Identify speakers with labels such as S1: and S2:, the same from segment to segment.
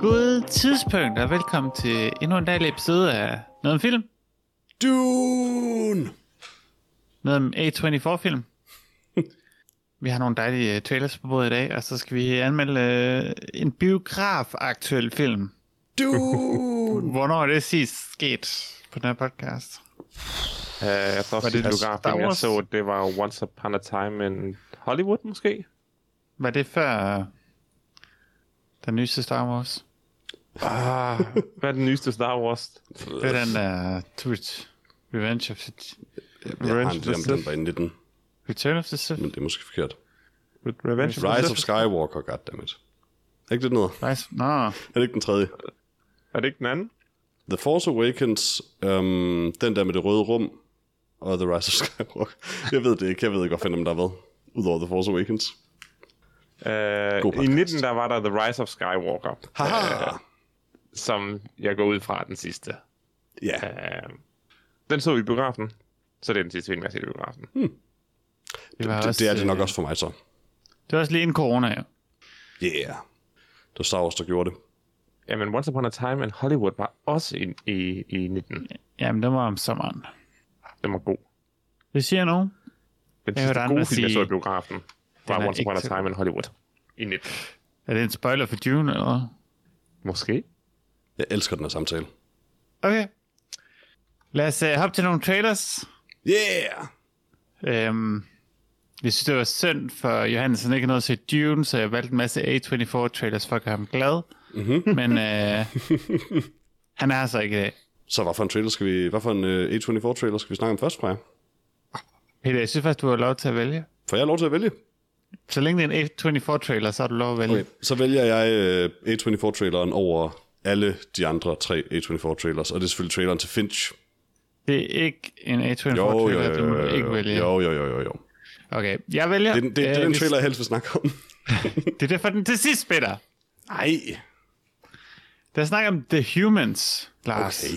S1: God tidspunkt, og velkommen til endnu en dejlig episode af noget om film.
S2: Dune!
S1: Noget om A24-film. vi har nogle dejlige øh, trailers på bordet i dag, og så skal vi anmelde øh, en biograf-aktuel film.
S2: Dune!
S1: Hvornår er det sidst sket på den her podcast?
S3: Uh, jeg tror,
S1: Var
S3: sidste
S1: det Star
S3: biografen, jeg
S1: Wars?
S3: så, det var Once Upon a Time in Hollywood, måske?
S1: Var det før øh, den nyeste Star Wars?
S3: Ah, hvad er den nyeste Star Wars?
S1: Det er den der Twitch. Revenge of the...
S2: Jeg har
S3: Revenge
S2: en
S3: of
S2: idé om,
S3: the
S2: den
S3: Sith?
S2: var inde i den,
S1: Return of the Sith?
S2: men det er måske forkert.
S3: Revenge of the
S2: Rise of
S3: Sith?
S2: Skywalker, goddammit. Er ikke det noget?
S1: Nice. Nå,
S2: Er det ikke den tredje?
S3: Er det ikke den anden?
S2: The Force Awakens, øhm, den der med det røde rum, og The Rise of Skywalker. Jeg ved det ikke, jeg ved ikke, hvad fanden der har været. Udover The Force Awakens. God
S3: Uh, I
S2: podcast.
S3: 19, der var der The Rise of Skywalker,
S2: Haha!
S3: som jeg går ud fra er den sidste.
S2: Ja,
S3: Uh, den så vi i biografen, så det er den sidste film, jeg har set i biografen.
S1: det var
S2: det,
S1: også...
S2: det er det nok
S1: øh,
S2: også for mig så.
S1: Det var også lige en corona, ja.
S2: Yeah. Det var Star Wars, der gjorde det.
S3: Jamen, Once Upon a Time in Hollywood var også i, i, i 19.
S1: Jamen, det var om sommeren.
S3: Den var god.
S1: Det siger nogen. Jeg
S3: Den sidste
S1: hørte andre
S3: gode film, jeg så
S1: sige-
S3: i biografen,
S1: er
S3: var Once
S1: ikke
S3: Upon a
S1: så
S3: Time in Hollywood i 19.
S1: Er det en spoiler for Dune, eller hvad?
S3: Måske.
S2: Jeg elsker den her samtale.
S1: Okay. Lad os uh, hoppe til nogle trailers.
S2: Yeah!
S1: Øhm, jeg synes, det var synd for Johannes, han ikke nåede at se Dune, så jeg valgte en masse A24-trailers for at gøre ham glad.
S2: Mhm.
S1: Mm-hmm. Men øh, han er så ikke øh, i dag.
S2: Så hvad for en trailer skal vi, hvad for en øh, A24-trailer skal vi snakke om først, Freja?
S1: Peter, jeg synes faktisk, du har lov til at vælge.
S2: For jeg har lov til at vælge.
S1: Så længe det er en A24-trailer, så har du lov at vælge.
S2: Okay, så vælger jeg øh, A24-traileren over alle de andre tre A24-trailers, og det er selvfølgelig traileren til Finch.
S1: Det er ikke en
S2: Jo, jo, jo,
S1: A24-trailer, du må
S2: jo,
S1: du ikke
S2: jo,
S1: vælge.
S2: jo, jo, jo, jo, jo.
S1: Okay, jeg vælger.
S2: Det, er den- det, det er
S1: Øh,
S2: den
S1: vi-
S2: trailer, jeg helst vil snakke om.
S1: Det er derfor, den til sidst, Peter.
S2: Nej.
S1: Der snakker om The Humans, Lars.
S2: Okay.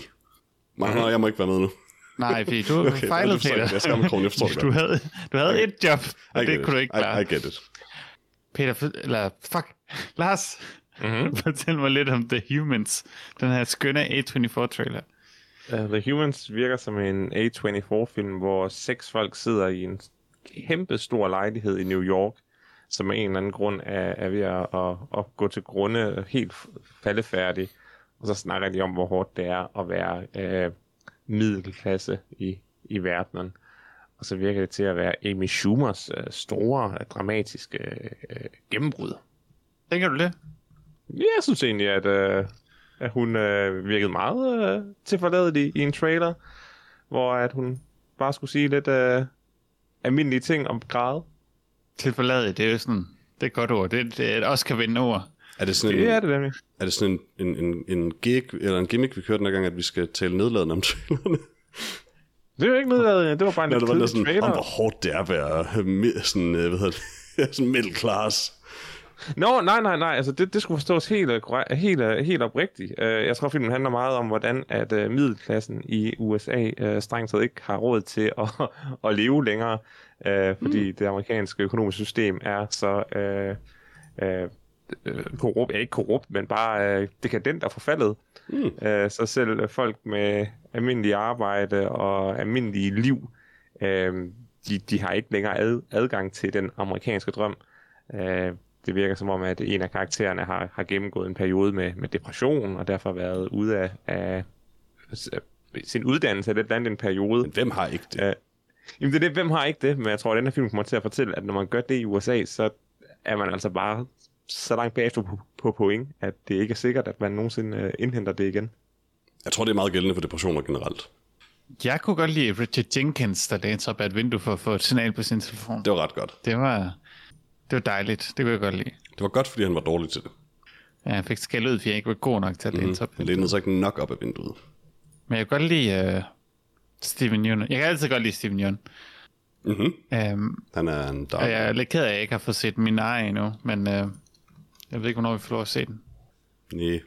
S2: Nej, nej, jeg må ikke være med nu.
S1: Nej, fordi du okay, fejlede,
S2: det forstår jeg
S1: Peter.
S2: godt. Jeg skammer krogen, jeg forstår det
S1: du
S2: godt.
S1: havde, du havde okay. et job, og
S2: I
S1: det
S2: get
S1: kunne du
S2: it.
S1: ikke klare.
S2: I, I get it.
S1: Peter, for- eller fuck, Lars, mm-hmm. fortæl mig lidt om The Humans, den her skønne A24-trailer.
S3: Uh, The Humans virker som en A24-film, hvor seks folk sidder i en kæmpe stor lejlighed i New York, som af en eller anden grund er, er ved at, at, at gå til grunde helt faldefærdig. Og så snakker de om, hvor hårdt det er at være øh, middelklasse i, i verdenen. Og så virker det til at være Amy Schumers øh, store, dramatiske øh, gennembrud.
S1: Tænker du det?
S3: Ja, jeg synes egentlig, at, øh, at hun øh, virkede meget øh, tilforladelig i en trailer, hvor at hun bare skulle sige lidt øh, almindelige ting om grad.
S1: Tilforladet, det er jo sådan, det er et godt ord. Det, det er et Oscar-vindende ord.
S2: Er det sådan en,
S3: Det er det nemlig.
S2: er det sådan en, en, en, en gig, eller en gimmick, vi kørte den her gang, at vi skal tale nedladende om trailerne?
S3: Det var ikke noget, det var bare en
S2: Ja, det var
S3: lidt
S2: lidt sådan,
S3: kedelig
S2: om hvor
S3: trailer.
S2: hårdt det er at være øh, mi- sådan, øh, hvad hedder det, sådan middle class.
S3: Nå, nej, nej, nej, altså det, det skulle forstås helt, øh, korrekt- helt, øh, helt oprigtigt. Uh, jeg tror, filmen handler meget om, hvordan at uh, middelklassen i USA uh, strengt taget ikke har råd til at, at leve længere, uh, fordi mm. det amerikanske økonomiske system er så... Uh, øh, øh, korrupt, ja, ikke korrupt, men bare øh, dekadent og forfaldet. Mm. Øh, så selv øh, folk med almindelige arbejde og almindelige liv, øh, de, de har ikke længere ad, adgang til den amerikanske drøm. Øh, det virker som om, at en af karaktererne har, har gennemgået en periode med, med depression, og derfor været ude af, af s- sin uddannelse eller et eller andet en periode.
S2: Men hvem har ikke det?
S3: Ja. Jamen det er det, hvem har ikke det? Men jeg tror, at den her film kommer til at fortælle, at når man gør det i USA, så er man altså bare så langt bagefter på, på point, at det ikke er sikkert, at man nogensinde øh, indhenter det igen.
S2: Jeg tror, det er meget gældende for depressioner generelt.
S1: Jeg kunne godt lide Richard Jenkins, der lænede sig op ad et vindue for at få et signal på sin telefon.
S2: Det var ret godt.
S1: Det var, det var dejligt. Det kunne jeg godt lide.
S2: Det var godt, fordi han var dårlig til det.
S1: Ja, jeg fik skæld ud, fordi jeg ikke var god nok til at læne sig op.
S2: Han lænede sig ikke nok op af vinduet.
S1: Men jeg kan godt lide uh, Steven Yeun. Jeg kan altid godt lide Steven Yeun.
S2: Mm-hmm.
S1: Um,
S2: Han er en dark.
S1: Og jeg er lidt ked af, at jeg ikke har fået set min egen endnu, men øh, jeg ved ikke, hvornår vi får lov at se den.
S2: Nej,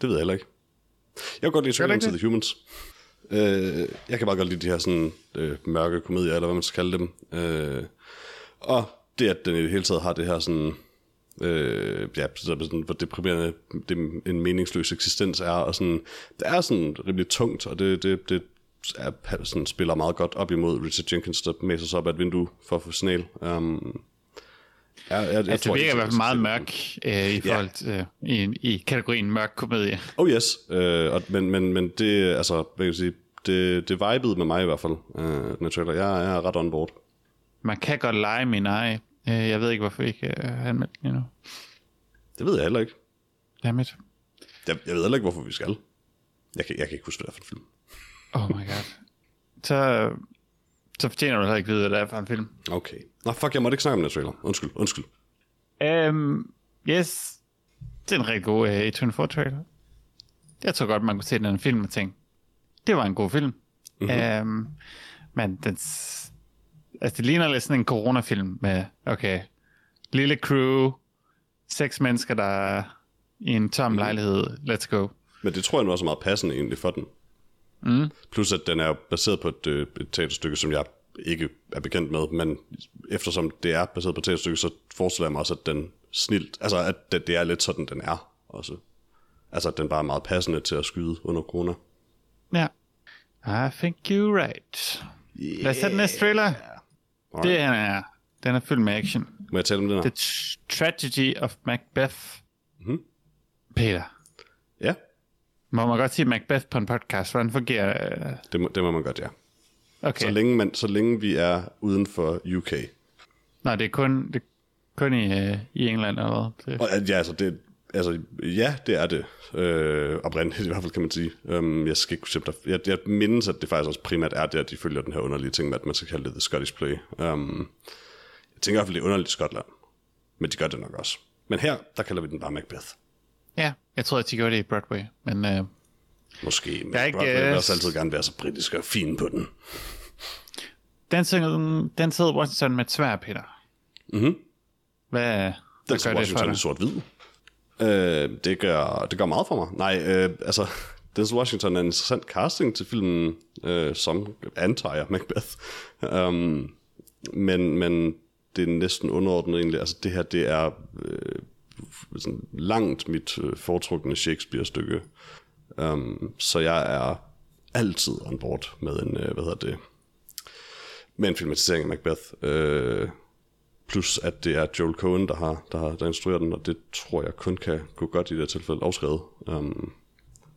S2: det ved jeg heller ikke. Jeg kan godt lide
S1: Gør du
S2: Return
S1: ikke
S2: to the Humans. Øh, jeg kan bare godt lide de her sådan, øh, mørke komedier, eller hvad man skal kalde dem. Øh, og det, at den i det hele taget har det her sådan... Øh, ja, så- sådan, hvor deprimerende det, en meningsløs eksistens er, og sådan, det er sådan rimelig tungt, og det, det, det er, sådan, spiller meget godt op imod Richard Jenkins, der mæser sig op af et vindue for at få signal. Um, jeg, jeg, jeg,
S1: Altså, det virker i
S2: ikke,
S1: hvert fald meget mørk øh, i,
S2: Ja.
S1: forhold til, øh, i, i kategorien mørk komedie.
S2: Oh yes, øh, og, men, men, men det, altså, hvad kan jeg sige, det, det vibede med mig i hvert fald, øh, den trailer. Jeg, jeg er ret on board.
S1: Man kan godt lege min ej. Øh, jeg ved ikke, hvorfor jeg ikke øh, har anmeldt den endnu.
S2: Det ved jeg heller ikke.
S1: Dammit.
S2: Jeg, jeg ved heller ikke, hvorfor vi skal. Jeg kan, jeg kan ikke huske, hvad det er for en film.
S1: Oh my god. Så, øh, så fortjener du heller ikke vide, hvad det er for en film.
S2: Okay. Nå, fuck, jeg måtte ikke snakke om den trailer. Undskyld, undskyld.
S1: Um, yes. Det er en rigtig god uh, A24 trailer. Jeg tror godt, man kunne se den her film og tænke, det var en god film. Mm-hmm. Um, men den, s- altså, det ligner lidt sådan en coronafilm med, okay, lille crew, seks mennesker, der er i en tom lejlighed, let's go.
S2: Men det tror jeg nu også er meget passende egentlig for den. Mm. Plus at den er jo baseret på et, øh, et teaterstykke, som jeg ikke er bekendt med, men eftersom det er baseret på et teaterstykke, så forestiller jeg mig også, at den snilt, altså at det, det er lidt sådan, den er også. Altså at den bare er meget passende til at skyde under corona.
S1: Ja. I think you're right. Yeah. Lad os tage den næste trailer. Det her er, den er fyldt med action.
S2: Må jeg tale om den her?
S1: The Tr- Tragedy of Macbeth. Mm-hmm.
S2: Mhm.
S1: Peter,
S2: Ja,
S1: må man godt sige Macbeth på en podcast? Hvordan fungerer øh,
S2: det må, det må man godt, ja.
S1: Okay.
S2: Så, længe man, så længe vi er uden for UK.
S1: Nå, det er kun, det er kun i, øh, i England eller hvad? Det,
S2: Og at- ja, altså, det, altså, ja, det er det. Øh, oprindeligt i hvert fald, kan man sige. Øhm, jeg skal ikke kunne der, jeg, jeg mindes, at det faktisk også primært er der, de følger den her underlige ting med, at man skal kalde det The Scottish Play. Øhm, jeg tænker i hvert fald, det er underligt i Skotland. Men de gør det nok også. Men her, der kalder vi den bare Macbeth.
S1: ja, jeg tror, at de gjorde det i Broadway. Men øh,
S2: Måske, men
S1: er
S2: jeg
S1: ikke,
S2: Broadway vil
S1: øh,
S2: også altid gerne være så britisk og fin på den.
S1: den, synger, den sidder Washington med et svær, Peter. Mm-hmm. Hvad,
S2: Mhm. Den
S1: hvad
S2: så
S1: gør det for
S2: Washington i
S1: dig?
S2: sort-hvid. Øh, det, gør, det gør meget for mig. Nej, øh, altså, Denzel Washington er en interessant casting til filmen, øh, som antager Macbeth. Um, men, men det er næsten underordnet egentlig. Altså, det her, det er øh, sådan langt mit øh, foretrukne Shakespeare-stykke. Um, så jeg er altid on board med en, øh, hvad hedder det, med en filmatisering af Macbeth. Øh, Plus at det er Joel Cohen, der har, der har der instruerer den, og det tror jeg kun kan gå godt i det her tilfælde afskrevet. Um,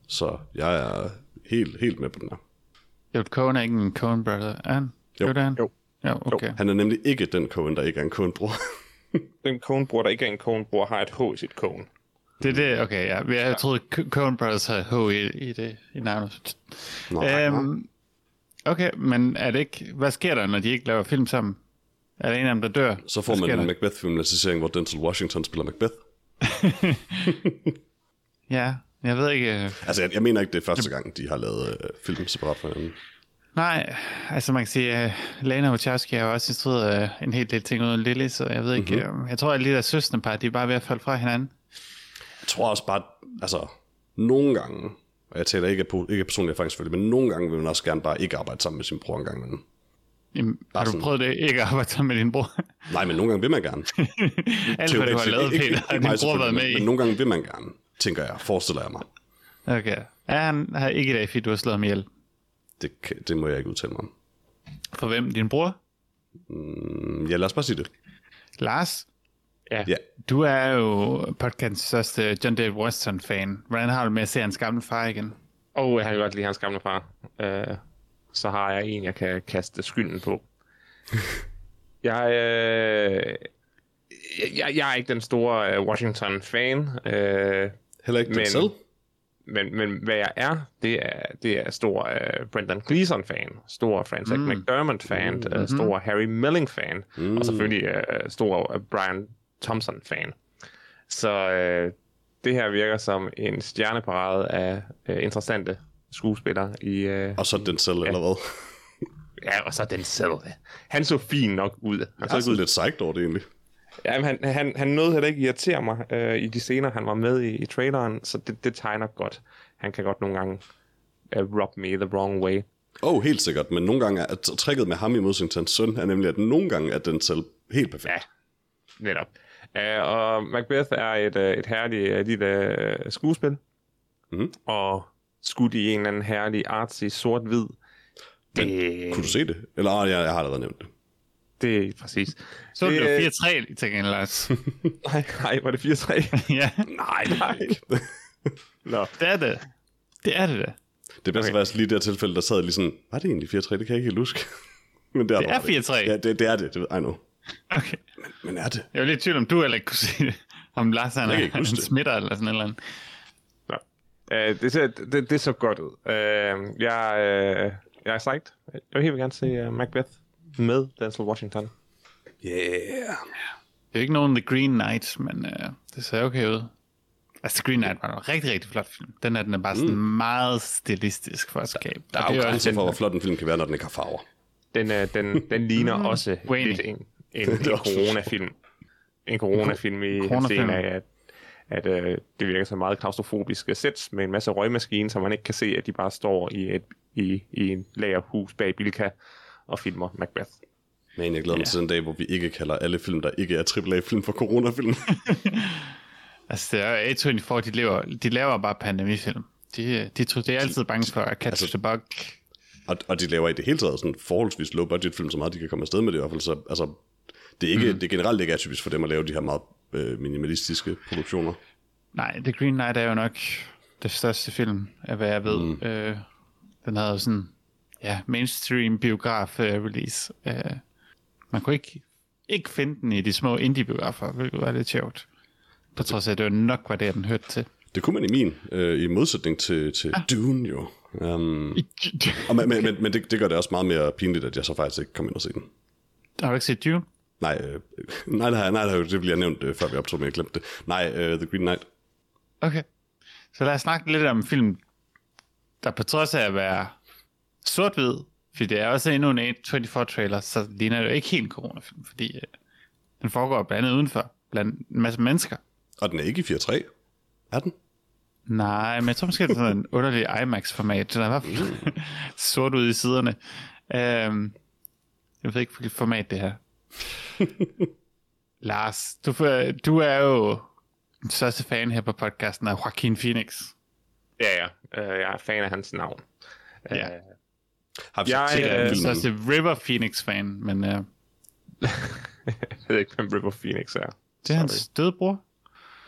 S2: så jeg er helt, helt med på den her.
S1: Jo, Cohen er ikke en Cohen brother, er han?
S2: Jo.
S1: Jo, det er han?
S3: Jo.
S1: Jo, okay.
S2: Han er nemlig ikke den Cohen, der ikke er en Cohen-bror.
S3: Den konebror, der ikke er en konebror, har et H i sit kone.
S1: Det er det, okay, ja. Jeg ja. troede, Co- Coen Brothers havde H i, i det i navnet.
S2: Nej,
S1: øhm, okay, men er det ikke... Hvad sker der, når de ikke laver film sammen? Er der en af dem, der dør?
S2: så får
S1: Hvad
S2: man
S1: sker
S2: en
S1: der?
S2: Macbeth-filmatisering, hvor Denzel Washington spiller Macbeth.
S1: Ja, jeg ved ikke... øh,
S2: Altså, jeg, jeg mener ikke, det er første gang, de har lavet øh, film separat fra hinanden.
S1: Nej, altså man kan sige, uh, Lana Wachowski har jo også instrueret uh, en hel del ting uden Lily, så jeg ved ikke...
S2: Mhm.
S1: Mm-hmm. jeg tror, at de der søsterpar, de er bare ved at falde fra hinanden.
S2: Jeg tror også bare, altså, nogle gange, og jeg taler ikke af, po- ikke af personlig erfaring selvfølgelig, men nogle gange vil man også gerne bare ikke arbejde sammen med sin bror engang imellem.
S1: Jamen, har du
S2: sådan-
S1: prøvet det? Ikke at arbejde sammen med din bror?
S2: Nej, men nogle gange vil man gerne.
S1: Alt, hvad du har
S2: Teoretisk
S1: lavet,
S2: ikke-
S1: Peter,
S2: ikke- ikke
S1: har din
S2: mig
S1: bror
S2: selvfølgelig,
S1: været med
S2: men,
S1: i.
S2: Men nogle gange vil man gerne, tænker jeg, forestiller jeg mig.
S1: Okay. Er han her ikke i dag, fordi du har slået ham ihjel?
S2: Det, kan- det må jeg ikke udtale mig om.
S1: For hvem? Din bror?
S2: Mm, Ja, lad os bare sige det.
S1: Lars?
S2: Ja.
S1: Du er jo podcastens største John David Weston-fan. Hvordan har du med at se hans gamle far igen?
S3: Og jeg kan godt lide hans gamle far. Øh, så har jeg en, jeg kan kaste skylden på. jeg, øh, jeg, jeg er ikke den store øh, Washington-fan, øh,
S2: Heller ikke men...
S3: Men-
S2: selv.
S3: men, men hvad jeg er, det er, det er stor øh, Brendan Gleeson-fan, stor Francis mm. McDermott-fan, mm-hmm. øh, stor Harry Milling-fan, mm. og selvfølgelig øh, stor øh, Brian Thompson-fan. Så øh, det her virker som en stjerneparade af øh, interessante skuespillere i... Øh,
S2: Og så den selv, ja. eller hvad?
S3: Ja, og så den selv. Han så fin nok ud. Han så
S2: Jeg er
S3: ikke ud.
S2: sådan lidt psyched over det egentlig.
S3: Jamen, han, han, han nåede heller ikke irritere mig øh, i de scener, han var med i, i traileren, så det, det tegner godt. Han kan godt nogle gange øh, rub me the wrong way.
S2: Oh, helt sikkert, men nogle gange er t- tricket med ham i modsætning til hans søn, er nemlig, at nogle gange er den selv helt perfekt.
S3: Ja. Netop. Uh, og Macbeth er et, uh, et herligt uh, lille uh, skuespil.
S2: Mhm.
S3: Og skudt i en eller anden herlig artsy sort-hvid. Det,
S2: Kunne du se det? Eller ah, jeg, jeg har allerede nævnt det.
S3: det er præcis.
S1: Så blev
S2: Øh.
S3: Det-
S1: det 4-3 til gengæld, Lars.
S3: Nej, nej, var det 4-3?
S1: ja,
S2: Nej, nej.
S3: Nå.
S1: det er det. Det er det da.
S2: Det bedste okay. var altså lige i det her tilfælde, der sad jeg lige sådan, var det egentlig 4-3? Det kan jeg ikke helt huske. men det er,
S1: Det
S2: der
S1: er
S2: var det.
S1: 4-3.
S2: Ja, det, det er det. det ved, I know.
S1: Okay.
S2: Men er det?
S1: Jeg var lidt i tvivl, om du heller ikke kunne se det. Om Lars han,
S2: Jeg kan
S1: er,
S2: ikke
S1: han
S2: huske det.
S1: smitter eller sådan et eller andet.
S3: Nå. Øh, det, ser, det, det så godt ud. Øh, jeg, øh, jeg er psyched. Jeg vil helt vildt gerne se uh, Macbeth med Denzel Washington.
S2: Yeah.
S1: Det er jo ikke nogen The Green Knight, men øh, det ser okay ud. Altså, The Green Knight var en rigtig, rigtig flot film. Den her, den er bare sådan mm. meget stilistisk for at skabe.
S2: Der er jo grænser for, hvor flot en film kan være, når den ikke har farver.
S3: Den, øh, den, den ligner mm, også
S1: uenig.
S3: lidt en, en, en
S2: Det er også-
S3: coronafilm. En coronafilm i
S1: Coronafilm.
S3: scenen af, at, at øh, det virker så meget klaustrofobiske sæt med en masse røgmaskine, så man ikke kan se, at de bare står i et i, i en lagerhus bag Bilka og filmer Macbeth.
S2: Men jeg glæder mig til den dag, hvor vi ikke kalder alle film, der ikke er AAA-film for coronafilm.
S1: Altså, det er jo A24, de, lever, de laver bare pandemifilm. De, de, tror, de er altid bange for at catch altså, the bug.
S2: og, og de laver i det hele taget sådan forholdsvis low-budget-film, så meget de kan komme afsted med det i hvert fald. Så, altså, det er, ikke, mm. det er generelt ikke atypisk for dem at lave de her meget øh, minimalistiske produktioner.
S1: Nej, The Green Knight er jo nok det største film, af hvad jeg ved. Mm. Øh, den havde jo sådan, ja, mainstream biograf øh, release. Øh, man kunne ikke, ikke finde den i de små indie-biografer, hvilket var lidt sjovt. På trods af, at det var nok, hvad det er, den hørte til.
S2: Det kunne man i min, øh, i modsætning til, til ah. Dune jo. Um, og, men men, men, men det, det gør det også meget mere pinligt, at jeg så faktisk ikke kom ind og se den.
S1: Har du ikke set Dune?
S2: Nej, øh, nej, nej, nej, nej, det bliver nævnt, øh, før vi optog, men jeg glemte det. Nej, øh, The Green Knight.
S1: Okay. Så lad os snakke lidt om en film, der på trods af at være sort-hvid, fordi det er også endnu en 24-trailer, så ligner det jo ikke helt en coronafilm, fordi øh, den foregår blandt andet udenfor, blandt en masse mennesker.
S2: Og den er ikke i 4.3. Er den?
S1: Nej, men jeg tror måske, det er sådan en underlig IMAX-format. Den er i hvert fald sort ud i siderne. Øhm, jeg ved ikke, hvilket format det her. Lars, du, får- du er jo den største fan her på podcasten af Joaquin Phoenix.
S3: Ja, ja. Øh, jeg er fan af hans navn.
S1: Ja.
S3: Øh,
S2: Har vi
S3: Jeg,
S2: set
S1: Jeg
S3: øh,
S1: er den
S2: den filmen?
S1: største River Phoenix-fan, men øh,
S3: jeg ved ikke, hvem River Phoenix er.
S1: det er hans dødbror.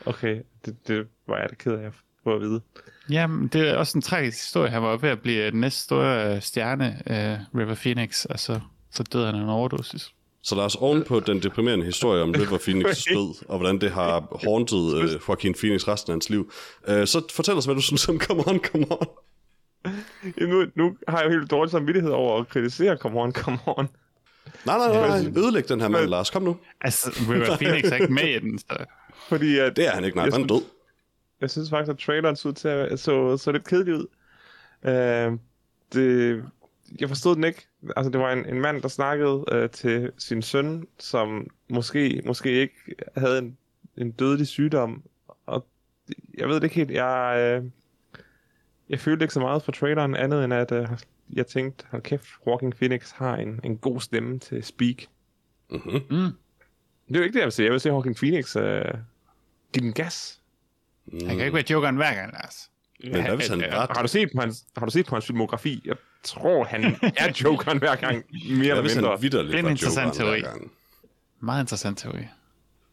S3: Okay, det, det var jeg da ked af at få at vide.
S1: Jamen, det er også en tragisk historie. Han var ved at blive den næste store øh, stjerne, øh, River Phoenix, og så, så døde han af en overdosis.
S2: Så Lars, oven på den deprimerende historie om River Phoenix død, og hvordan det har haunted øh, Joaquin Phoenix resten af hans liv, øh, så fortæl os, hvad du synes om Come On, Come On.
S3: Jamen, Nu, nu har jeg jo helt dårlig samvittighed over at kritisere Come On, Come On.
S2: Nej, nej, nej, nej, ødelæg den her mand, Lars, kom nu.
S1: Altså, River Phoenix er ikke med i den, så
S3: Fordi at,
S2: Det er han ikke, nej,
S3: Jeg
S2: han er
S3: synes-
S2: død.
S3: jeg synes faktisk, at traileren så, ud til at, så, så lidt kedelig ud. Øh, det, jeg forstod den ikke. Altså, det var en, en mand, der snakkede øh, til sin søn, som måske, måske ikke havde en, en dødelig sygdom. Og det- jeg ved det ikke helt. Jeg, øh, jeg følte ikke så meget for traileren, andet end at øh, jeg tænkte, hold kæft, Walking Phoenix har en, en god stemme til speak.
S2: Mhm.
S1: Mm.
S3: Det er jo ikke det, jeg vil sige. Jeg vil se Hawking Phoenix øh, give den gas.
S1: han kan ikke være jokeren hver gang, Lars.
S2: Men hvad hvis han
S3: Øh,
S2: var
S3: har, du set på hans, har du set på hans filmografi? Jeg tror, han er jokeren hver gang, mere
S2: Hvad
S3: eller
S2: hvis
S3: mindre.
S2: han vidderligt
S1: Det er en
S2: var
S1: interessant
S2: jokeren hver
S1: teori.
S2: gang?
S1: Meget interessant teori.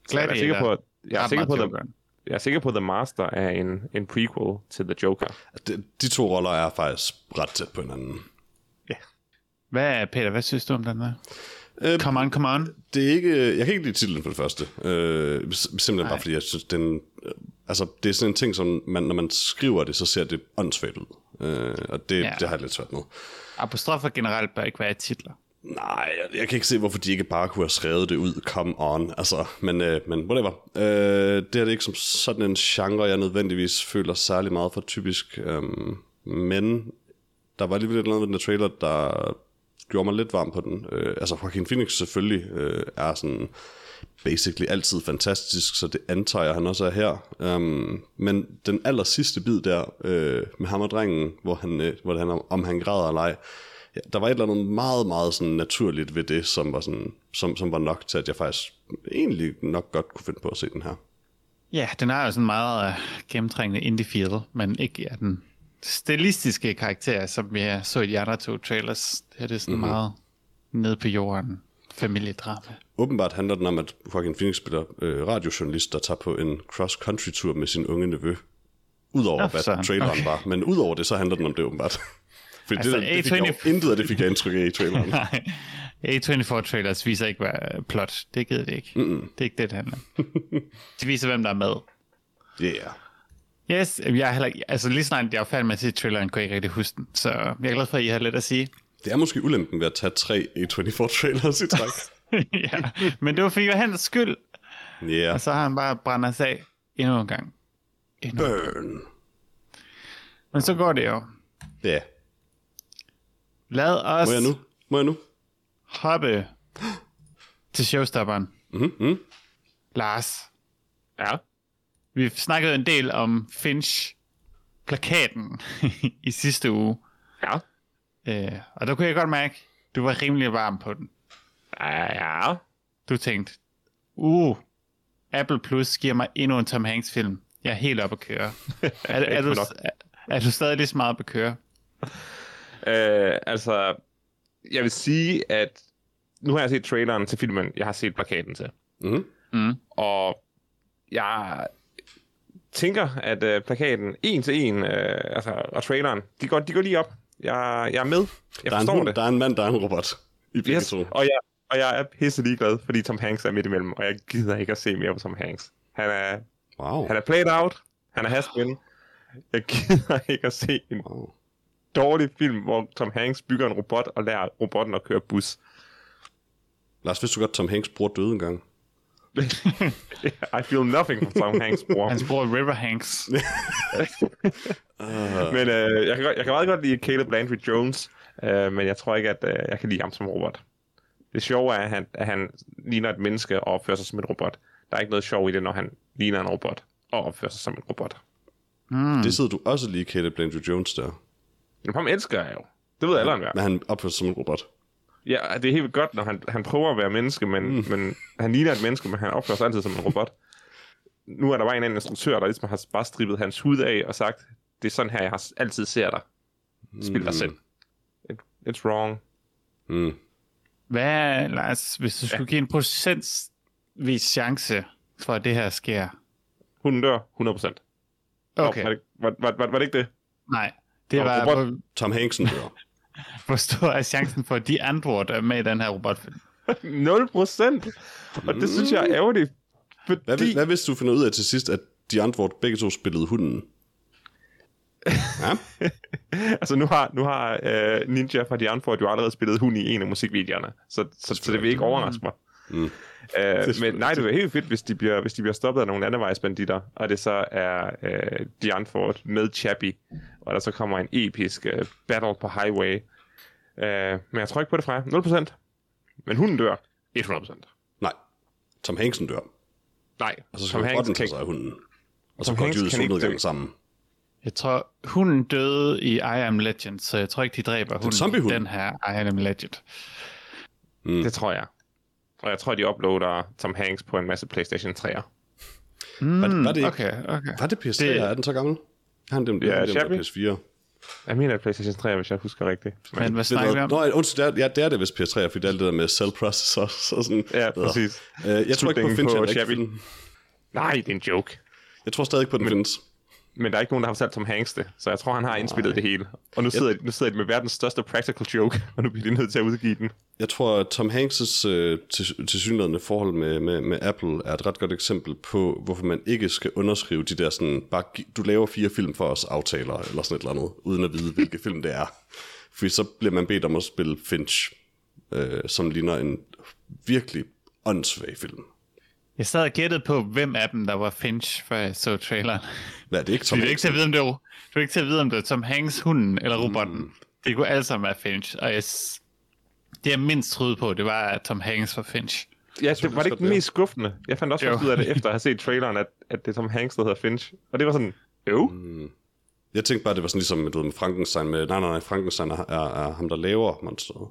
S3: Så jeg er sikker på, at, jeg er
S1: ret
S3: sikker på,
S1: meget
S3: at,
S1: jokeren.
S3: jeg er sikker på, at The Master er en, en prequel til The Joker.
S2: De, de to roller er faktisk ret tæt på hinanden.
S1: Hvad, Peter, hvad synes du om den der?
S2: Øh,
S1: Come on, come on.
S2: det er ikke, øh, jeg kan ikke lide titlen for det første. Øh, sim- simpelthen bare fordi, jeg synes, den, øh, altså, det er sådan en ting, som man, når man skriver det, så ser det åndssvagt ud. Øh, og det,
S1: Ja.
S2: ja. det har jeg lidt svært med.
S1: Apostrofer generelt bør ikke være i titler.
S2: Nej, jeg, jeg kan ikke se, hvorfor de ikke bare kunne have skrevet det ud. Come on. Altså, men, øh, men whatever. Øh, det her det er ikke som sådan en genre, jeg nødvendigvis føler særlig meget Øhm, for typisk. Øh, men der var alligevel et eller andet med den der trailer, der gjorde mig lidt varm på den. Øh, altså Joaquin Phoenix selvfølgelig øh, er sådan basically altid fantastisk, så det antager jeg, han også er her. Um, men den aller sidste bid der øh, med ham og drengen, hvor han, øh, hvor han, om han græder eller ej, ja, der var et eller andet meget, meget sådan naturligt ved det, som var, sådan, som, som var nok til, at jeg faktisk egentlig nok godt kunne finde på at se den her.
S1: Ja, den har jo sådan meget øh, gennemtrængende indie-feel, men ikke er den stilistiske karakter, som vi så i de andre to trailers. Det her det er sådan mm-hmm. meget ned på jorden familiedrama.
S2: Åbenbart handler den om, at Joaquin Phoenix spiller øh, radiojournalist, der tager på en cross-country-tur med sin unge nevø. Udover
S1: Nå,
S2: hvad
S1: sådan.
S2: traileren
S1: Okay.
S2: var, men udover det, så handler den om det åbenbart. Fordi altså,
S1: Altså,
S2: det, der, det fik jeg,
S1: A24
S2: jo- intet af det fik jeg indtryk af i traileren.
S1: Nej, A24-trailers viser ikke hvad øh, plot. Det gider det ikke. Mm-mm. Det er ikke det, det handler om. De viser, hvem der er med.
S2: Yeah.
S1: Yes, jeg er heller ikke, altså lige snart jeg var færdig med at se traileren, kunne jeg ikke rigtig huske den. Så jeg er glad for, at I har let at sige.
S2: Det er måske ulempen ved at tage tre A24-trailers i træk.
S1: ja, men det var for Johans skyld.
S2: Ja,
S1: Og
S3: Altså,
S2: yeah.
S1: så har han bare brænder sig af endnu en gang. Endnu.
S2: burn.
S1: Men så går det jo.
S2: Ja, yeah.
S1: Lad os
S2: må jeg nu? Må jeg nu?
S1: hoppe til showstopperen.
S2: Mm-hmm.
S1: Lars,
S3: Ja.
S1: vi snakkede en del om Finch-plakaten i sidste uge.
S3: Ja.
S1: Øh, og der kunne jeg godt mærke, du var rimelig varm på den.
S3: Ja. ja.
S1: Du tænkte, uh, Apple Plus giver mig endnu en Tom Hanks film. Jeg er helt oppe at køre. er, er, er, du,
S3: Ikke for
S1: er, er du stadig lige så meget oppe at køre?
S3: Øh, altså, jeg vil sige, at nu har jeg set traileren til filmen, jeg har set plakaten til.
S2: Mhm.
S1: Mhm.
S3: Og jeg tænker, at øh, plakaten en til en, øh, altså, og traileren, de går, de går lige op. Jeg, jeg er med. Jeg
S2: Der, er en
S3: forstår
S2: hund,
S3: det.
S2: der er en mand, der er en robot. I begge
S3: yes.
S2: to.
S3: og, jeg, og jeg er pisse ligeglad, fordi Tom Hanks er midt imellem, og jeg gider ikke at se mere på Tom Hanks. Han er,
S2: Wow.
S3: han er played out, han er has-been. Jeg gider ikke at se en
S2: wow.
S3: dårlig film, hvor Tom Hanks bygger en robot og lærer robotten at køre bus.
S2: Lars, vidste du godt, Tom Hanks bror døde engang?
S3: I feel nothing for Tom Hanks, bror.
S1: Hans bror River Hanks.
S3: men øh, jeg, kan, godt- jeg kan meget godt lide Caleb Landry Jones, øh, men jeg tror ikke, at øh, jeg kan lide ham som robot. Det sjove er, at han, at han ligner et menneske og opfører sig som en robot. Der er ikke noget sjov i det, når han ligner en robot og opfører sig som en robot. Hmm.
S2: Mm. Det sidder du også lige, Caleb Landry-Jones der.
S3: Men ham elsker jeg jo. Det ved alle enhver.
S2: Men han opfører sig som en robot.
S3: Ja, det er helt vildt godt, når han, han prøver at være menneske, men, mm. men han ligner et menneske, men han opfører sig altid som en robot. Nu er der bare en eller anden instruktør, der ligesom har bare strippet hans hud af og sagt, det er sådan her, jeg har altid ser dig. Spil dig selv. It, it's wrong.
S2: Mm.
S1: Hvad, Lars, hvis du skulle give en procentvis chance for, at det her sker?
S3: Hun dør 100%.
S1: Okay,
S3: Nå, var, det, var, var, var, var det ikke det?
S1: nej. Det
S3: Nå,
S1: var,
S3: robot-
S1: hvor,
S2: Tom Hanksen dør.
S1: hvor stor er chancen for, at de andre, der er med i den her robotfilm?
S3: 0%! Og det synes jeg er ærgerligt. Fordi...
S2: Hvad, de... hvad hvis du finder ud af til sidst, at de andre hvor begge to spillede hunden? Ja,
S3: Altså nu har, nu har øh, Ninja fra de andre jo allerede spillet hun i en af musikvideoerne, så, så, så det vil ikke overraske mig.
S2: Mm.
S3: Øh, men
S2: selvfølgelig
S3: nej, det er helt fedt, hvis de bliver, hvis de bliver stoppet af nogle landevejsbanditter, og det så er øh, Dian Ford med Chappie, og der så kommer en episk øh, battle på highway. Øh, men jeg tror ikke på det fra jer. 0%. Men hunden dør 100%.
S2: nej. Tom Hanksen dør.
S3: Nej,
S2: Og så skal robotten tage sig af hunden. Og så
S3: Tom
S2: går
S3: Hanks
S2: de ud i
S3: kan ikke dø.
S2: solnedgang sammen.
S1: Jeg tror, hunden døde i I Am Legend, så jeg tror ikke, de dræber hunden i
S2: zombiehund.
S1: den her I Am Legend.
S3: Det tror jeg. Og jeg tror, de uploader Tom Hanks på en masse PlayStation 3'er.
S2: Mm, var, var, det, ikke-
S1: Hmm, Okay, okay.
S2: var det PS3?
S1: Det-
S2: Det... Er den så gammel? Han dem,
S3: Ja,
S2: ja, dem, dem
S3: Chappie.
S2: PS4.
S3: Jeg mener, at PlayStation 3, hvis jeg husker rigtigt. Men,
S1: Men hvad
S2: Ved
S1: snakker
S2: du
S1: vi om?
S2: hvad? Nå, undskyld, det er, ja, det er det vist PS3, fordi det er alt det der med cell processors og sådan.
S3: Ja,
S2: Bedre.
S3: præcis.
S2: Øh, jeg tror ikke på
S3: Slutningen
S2: Finch. jeg
S3: på
S2: er ikke
S3: Chappie.
S2: fin-
S3: nej, det er en joke.
S2: Jeg tror stadig ikke på, den findes.
S3: Men der er ikke nogen, der har fortalt Tom Hanks det, så jeg tror, han har indspillet det hele. Og nu sidder, de, nu sidder de med verdens største practical joke, og nu bliver de nødt til at udgive den.
S2: Jeg tror, at Tom Hanks' øh, til- tilsyneladende forhold med, med, med Apple er et ret godt eksempel på, hvorfor man ikke skal underskrive de der sådan, bare gi- du laver fire film for os, aftaler eller sådan et eller andet, uden at vide, hvilke film det er. Fordi så bliver man bedt om at spille Finch, øh, som ligner en virkelig åndssvag film.
S1: Jeg sad og gættede på, hvem af dem, der var Finch, før jeg så traileren.
S2: Hvad er det ikke, Tom
S1: Du er ikke
S2: Hanks?
S1: til at vide, om det var,
S2: Hmm.
S1: du er ikke til at vide, om det var Tom Hanks, hunden eller robotten. Mm. Det kunne alle sammen være Finch, og jeg s- Det jeg mindst troede på, det var at Tom Hanks for Finch.
S3: Ja,
S2: synes
S3: det var det
S2: også godt,
S3: ikke
S2: det er.
S3: mest skuffende. Jeg fandt også
S1: Jo.
S3: først ud af det, efter at have set traileren, at, at det er Tom Hanks, der hedder Finch. Og det var sådan, "Mm, øv.
S2: Mm. Jeg tænkte bare, det var sådan ligesom du ved, med Frankenstein. Med, nej, nej, nej, Frankenstein er, er, er ham, der laver monsteret.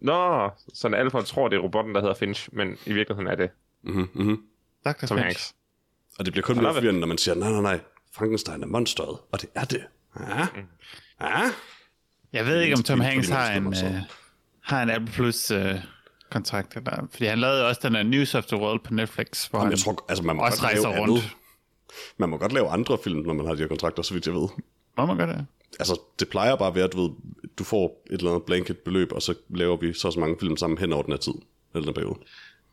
S3: Nå, sådan alle folk tror, det er robotten, der hedder Finch, men i virkeligheden er det
S2: Mm-hmm, mm-hmm.
S1: Dr.
S3: Tom
S1: Finch.
S3: Hanks.
S2: Og det bliver kun mere forvirrende, når man siger, nej, nej, nej, Frankenstein er monsteret. Og det er det. Ja. Ja.
S1: Jeg ved ikke, om Tom
S2: Fordi
S1: Hanks
S2: man
S1: har en,
S2: bestemmer
S1: øh,
S2: sig.
S1: har en Apple Plus øh, kontrakt. Eller, fordi han lavede også den der News of the World på Netflix, hvor
S2: Jamen,
S1: han
S2: jeg tror, altså, man må
S1: også
S2: godt
S1: rejser
S2: lave
S1: rundt.
S2: andet. Man må godt lave andre film, når man har de her kontrakter, så vidt jeg ved.
S1: Må man gøre det?
S2: Altså, det plejer bare at være, du ved, du får et eller andet blanket beløb, og så laver vi så og så mange film sammen hen over den her tid. Eller den her periode.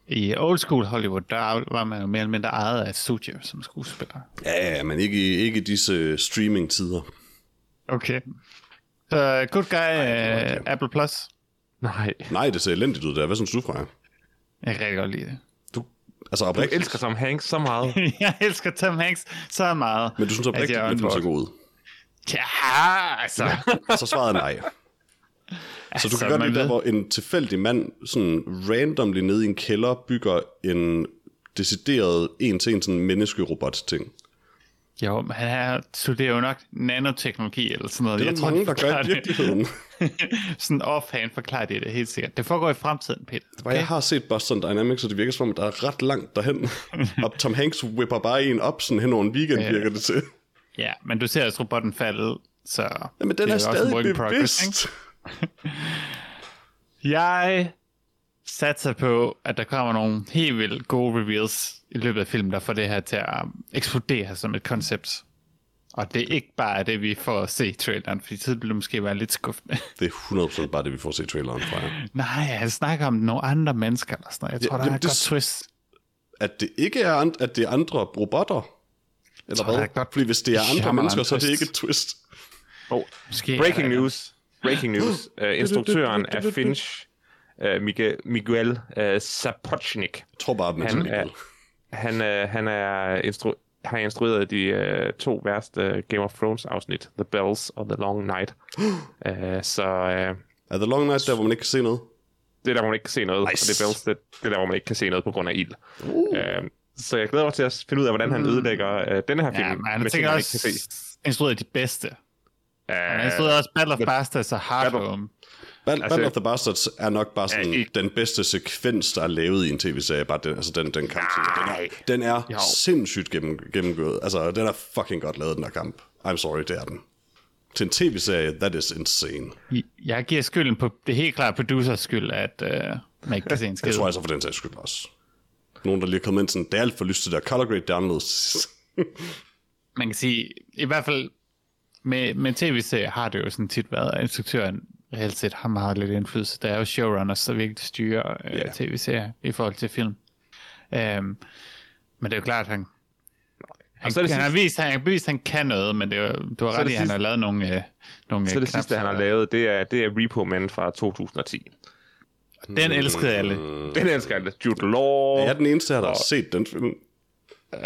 S1: I old school Hollywood, der var man jo mere eller mindre ejet af et studie som skuespiller.
S2: Ja, ja, ja, men ikke, i- ikke i disse øh, streaming-tider.
S1: Okay. Så øh, good guy,
S2: det
S1: Ej,
S2: var
S1: Apple Plus.
S3: Nej,
S2: Nej, det ser elendigt ud der. Hvad synes du, Freja?
S1: Jeg kan rigtig godt lide det.
S2: Du, altså
S3: jeg
S2: oprigtigt.
S3: elsker Tom Hanks så meget.
S1: jeg elsker Tom Hanks så meget.
S2: Men du synes oprigtigt, at den ser god ud.
S1: Ja, altså.
S2: Så svarede nej. Så du
S1: Altså,
S2: kan godt
S1: man
S2: lide der,
S1: ved-
S2: hvor en tilfældig mand sådan randomly nede i en kælder bygger en decideret en til en sådan menneskerobot-ting.
S1: Jo, men han har studerer jo nok nanoteknologi eller sådan noget.
S2: Det er der mange,
S1: han
S2: der gør
S1: forklarer
S2: i
S1: det.
S2: virkeligheden.
S1: sådan offhand forklarer det, det helt sikkert. Det foregår i fremtiden, Peter.
S2: Og jeg har set Boston Dynamics, og det virker som om, der er ret langt derhen. og Tom Hanks whipper bare en op sådan hen over en weekend,
S1: Ja.
S2: virker det til.
S1: Ja, men du ser også robotten falde, så...
S2: Jamen, den
S1: det
S2: er, er
S1: også en
S2: stadig
S1: work in progress, ikke?
S2: bevidst.
S1: Jeg satser på, at der kommer nogle helt vildt gode reveals i løbet af filmen, der får det her til at eksplodere som et koncept. Og det er ikke bare det, vi får at se i traileren, fordi tid ville måske være lidt skuffende.
S2: Det er 100% bare det, vi får se i traileren fra jer.
S1: Nej, han snakker om nogle andre mennesker eller sådan noget. Jeg tror, ja,
S2: Ja,
S1: der er
S2: jamen,
S1: et
S2: det
S1: godt
S2: s-
S1: twist.
S2: At det ikke er, and- at det er andre robotter. Eller
S1: tror, der er
S2: hvad?
S1: et godt
S2: Fordi hvis det er andre
S1: jammerland
S2: mennesker, så er det
S1: twist.
S2: ikke et twist.
S3: Oh,
S1: Måske
S3: breaking
S1: er der-
S3: news. Breaking news. Uh, instruktøren af Finch, uh, Miguel, Miguel uh, Sapochnik,
S2: Jeg tror bare, at man
S3: Han
S2: sådan
S3: er-
S2: lidt-
S3: han, uh, han er instru- har instrueret de uh, to værste uh, Game of Thrones afsnit, The Bells og The Long Night. Uh, så uh,
S2: Er The Long Night der, hvor man ikke kan se noget?
S3: det er der, hvor man ikke kan se noget,
S2: Nice.
S3: og det er Bells, det, det er der, hvor man ikke kan se noget på grund af ild. Uh. så jeg glæder mig til at finde ud af, hvordan han ødelægger uh, den her film,
S1: Mm. Ja, men han har
S3: med
S1: tænkt
S3: ting, man ikke kan
S1: også
S3: se.
S1: instrueret de bedste. Han har
S3: Uh,
S1: instrueret også Battle of Bastards og Hard
S3: Battle-
S1: Home.
S2: Battle, altså,
S3: Altså-
S2: Battle of the Bastards er nok bare sådan
S3: Ja,
S2: ja,
S3: i-
S2: den bedste sekvens, der er lavet i en tv-serie. Bare den, altså den, den kamp. Den er,
S3: Nej.
S2: den er sindssygt gennem, gennemgået. Altså, den er fucking godt lavet, den der kamp. I'm sorry, det er den. Til en tv-serie, that is insane.
S1: Jeg giver skylden på, det er helt klart producers skyld, at øh, man ikke kan se en skid.
S2: Det tror jeg så for den sags skyld også. Nogen, der lige er kommet ind sådan, det er alt for lyst til der color grade, det er anderledes.
S1: man kan sige, i hvert fald med, med tv-serier har det jo sådan tit været, at instruktøren reelt set har meget lidt indflydelse. Der er jo showrunners, der virkelig styrer øh,
S2: Ja.
S1: yeah. tv-serier i forhold til film. Øhm, men det er jo klart, at han, han,
S3: så er det
S1: han, har vist, han har bevist, at han kan noget, men det er, jo- du har
S3: Så er
S1: ret i,
S3: det
S1: at han
S3: sidste-
S1: har lavet nogle, øh, nogle
S3: så
S1: øh,
S3: det sidste, han har lavet, det er, det er Repo Man fra 2010.
S1: Den elskede alle.
S3: Den elsker jeg. Jude Law.
S2: Jeg er den eneste her, der har set den film.
S3: Øh,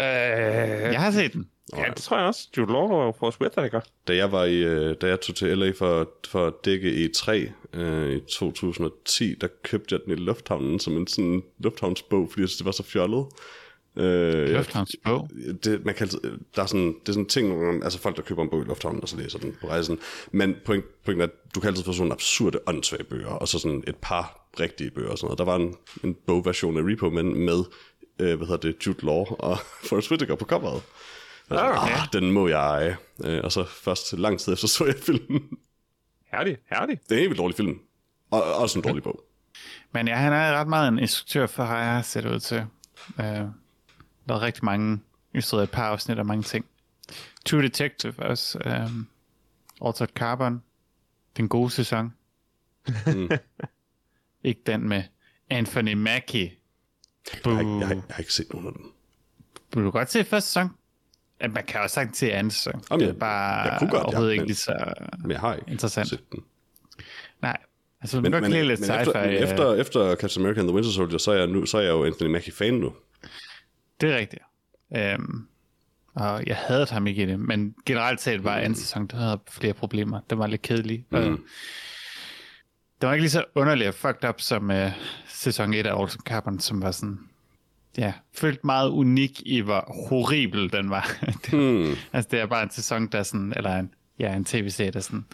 S1: Jeg har set den.
S3: ja, det tror jeg også. Jude Law var jo for Sweataniker.
S2: Da jeg, var i, øh, da jeg tog til LA for, for at dække E3 øh, i 2010, der købte jeg den i lufthavnen som en sådan lufthavnsbog, fordi jeg synes, det var så fjollet. Øh,
S1: Lufthavns bog.
S2: det, man kan, altid- der er sådan, det er sådan en ting, hvor man- altså folk, der køber en bog i lufthavnen, og så læser den på rejsen. Men point, pointen er, at du kan altid få sådan absurde åndssvage bøger, og så sådan et par rigtige bøger og sådan noget. Der var en, en bogversion af Repo Man med, øh, hvad hedder det, Jude Law og Forrest Whitaker på coveret. Okay. Ah, den må jeg eje. Øh, og så først lang tid efter så jeg filmen.
S3: Herlig, herlig.
S2: Det er en helt vildt dårlig film. Og og også en dårlig bog.
S1: Men ja, han er ret meget en instruktør for, har jeg set ud til. Øh, der er rigtig mange, ystrede et par afsnit og mange ting. True Detective også. Øh, Altered Carbon. Den gode sæson. Mm.
S2: Mm.
S1: Ikke den med Anthony Mackie.
S2: Jeg har, ikke-
S1: Buh.
S2: jeg, har, jeg har ikke set nogen af dem.
S1: Du kan godt se første sæson. Ja, man kan også sagtens se anden sæson.
S2: Om
S1: det
S2: jeg-
S1: er bare
S2: jeg kunne godt, ja,
S1: overhovedet ikke
S2: men-
S1: lige så...
S2: Men jeg har ikke
S1: Interessant.
S2: set den.
S1: Nej. Altså, man kan godt lide lidt
S2: men, efter,
S1: sci-fi.
S2: men
S1: øh,
S2: efter, efter Captain America and the Winter Soldier, så er jeg, nu, så er jeg jo Anthony Mackie-fan nu.
S1: Det er rigtigt. Øhm, og jeg havde ham ikke i det, men generelt set var anden sæson, der havde flere problemer. Den var lidt kedelig. Mm. Og Det var ikke lige så underligt og fucked up som øh, sæson 1 af Olsen Carbon, som var sådan... Ja, følt meget unik i, hvor horribel den var. det,
S2: Hmm.
S1: Altså, det er bare en sæson, der sådan... Eller en, ja, en tv-serie, der sådan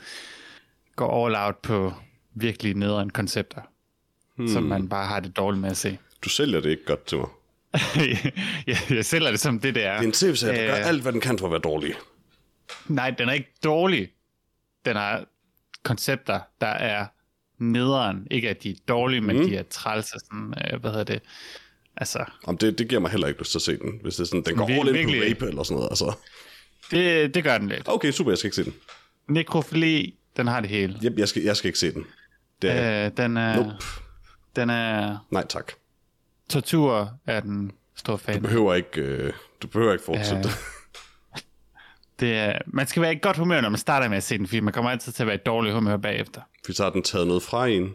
S1: går all out på virkelig nederen koncepter, hmm. som man bare har det dårligt med at se.
S2: Du sælger det ikke godt til mig.
S1: jeg, jeg sælger det som det, det er.
S2: Det er en tv-serie, der gør
S1: Øh.
S2: alt, hvad den kan for at være dårlig.
S1: Nej, den er ikke dårlig. Den har koncepter, der er nederen. Ikke at de er dårlige, men
S2: Mhm.
S1: de er træls og sådan, øh, hvad hedder det? Altså,
S2: Om det, det giver mig heller ikke lyst til at se den, hvis det er sådan, den går
S1: Vi-
S2: all in på
S1: virkelig.
S2: rape eller sådan noget. Altså.
S1: det, det gør den lidt.
S2: Okay, super, jeg skal ikke se den.
S1: Nekrofili, den har det hele.
S2: Jeg, jeg, skal, jeg skal ikke se den. Det er,
S1: Øh, den, er,
S2: nope.
S1: den er...
S2: Nej, tak.
S1: Tortur er den store fan.
S2: Du behøver ikke, øh, du behøver ikke fortsætte.
S1: Ja. Det er, man skal være i godt humør, når man starter med at se den film. Man kommer altid til at være i dårlig humør bagefter.
S2: Vi tager den taget noget fra en.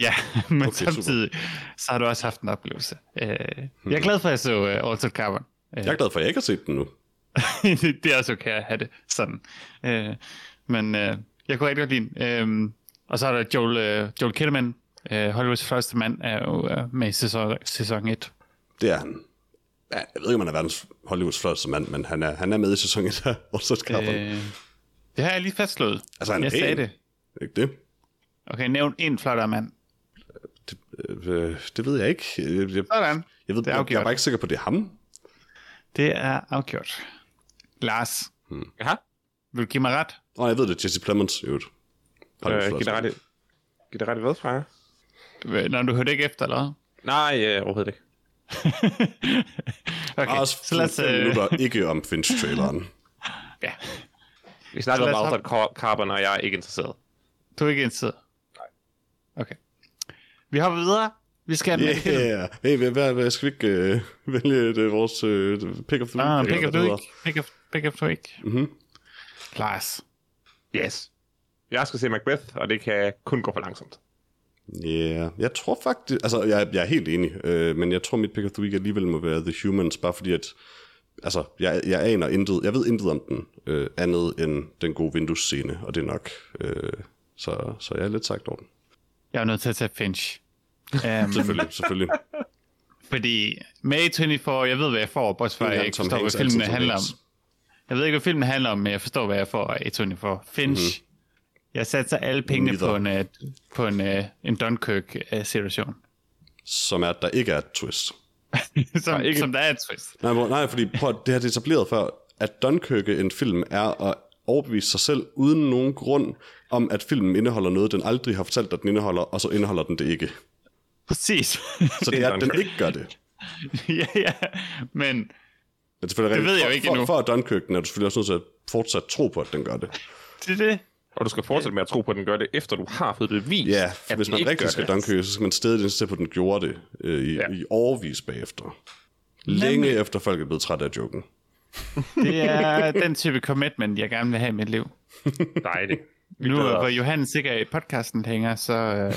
S1: Ja, men okay,
S2: super.
S1: samtidig så har du også haft en oplevelse. Øh, jeg
S2: Mhm.
S1: er glad for, at jeg så øh, Altered Carbon. Øh,
S2: Jeg er glad for, at jeg ikke har set den nu.
S1: det det er også okay at have det sådan. Øh, men øh, jeg kunne rigtig godt lide den. øh, Og så er der Joel, øh, Joel Kinnaman, øh, Hollywoods første mand, er jo øh, med i sæson, sæson 1.
S2: Det er han. Ja, jeg ved ikke, om han er verdens Hollywoods flotteste mand, men han er, han er med i sæsonen der, og så
S1: Øh,
S2: skaffer øh,
S1: det har jeg lige fastslået.
S2: Altså, han er
S1: jeg
S2: pæn.
S1: sagde det.
S2: Ikke det?
S1: Okay, nævn en flottere mand.
S2: Det, øh, det ved jeg ikke. Jeg, jeg,
S1: Sådan.
S2: jeg, ved,
S1: Det er
S2: jeg, jeg er
S1: afgjort.
S2: bare ikke sikker på, at det er ham.
S1: Det er afgjort. Lars,
S3: Aha.
S1: vil du give mig ret?
S2: Og jeg ved det, er Jesse Plemons, jo.
S3: Øh, giv det ret i- giv det ret i hvad, Freja?
S1: Øh, Når du hørte ikke efter, eller hvad?
S3: Nej, øh, overhovedet ikke.
S1: okay,
S2: Også
S1: så lad os...
S2: fem
S1: Øh,
S2: minutter ikke om Finch-traileren.
S1: ja.
S3: Vi snakker
S1: Så
S3: om
S1: lad os
S3: Altered Car- Carbon, og jeg er ikke interesseret.
S1: Du er ikke interesseret? Nej. Okay. Vi hopper videre. Vi skal have den yeah. film.
S2: Yeah. Hey, hvad, hvad, hvad skal vi ikke øh, vælge det, vores øh, pick of the week?
S1: Ah,
S2: eller
S1: pick
S2: hvad
S1: up
S2: det
S1: the
S2: hedder?
S1: week. Pick up, pick up the week.
S2: Mhm.
S1: Lars.
S3: Yes. Jeg skal se Macbeth, og det kan kun gå for langsomt.
S2: Ja, yeah. jeg tror faktisk, altså jeg, jeg er helt enig, øh, men jeg tror mit pick of the week alligevel må være The Humans, bare fordi at, altså jeg, jeg aner intet, jeg ved intet om den, øh, andet end den gode vinduesscene, og det er nok, øh, så, så jeg er lidt sagt over den.
S1: Jeg er nødt til at tage Finch. Um,
S2: Selvfølgelig, selvfølgelig.
S1: fordi May 24, jeg ved, hvad jeg får, bortset fra,
S2: Det er
S1: at jeg
S2: han,
S1: ikke
S2: Tom
S1: forstår, hvad
S2: Hanks, altid
S1: filmen
S2: Tom
S1: handler om.
S2: Hanks.
S1: Jeg ved ikke, hvad filmen handler om, men jeg forstår, hvad jeg får af A24. Finch.
S2: Mhm.
S1: Mm-hmm. Jeg satser alle pengene
S2: Neither.
S1: på en, øh, på en, øh, en øh, Dunkirk-situation.
S2: Som er, at der ikke er et twist.
S1: som, ikke... som der er et twist.
S2: Nej, hvor, nej fordi prøv, at- det har det etableret før, at Dunkirke en film er at overbevise sig selv uden nogen grund om, at filmen indeholder noget, den aldrig har fortalt dig, den indeholder, og så indeholder den det ikke.
S1: Præcis.
S2: Så det er, at den ikke gør det.
S1: ja, ja. Men
S2: Men selvfølgelig
S1: Det
S2: er rigtigt.
S1: ved jeg jo
S2: For-
S1: ikke
S2: for,
S1: endnu.
S2: For at Dunkirk, den er du selvfølgelig også nødt til at fortsat tro på, at den gør det.
S1: det er det.
S3: Og du skal fortsætte med at tro på, at den gør det, efter du har fået bevis,
S2: Ja,
S3: at
S2: hvis
S3: den
S2: man
S3: ikke
S2: rigtig
S3: gør
S2: skal
S3: det.
S2: Dunkirk, så skal man stedet insistere på, at den gjorde det øh, i,
S3: Ja.
S2: ja. i overvis bagefter. Længe efter folk er blevet trætte af joken.
S1: Det er den type commitment, jeg gerne vil have i mit liv.
S3: Dejligt. Vi
S1: Nu,
S3: glæder
S1: hvor
S3: os.
S1: Johannes ikke er i podcasten længere, så, øh,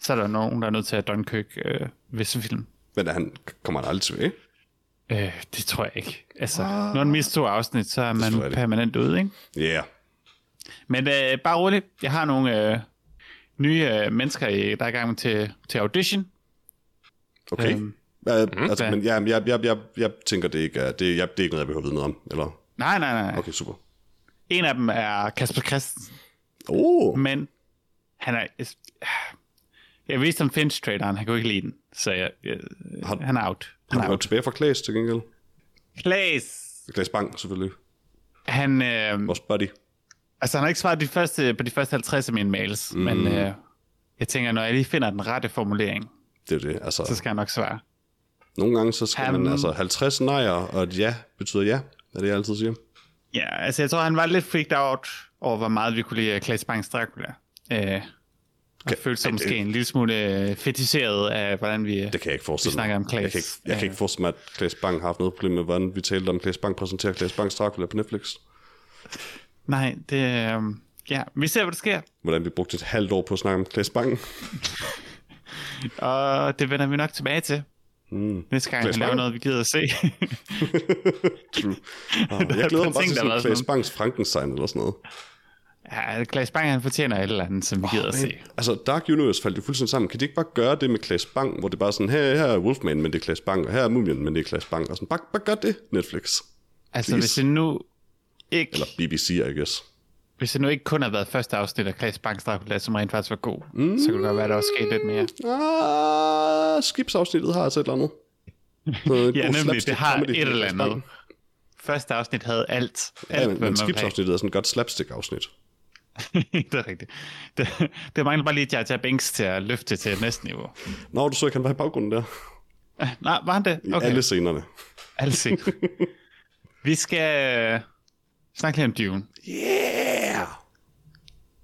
S1: så er der nogen, der er nødt til at Dunkirk øh, visse film.
S2: Men er han kommer han aldrig tilbage.
S1: Øh, det tror jeg ikke. Altså, når man mister to afsnit, så er man
S2: Ah. tror jeg ikke.
S1: permanent ude, ikke?
S2: Ja, yeah.
S1: Men øh, bare roligt, jeg har nogle øh, nye øh, mennesker, i- der er i gang til, til audition.
S2: okay.
S1: Øhm,
S2: Øh, altså,
S1: ja.
S2: men ja, jeg, jeg, jeg, jeg tænker, det ikke er, det, jeg, det er ikke noget, jeg behøver at vide noget om. Eller?
S1: Nej, nej, nej. Okay.
S2: Okay, super.
S1: En af dem er Kasper Christensen.
S2: Oh,
S1: men han er... Jeg viste ham Finch-traderen, han kunne ikke lide den, så jeg, jeg,
S2: Har-
S1: han er out. Han
S2: han
S1: er
S2: er jo
S1: out.
S2: tilbage fra Klaas til gengæld.
S1: Klaas,
S2: Klaas Bang, selvfølgelig.
S1: han, øh,
S2: Vores buddy.
S1: altså, han har ikke svaret de første, på de første 50 af mine mails, mm. men øh, jeg tænker, når jeg lige finder den rette formulering,
S2: Det er jo det. Altså,
S1: så skal jeg nok svare.
S2: Nogle gange så skal
S1: Han-
S2: han... man altså 50 nejer, og et ja betyder ja, er det jeg altid siger.
S1: Ja, altså jeg tror, han var lidt freaked out over, hvor meget vi kunne lide øh, Klaas Bangs Dracula. Øh, og
S2: Kan-
S1: følte sig
S2: Ej, det-
S1: måske en lille smule øh, fetiseret af, hvordan vi...
S2: Det kan jeg ikke forestille
S1: Vi snakker
S2: mig.
S1: om Claes.
S2: Jeg, kan ikke, jeg ja.
S1: Ja.
S2: kan ikke forestille mig, at Claes Bang har haft noget problem med, hvordan vi talte om Claes Bang præsenterer Claes Bangs Dracula på Netflix.
S1: Nej, det... Øh, ja, vi ser, hvad der sker.
S2: Hvordan vi brugte et halvt år på at snakke om Claes Bang. Ah,
S1: Og det vender vi nok tilbage til. Mm. Næste gang,
S2: Klaas
S1: han laver
S2: Bang.
S1: noget, vi gider at se.
S2: True. Ah, jeg glæder mig bare
S1: ting,
S2: til
S1: der har
S2: sådan
S1: været
S2: Claes
S1: sådan
S2: Bangs Frankenstein eller sådan noget.
S1: Ja, Klaas Bang, han fortjener et eller andet, som vi gider at se.
S2: Altså, Dark Universe faldt jo fuldstændig sammen. Kan de ikke bare gøre det med Klaas Bang, hvor det bare er sådan, her, her er Wolfman, men det er Klaas Bang, og her er Mumien, men det er Klaas Bang. Og sådan, bare, bare gør det, Netflix.
S1: Altså,
S2: please.
S1: hvis det nu ikke,
S2: Eller BBC, I guess.
S1: hvis det nu ikke kun havde været første afsnit af Klaas Bangs Dracula, som rent faktisk var god, mm. så kunne det godt være, at der var sket lidt mere.
S2: Ah, skibsafsnittet har altså et eller andet.
S1: Ja,
S2: Så en god
S1: nemlig, det
S2: slapstick
S1: har
S2: comedy
S1: et
S2: med
S1: eller
S2: Klaas Bang.
S1: andet. Første afsnit havde alt. alt hvad
S2: Ja, men,
S1: man
S2: men
S1: ville have.
S2: skibsafsnittet er sådan et godt slapstick-afsnit.
S1: det er rigtigt. Det, det mangler bare lige, at jeg tager Banks til at løfte til næste niveau. Ah,
S2: Nå, du så ikke, han var i baggrunden der.
S1: Nej, var han det?
S2: I
S1: Okay,
S2: okay. alle scenerne.
S1: alle set. Vi skal øh, snakke lidt om Dune.
S2: Yeah!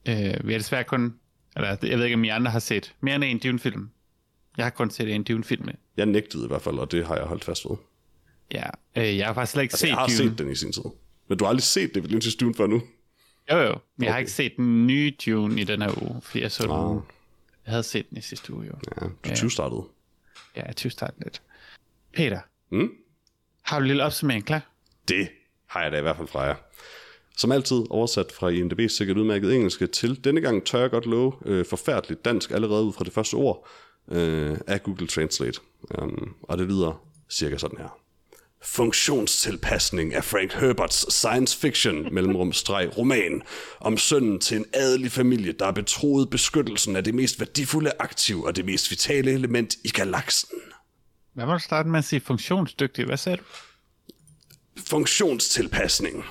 S1: Øh, vi har desværre kun, eller jeg ved ikke, om I andre har set mere end en Dune-film. Jeg har kun set en Dune-film.
S2: Jeg nægtede i hvert fald, og det har jeg holdt fast ved.
S1: Ja, øh, jeg har faktisk slet ikke
S2: Altså,
S1: set
S2: jeg har
S1: Dune.
S2: set den i sin tid. Men du har aldrig set det, Lynch Dune før nu.
S1: Jo, jo. Men Jeg har
S2: Okay.
S1: ikke set den nye Dune i den her uge, fordi jeg så
S2: Nå.
S1: den. Jeg havde set den i sidste uge, jo.
S2: Ja, du
S1: Ja.
S2: ja. 20 startede.
S1: Ja, jeg tyvstartede lidt. Peter,
S2: Mm?
S1: har du en lille opsummering klar?
S2: Det har jeg da i hvert fald fra jer. Som altid oversat fra IMDb's sikkert udmærket engelske til denne gang tør jeg godt love øh, forfærdeligt dansk allerede ud fra det første ord øh, af Google Translate. Um, og det lyder cirka sådan her. Funktionstilpasning af Frank Herberts science fiction mellemrum streg roman om sønnen til en adelig familie, der er betroet beskyttelsen af det mest værdifulde aktiv og det mest vitale element i galaksen.
S1: Hvad var du starte med at sige? Funktionsdygtig, hvad sagde du?
S2: Funktionstilpasning. Er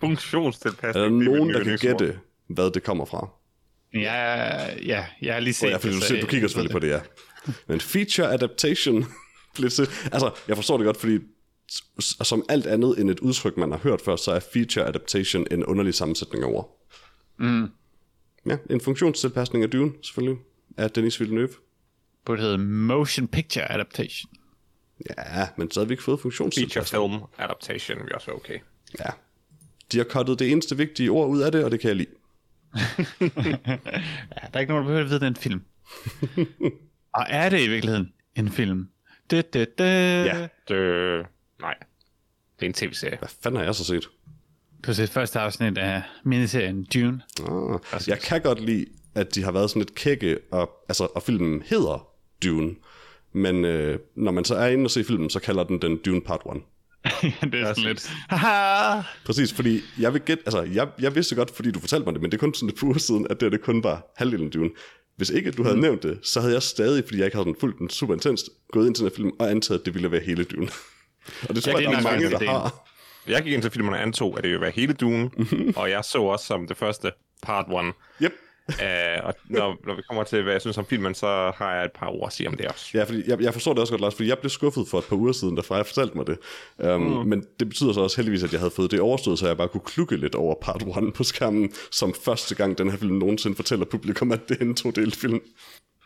S3: Funktionstilpasning.
S2: der
S3: det mit
S2: nogen, der kan
S3: yndlingsord.
S2: gætte, hvad det kommer fra?
S1: Ja, ja, jeg har lige set
S2: Ja, fordi du,
S1: så
S2: ser,
S1: jeg-
S2: du kigger selvfølgelig på det, ja. Men feature adaptation bliver til... Altså, jeg forstår det godt, fordi s- s- som alt andet end et udtryk, man har hørt før, så er feature adaptation en underlig sammensætning over. Mm. Ja, en funktionstilpasning af dyven, selvfølgelig, af Dennis Villeneuve.
S1: Burde hedde Motion Picture Adaptation.
S2: Ja, men så havde vi ikke fået
S3: Feature
S2: funktionstilpasning.
S3: film adaptation, vi også okay.
S2: Ja. De har kottet det eneste vigtige ord ud af det, og det kan jeg lide.
S1: Ja, der er ikke nogen, der behøver at vide, det er en film. Og er det i virkeligheden en film? Det, det, det. Ja.
S3: Det, nej, det er en tv-serie.
S2: Hvad fanden har jeg så set?
S1: Du har set første afsnit af miniserien Dune.
S2: Ah, jeg kan godt lide, at de har været sådan lidt kække, og, altså, og filmen hedder Dune. Men øh, når man så er inde og se filmen, så kalder den den Dune Part 1.
S1: det er sådan lidt.
S3: Præcis.
S1: Haha.
S2: Præcis, fordi jeg vil gætte, altså jeg, jeg vidste godt, fordi du fortalte mig det, men det er kun sådan et par uger siden, at det, her, det kun var halvdelen af Dune. Hvis ikke du havde mm. nævnt det, så havde jeg stadig, fordi jeg ikke havde den fuldt den super intenst, gået ind til den her film og antaget, at det ville være hele Dune. og det tror jeg,
S1: det er
S2: der er
S1: nok
S2: mange,
S1: også
S2: der
S1: ideen.
S2: har.
S3: Jeg gik ind til filmen og antog, at det ville være hele Dune, og jeg så også som det første part 1.
S2: Yep.
S3: Uh, og når, når vi kommer til, hvad jeg synes om filmen, så har jeg et par ord at sige om det også.
S2: Ja, fordi jeg, jeg forstår det også godt, Lars, fordi jeg blev skuffet for et par uger siden, da Freja fortalte mig det. Um, mm. Men det betyder så også heldigvis, at jeg havde fået det overstået, så jeg bare kunne klukke lidt over part 1 på skærmen, som første gang den her film nogensinde fortæller publikum, at det er en todelt film.
S1: Du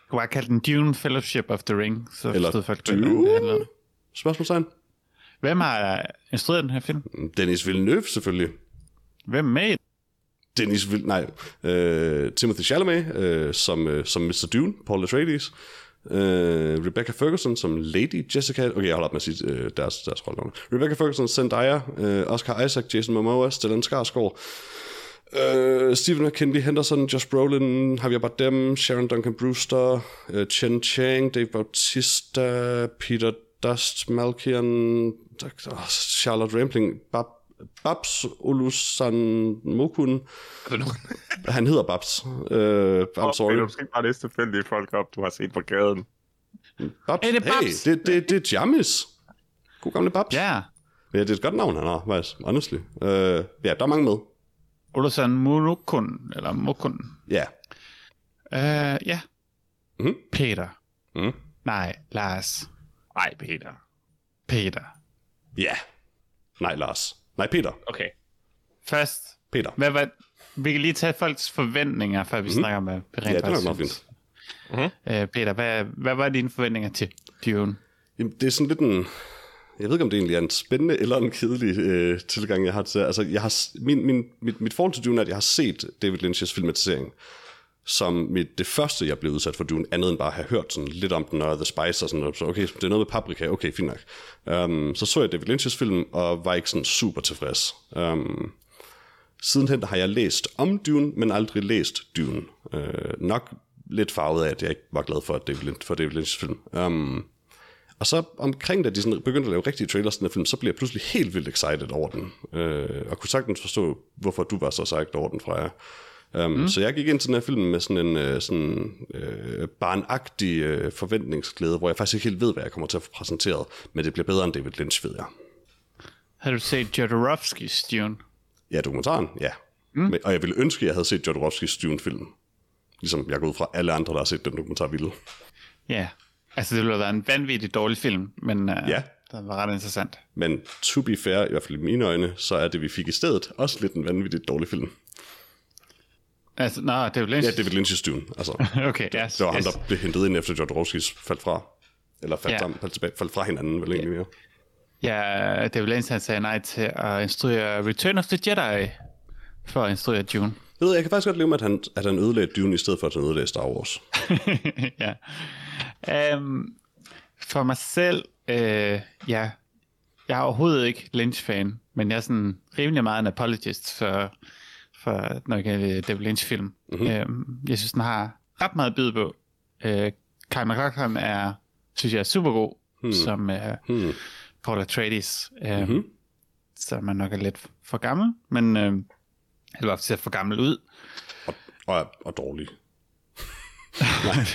S1: kunne bare kalde den Dune Fellowship of the Ring, så
S2: Eller
S1: forstod folk, hvad det handler
S2: Dune?
S1: om.
S2: Spørgsmålstegn?
S1: Hvem har instrueret den her film?
S2: Dennis Villeneuve selvfølgelig.
S1: Hvem er med? i den?
S2: Dennis Vill... Nej, øh, Timothy Chalamet øh, som, øh, som Mr. Dune, Paul Atreides. Øh, Rebecca Ferguson som Lady Jessica... Okay, jeg holder op med at sige øh, deres, deres rolle. Rebecca Ferguson, Zendaya, øh, Oscar Isaac, Jason Momoa, Stellan Skarsgård, øh, Stephen McKinley Henderson, Josh Brolin, Javier Bardem, Sharon Duncan Brewster, øh, Chen Chang, Dave Bautista, Peter Dust, Malkian, oh, Charlotte Rampling, Bab, Babs Olusan Mokun, han hedder Babs. Øh, I'm sorry.
S3: Du skal ikke bare læse tilfældige folk op, du har set på gaden.
S2: Babs.
S1: Er det Babs?
S2: Hey, det, det, det er Jamis. God gamle Babs.
S1: Ja,
S2: ja. det er et godt navn, han har, faktisk. Honestly. Øh, ja, der er mange med.
S1: Olusan Munukun, eller Mukun.
S2: Ja.
S1: Øh, ja.
S2: Mhm.
S1: Peter.
S2: Mm.
S1: Nej, Lars.
S3: Nej, Peter.
S1: Peter.
S2: Ja. Nej, Lars. Nej, Peter.
S3: Okay.
S1: Først,
S2: Peter.
S1: hvad var, vi kan lige tage folks forventninger, før vi mm. snakker med
S2: Mhm. Ja, det er nok meget fint.
S1: Øh, Peter, hvad, hvad var dine forventninger til Dune?
S2: Jamen, det er sådan lidt en... Jeg ved ikke, om det egentlig er en spændende eller en kedelig øh, tilgang, jeg har til altså, jeg har, s- min, min, mit, mit forhold til Dune er, at jeg har set David Lynch's filmatisering, som mit, det første, jeg blev udsat for Dune, andet end bare at have hørt sådan lidt om den, og The Spice og sådan noget. Så okay, det er noget med paprika, okay, fint Øhm, nok. Um, så så jeg David Lynch's film, og var ikke sådan super tilfreds. Um, Sidenhen har jeg læst om Dune, men aldrig læst Dune. Øh, nok lidt farvet af, at jeg ikke var glad for, at David Lynch, for David Lynch's film. Um, og så omkring, da de sådan begyndte at lave rigtige trailers til den her film, så blev jeg pludselig helt vildt excited over den. Øh, og kunne sagtens forstå, hvorfor du var så sagt over den, Freja. Um, mm. Så jeg gik ind til den her film med sådan en øh, sådan, øh, barnagtig øh, forventningsglæde, hvor jeg faktisk ikke helt ved, hvad jeg kommer til at få præsenteret, men det bliver bedre end David Lynch, ved jeg.
S1: Har du set Jodorowskis Dune?
S2: Ja, dokumentaren, ja. Mm. Men, og jeg ville ønske, at jeg havde set Jodorowskis Dune-film. Ligesom jeg går ud fra alle andre, der har set den dokumentar ville.
S1: Ja, altså det ville have været en vanvittig dårlig film, men uh,
S2: Ja.
S1: den var ret interessant.
S2: Men to be fair, i hvert fald i mine øjne, så er det, vi fik i stedet, også lidt en vanvittigt dårlig film.
S1: Altså, nej, det er jo
S2: Ja,
S1: Lynch.
S2: David Lynch's Dune, altså.
S1: okay, ja. Yes,
S2: Det var ham,
S1: yes.
S2: der blev hentet ind efter Jodorowskis faldt fra. Eller faldt,
S1: Ja.
S2: ja. sammen, faldt, tilbage, faldt fra hinanden, vel egentlig mere.
S1: Ja, David Lynch han sagde nej til at instruere Return of the Jedi for at instruere Dune.
S2: Jeg ved, jeg kan faktisk godt leve med, at han, at han ødelagde Dune i stedet for, at han ødelagde Star Wars.
S1: ja. Um, for mig selv, øh, ja, jeg er overhovedet ikke Lynch-fan, men jeg er sådan rimelig meget en apologist for, for når det gælder David Lynch-film.
S2: Mhm.
S1: Mm-hmm. Um, jeg synes, den har ret meget at byde på. Uh, Kyle MacLachlan er, synes jeg, er super god, hmm. som uh, hmm. Paul Atreides. Um,
S2: Mhm.
S1: mm-hmm. Så man nok er lidt for gammel, men øh, eller i hvert fald ser for gammel ud.
S2: Og, og, og dårlig.
S1: Det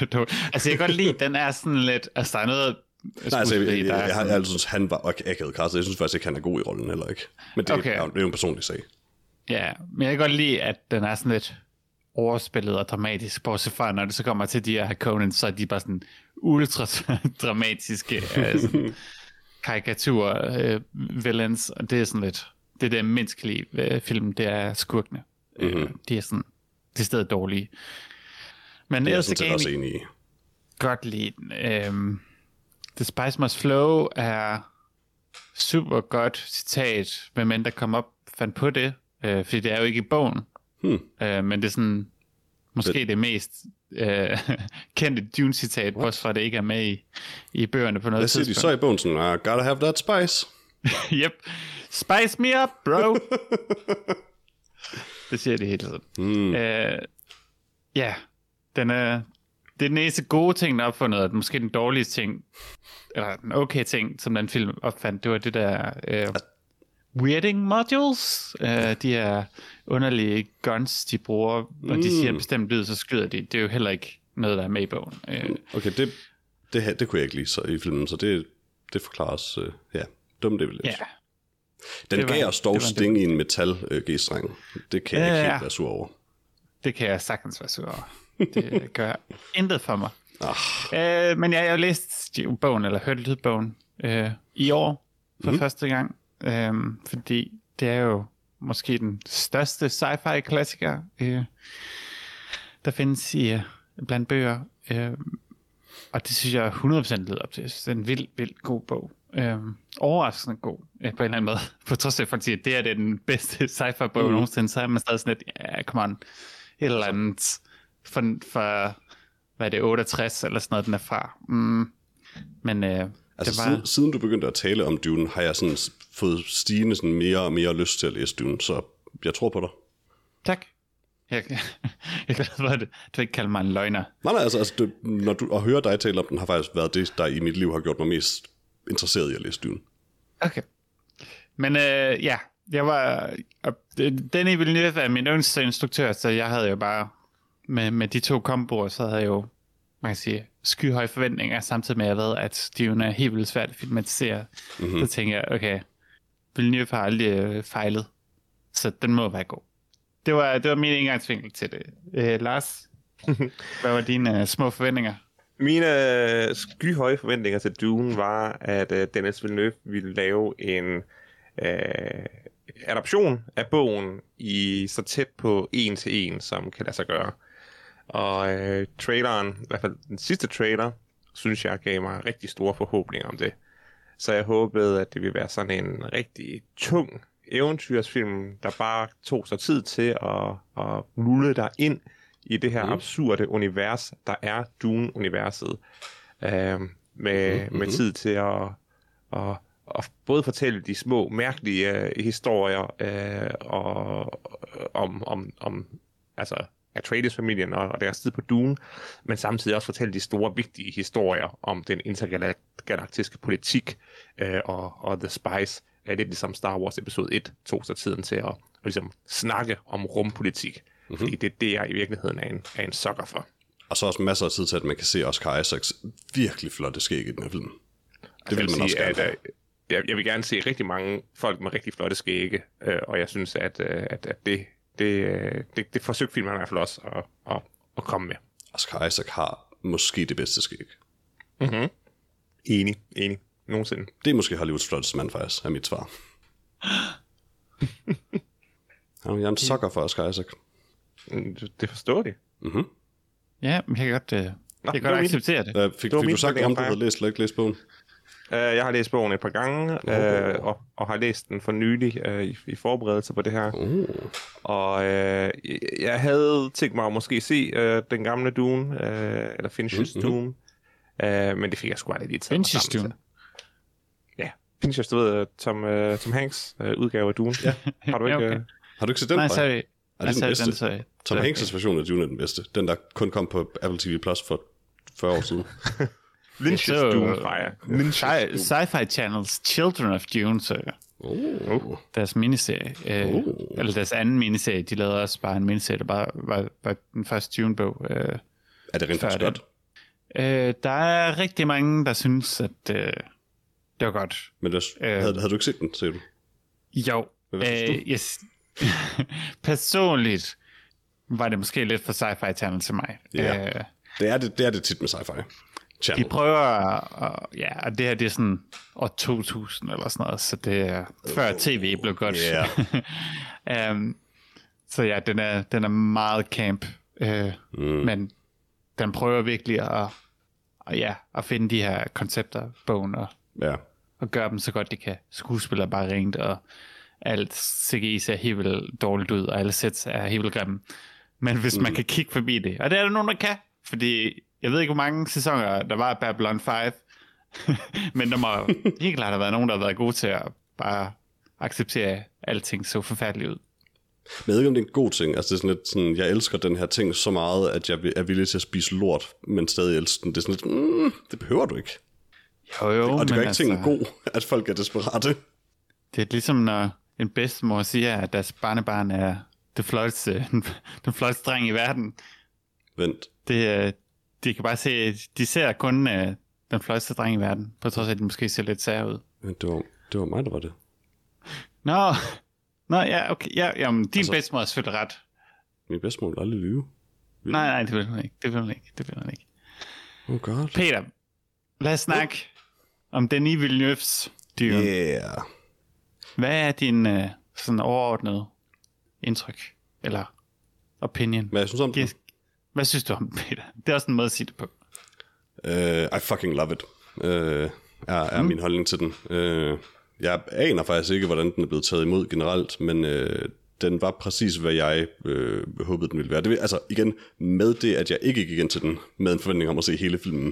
S1: er dårligt. altså, jeg kan godt lide, den er sådan lidt... Altså, der er noget...
S2: Nej, altså, jeg, jeg, jeg,
S1: der er
S2: jeg,
S1: sådan-
S2: jeg, jeg synes, han var ak- akavet kastet. Jeg synes faktisk ikke, han er god i rollen heller ikke. Men det,
S1: Okay.
S2: okay. er, jo- det er jo en personlig sag.
S1: Ja, men jeg kan godt lide, at den er sådan lidt overspillet og dramatisk, bortset fra, når det så kommer til de her Conan, så er de bare sådan ultra dramatiske øh, sådan karikaturer, øh, villains, og det er sådan lidt, det er det, jeg mindst kan lide ved filmen, det er skurkene. Mm-hmm.
S2: Mhm.
S1: Øh, de er sådan, det er stadig dårlige. Men
S2: Det er jeg
S1: ellers så kan
S2: sådan set
S1: jeg
S2: også
S1: egentlig
S2: enig i.
S1: godt lide den. Øhm, The Spice Must Flow er super godt citat, hvem end der kom op fandt på det, øh, fordi det er jo ikke i bogen,
S2: Hmm.
S1: øh, men det er sådan måske det, det mest øh, kendte Dune-citat, også for at det ikke er med i, i bøgerne på noget
S2: Hvad siger de
S1: tidspunkt.
S2: så i bogen? Sådan, "Ah, gotta have that spice.
S1: yep. Spice me up, bro. det siger de hele tiden. Mm. Øh, ja, den er, det er den eneste gode ting, der er opfundet, og måske den dårlige ting, eller den okay ting, som den film opfandt, det var det der øh, weirding modules, øh, de her underlige guns, de bruger, og de siger en bestemt lyd, så skyder de. Det er jo heller ikke noget, der er med i bogen. Øh,
S2: Okay, det, det, her, det kunne jeg ikke lide så, i filmen, så det, det forklares... Øh, ja, dum det vil
S1: ja,
S2: jeg. Den
S1: det var-
S2: gav os
S1: det
S2: dog
S1: var en
S2: sting i en metal øh, G-streng. Det kan jeg
S1: Ja,
S2: ikke
S1: ja.
S2: helt være sur over.
S1: det kan jeg sagtens være sur over. Det gør intet for mig.
S2: Ah,
S1: Øh, men ja, jeg har læst bogen, eller hørt lydbogen, øh, i år for
S2: Mhm.
S1: mm. første gang. Øh, fordi det er jo måske den største sci-fi-klassiker, øh, der findes i, øh, blandt bøger. Øh, og det synes jeg 100% leder op til. Jeg synes, det er en vild, vild god bog. Øh, overraskende god, øh, på en eller anden måde. På trods af, at folk siger, at det her det er den bedste sci-fi-bog
S2: Mhm.
S1: mm. nogensinde, så er man stadig sådan lidt, ja, come on, et eller andet for, for hvad er det, 68 eller sådan noget, den er fra. Mm. Men øh,
S2: altså,
S1: det var...
S2: siden, siden du begyndte at tale om Dune, har jeg sådan s- fået stigende sådan mere og mere lyst til at læse Dune, så jeg tror på dig.
S1: Tak. Jeg, jeg er glad for, at du ikke kalder mig en løgner.
S2: Nej, nej, altså, altså det, når du, at høre dig tale om den, har faktisk været det, der i mit liv har gjort mig mest interesseret i at læse Dune.
S1: Okay. Men øh, ja, jeg var... Og Danny Villeneuve er min yndste instruktør, så jeg havde jo bare... Med, med de to komboer, så havde jeg jo, man kan sige, skyhøje forventninger, samtidig med, at jeg ved, at Dune er helt vildt svært at filmatisere. Mm-hmm. Så tænkte jeg, okay, Villeneuve har aldrig øh, fejlet, så den må være god. Det var, det var min indgangsvinkel til det. Øh, Lars, hvad var dine øh, små forventninger?
S3: Mine øh, skyhøje forventninger til Dune var, at øh, Dennis Villeneuve ville lave en øh, adaption af bogen i så tæt på en til en, som kan lade sig gøre. Og øh, traileren, i hvert fald den sidste trailer, synes jeg gav mig rigtig store forhåbninger om det. Så jeg håbede, at det ville være sådan en rigtig tung eventyrsfilm, der bare tog sig tid til at, at lulle dig ind i det her mm. absurde univers, der er øhm, Dune-universet. Øh, med, mm-hmm. med tid til at, at, at både fortælle de små mærkelige øh, historier øh, og, om, om, om altså Atreides-familien og, og deres tid på Dune, men samtidig også fortælle de store, vigtige historier om den intergalaktiske politik øh, og, og The Spice. Øh, lidt ligesom Star Wars episode 1 tog sig tiden til at, at ligesom snakke om rumpolitik.
S2: Mhm.
S3: Mm-hmm. Fordi det er det, jeg i virkeligheden er en, er en sucker for.
S2: Og så også masser af tid til, at man kan se Oscar Isaacs virkelig flotte skæg i den her film. Det vil
S3: vil
S2: man også gerne.
S3: At, øh, jeg, jeg vil gerne se rigtig mange folk med rigtig flotte skægge, øh, og jeg synes, at, øh, at, at det, det, øh, det, det forsøgte filmen i hvert fald også at, at, at komme med.
S2: Oscar Isaac har måske det bedste skæg.
S3: Enig, enig. Nogensinde.
S2: Det er måske Hollywoods flotteste mand faktisk, er mit svar. Jamen, jeg er en sucker for Oscar Isaac. Mhm.
S3: Mm, det- Det forstår de.
S1: Ja, men jeg kan godt, øh, jeg kan
S3: det var
S1: godt
S3: min.
S1: acceptere det.
S2: Øh, fik,
S3: var
S2: fik
S3: min
S2: du sagt,
S3: holdning,
S2: om du
S3: Freja.
S2: havde læst eller ikke læst bogen?
S3: Øh, Jeg har læst bogen et par gange, øh, og, og har læst den for nylig øh, i, i forberedelse på det her.
S2: Uh.
S3: Og øh, jeg- jeg havde tænkt mig at måske se øh, den gamle Dune, øh, eller Finch's Dune, øh, men det fik jeg sgu aldrig lige taget mig
S1: Finch's
S3: sammen til.
S1: Dune?
S3: Ja, Finch's, du ved, øh, Tom, øh, Tom Hanks øh, udgave af Dune. Ja. Har du
S1: Ja,
S3: ikke...
S1: okay.
S3: Øh,
S2: Har du ikke set den?
S1: Nej,
S2: Freja?
S1: sorry.
S2: den
S1: Nej, sorry,
S2: bedste?
S1: den sorry.
S2: Tom Hanks' version af Dune er den bedste. Den, der kun kom på Apple TV Plus for 40 år siden.
S3: Lynch's
S1: Så-
S3: Dune, Freja.
S1: Sci- Sci-Fi Channels Children of Dune, så
S2: Oh.
S1: deres miniserie. Øh,
S2: Uh.
S1: Eller deres anden miniserie. De lavede også bare en miniserie, der bare var, var den første Dune-bog. Øh,
S2: Er det rent faktisk
S1: Færdig.
S2: godt?
S1: øh, der er rigtig mange, der synes, at øh, det var godt.
S2: Men det, havde, havde, du ikke set den, siger du?
S1: Jo.
S2: Men hvad synes
S1: øh, yes. Personligt var det måske lidt for sci-fi channel til mig.
S2: Ja.
S1: Øh,
S2: Det er det, det, er det tit med sci-fi.
S1: de
S2: Channel.
S1: prøver, at, ja, og det her det er sådan år 2000 eller sådan noget, så det er før tv blev godt. um, så ja, den er, den er meget camp, øh, mm. men den prøver virkelig at, at, ja, at finde de her koncepter, bogen, og,
S2: Ja.
S1: og gøre dem så godt de kan. Skuespiller er bare rent, og alt CGI ser helt vildt dårligt ud, og alle sets er helt vildt grimme. Men hvis mm. man kan kigge forbi det, og det er der nogen, der kan, fordi jeg ved ikke, hvor mange sæsoner der var af Babylon 5, men der må helt klart have været nogen, der har været gode til at bare acceptere, at alting så forfærdeligt ud.
S2: Men jeg ved ikke, om det er en god ting. Altså, det er sådan lidt sådan, jeg elsker den her ting så meget, at jeg er villig til at spise lort, men stadig elsker den. Det er sådan lidt, mm, det behøver du ikke.
S1: Jo, jo,
S2: Og det gør
S1: men
S2: ikke
S1: altså,
S2: tingen god, at folk er desperate.
S1: Det er ligesom, når en bedstemor siger, at deres barnebarn er det flotteste, den flotteste dreng i verden.
S2: Vent.
S1: Det, øh, de kan bare se, de ser kun øh, den flotteste dreng i verden, på trods af, at de måske ser lidt sær ud.
S2: Vent, det var, det var mig, der var det.
S1: Nå, Nå ja, okay. Ja, jamen, din altså... bedstemor er selvfølgelig ret.
S2: Min bedstemor vil aldrig lyve.
S1: Nej, nej, det vil hun ikke. Det vil hun ikke. Det vil hun ikke.
S2: Oh god.
S1: Peter, lad os snakke om Denis Villeneuve's dyr. Yeah.
S2: Yeah.
S1: Hvad er din øh, sådan overordnede indtryk? Eller opinion?
S2: Hvad jeg synes om den?
S1: Yes. Hvad synes du om Peter? Det er også en måde at sige det på.
S2: Uh, I fucking love it, uh, er, er min holdning til den. Uh, jeg aner faktisk ikke, hvordan den er blevet taget imod generelt, men uh, den var præcis, hvad jeg uh, håbede, den ville være. Det vil, altså igen, med det, at jeg ikke gik ind til den med en forventning om at se hele filmen,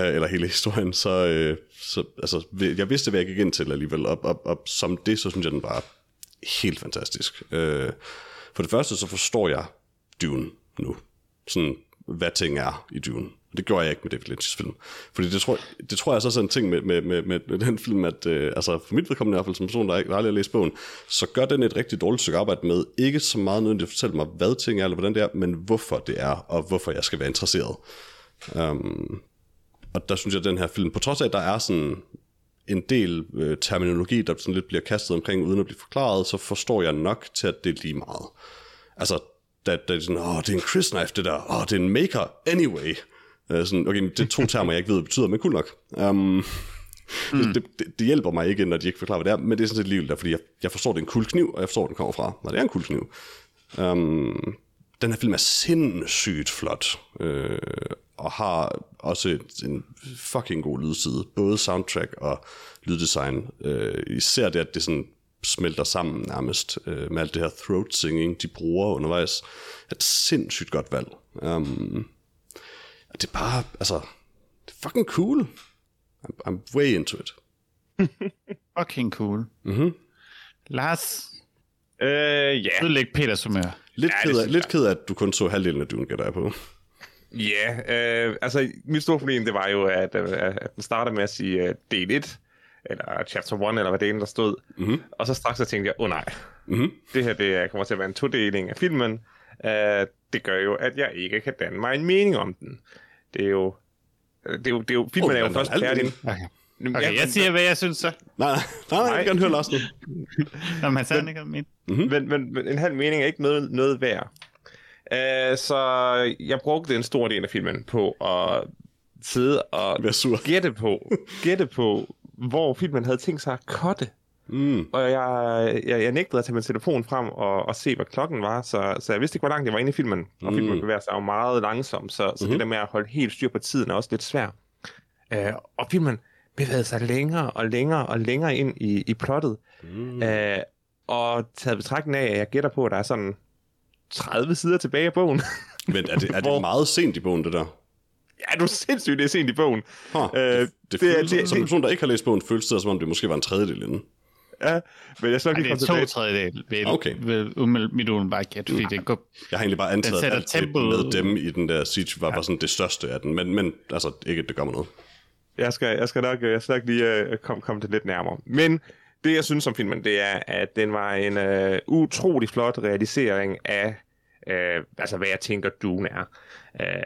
S2: uh, eller hele historien, så, uh, så altså, vi- jeg vidste, hvad jeg gik ind til alligevel, og, og, og som det, så synes jeg, den var helt fantastisk. Uh, for det første, så forstår jeg Dune nu. Sådan, hvad ting er i Dune. Og det gjorde jeg ikke med David Lynch's film. Fordi det tror, det tror jeg så er sådan en ting med, med, med, med, med den film, at øh, altså for mit vedkommende i hvert fald, som person, der ikke der aldrig har læst bogen, så gør den et rigtig dårligt stykke arbejde med, ikke så meget nødvendigt at fortælle mig, hvad ting er, eller hvordan det er, men hvorfor det er, og hvorfor jeg skal være interesseret. Øhm, Og der synes jeg, at den her film, på trods af, at der er sådan en del øh, terminologi, der sådan lidt bliver kastet omkring, uden at blive forklaret, så forstår jeg nok til, at det er lige meget. Altså, da, da de sådan, åh, det er en Chris knife, det der, åh, det er en maker, anyway. Øh, sådan, okay, men det er to termer, jeg ikke ved, hvad det betyder, men cool nok. Um, mm. det, det, det, hjælper mig ikke, når de ikke forklarer, hvad det er, men det er sådan set ligevel der, fordi jeg, jeg forstår, det er en kul kniv, og jeg forstår, hvor den kommer fra, når det er en kul kniv. Um, den her film er sindssygt flot, øh, og har også et, en fucking god lydside. Både soundtrack og lyddesign. Øh, især det, at det sådan smelter sammen nærmest øh, med alt det her throat singing, de bruger undervejs. Er et sindssygt godt valg. Um, det er bare, altså, det er fucking cool. I'm, I'm way into it.
S1: Fucking cool.
S2: Mm-hmm.
S1: Lars,
S3: Øh, ja.
S1: udlæg Peters humør.
S2: Lidt, ja,
S3: Ja, det
S2: ked af,
S3: synes
S2: lidt ked af, at du kun så halvdelen af Dune, gætter jeg på.
S3: Ja, øh, altså mit store problem, det var jo, at, øh, at den startede med at sige øh, del 1, eller chapter 1, eller hvad delen der stod.
S2: Mhm.
S3: Og så straks så tænkte jeg, åh oh, nej,
S2: Mm-hmm.
S3: det her det er- kommer til at være en todeling af filmen. Øh, det gør jo, at jeg ikke kan danne mig en mening om den. Det er jo... øh, Det er jo, det er jo filmen
S2: Åh,
S3: oh, er jo
S2: den er
S3: først
S2: halvdelen.
S3: færdig.
S1: Okay.
S3: Jamen,
S1: okay,
S3: ja,
S1: jeg
S3: men-
S1: siger, hvad jeg synes så.
S2: Nej, nej, nej, jeg vil gerne høre Larsen.
S1: Når man sagde, han ikke havde ment.
S3: men, men, men en halv mening er ikke noget, noget værd. Uh, så jeg brugte en stor del af filmen på at sidde og
S2: Vær sur.
S3: gætte på, gætte på, hvor filmen havde tænkt sig at cutte.
S2: Mm.
S3: Og jeg, jeg, jeg nægtede at tage min telefon frem og, og se, hvad klokken var, så, så jeg vidste ikke, hvor langt jeg var inde i filmen. Og
S2: Mm.
S3: filmen bevæger sig jo meget langsomt, så, så
S1: Mm-hmm.
S3: det der med at holde helt styr på tiden er også lidt svært. Øh, og filmen bevægede sig længere og længere og længere ind i, i plottet. Mm. Øh, og taget betragtning af, at jeg gætter på, at der er sådan 30 sider tilbage af bogen.
S2: Men er det, er det
S3: Hvor-
S2: meget sent i bogen, det der?
S3: ja, du er sindssygt, det er sent i bogen.
S2: Huh,
S3: Øh,
S2: det, det, det,
S3: det er-
S2: føles,
S3: det-
S2: som en
S3: det-
S2: person, der ikke har læst bogen, føles det, som om det måske var en tredjedel inden.
S3: Ja, men jeg skal nok
S1: Ej,
S3: lige
S1: det
S3: komme
S1: er to
S3: tilbage.
S1: tredjedel ved,
S2: Okay.
S1: okay. ved umiddelbart mit umiddelbare gæt, fordi det går...
S2: Jeg har egentlig bare antaget, at
S1: sætter
S2: alt det
S1: tempoet-
S2: med dem i den der siege var, var sådan det største af den. Men, men altså, ikke at det gør mig noget.
S3: jeg skal, jeg skal nok, jeg skal nok lige øh, komme kom det lidt nærmere. Men det, jeg synes om filmen, det er, at den var en øh, utrolig flot realisering af, øh, altså hvad jeg tænker, Dune er. Øh,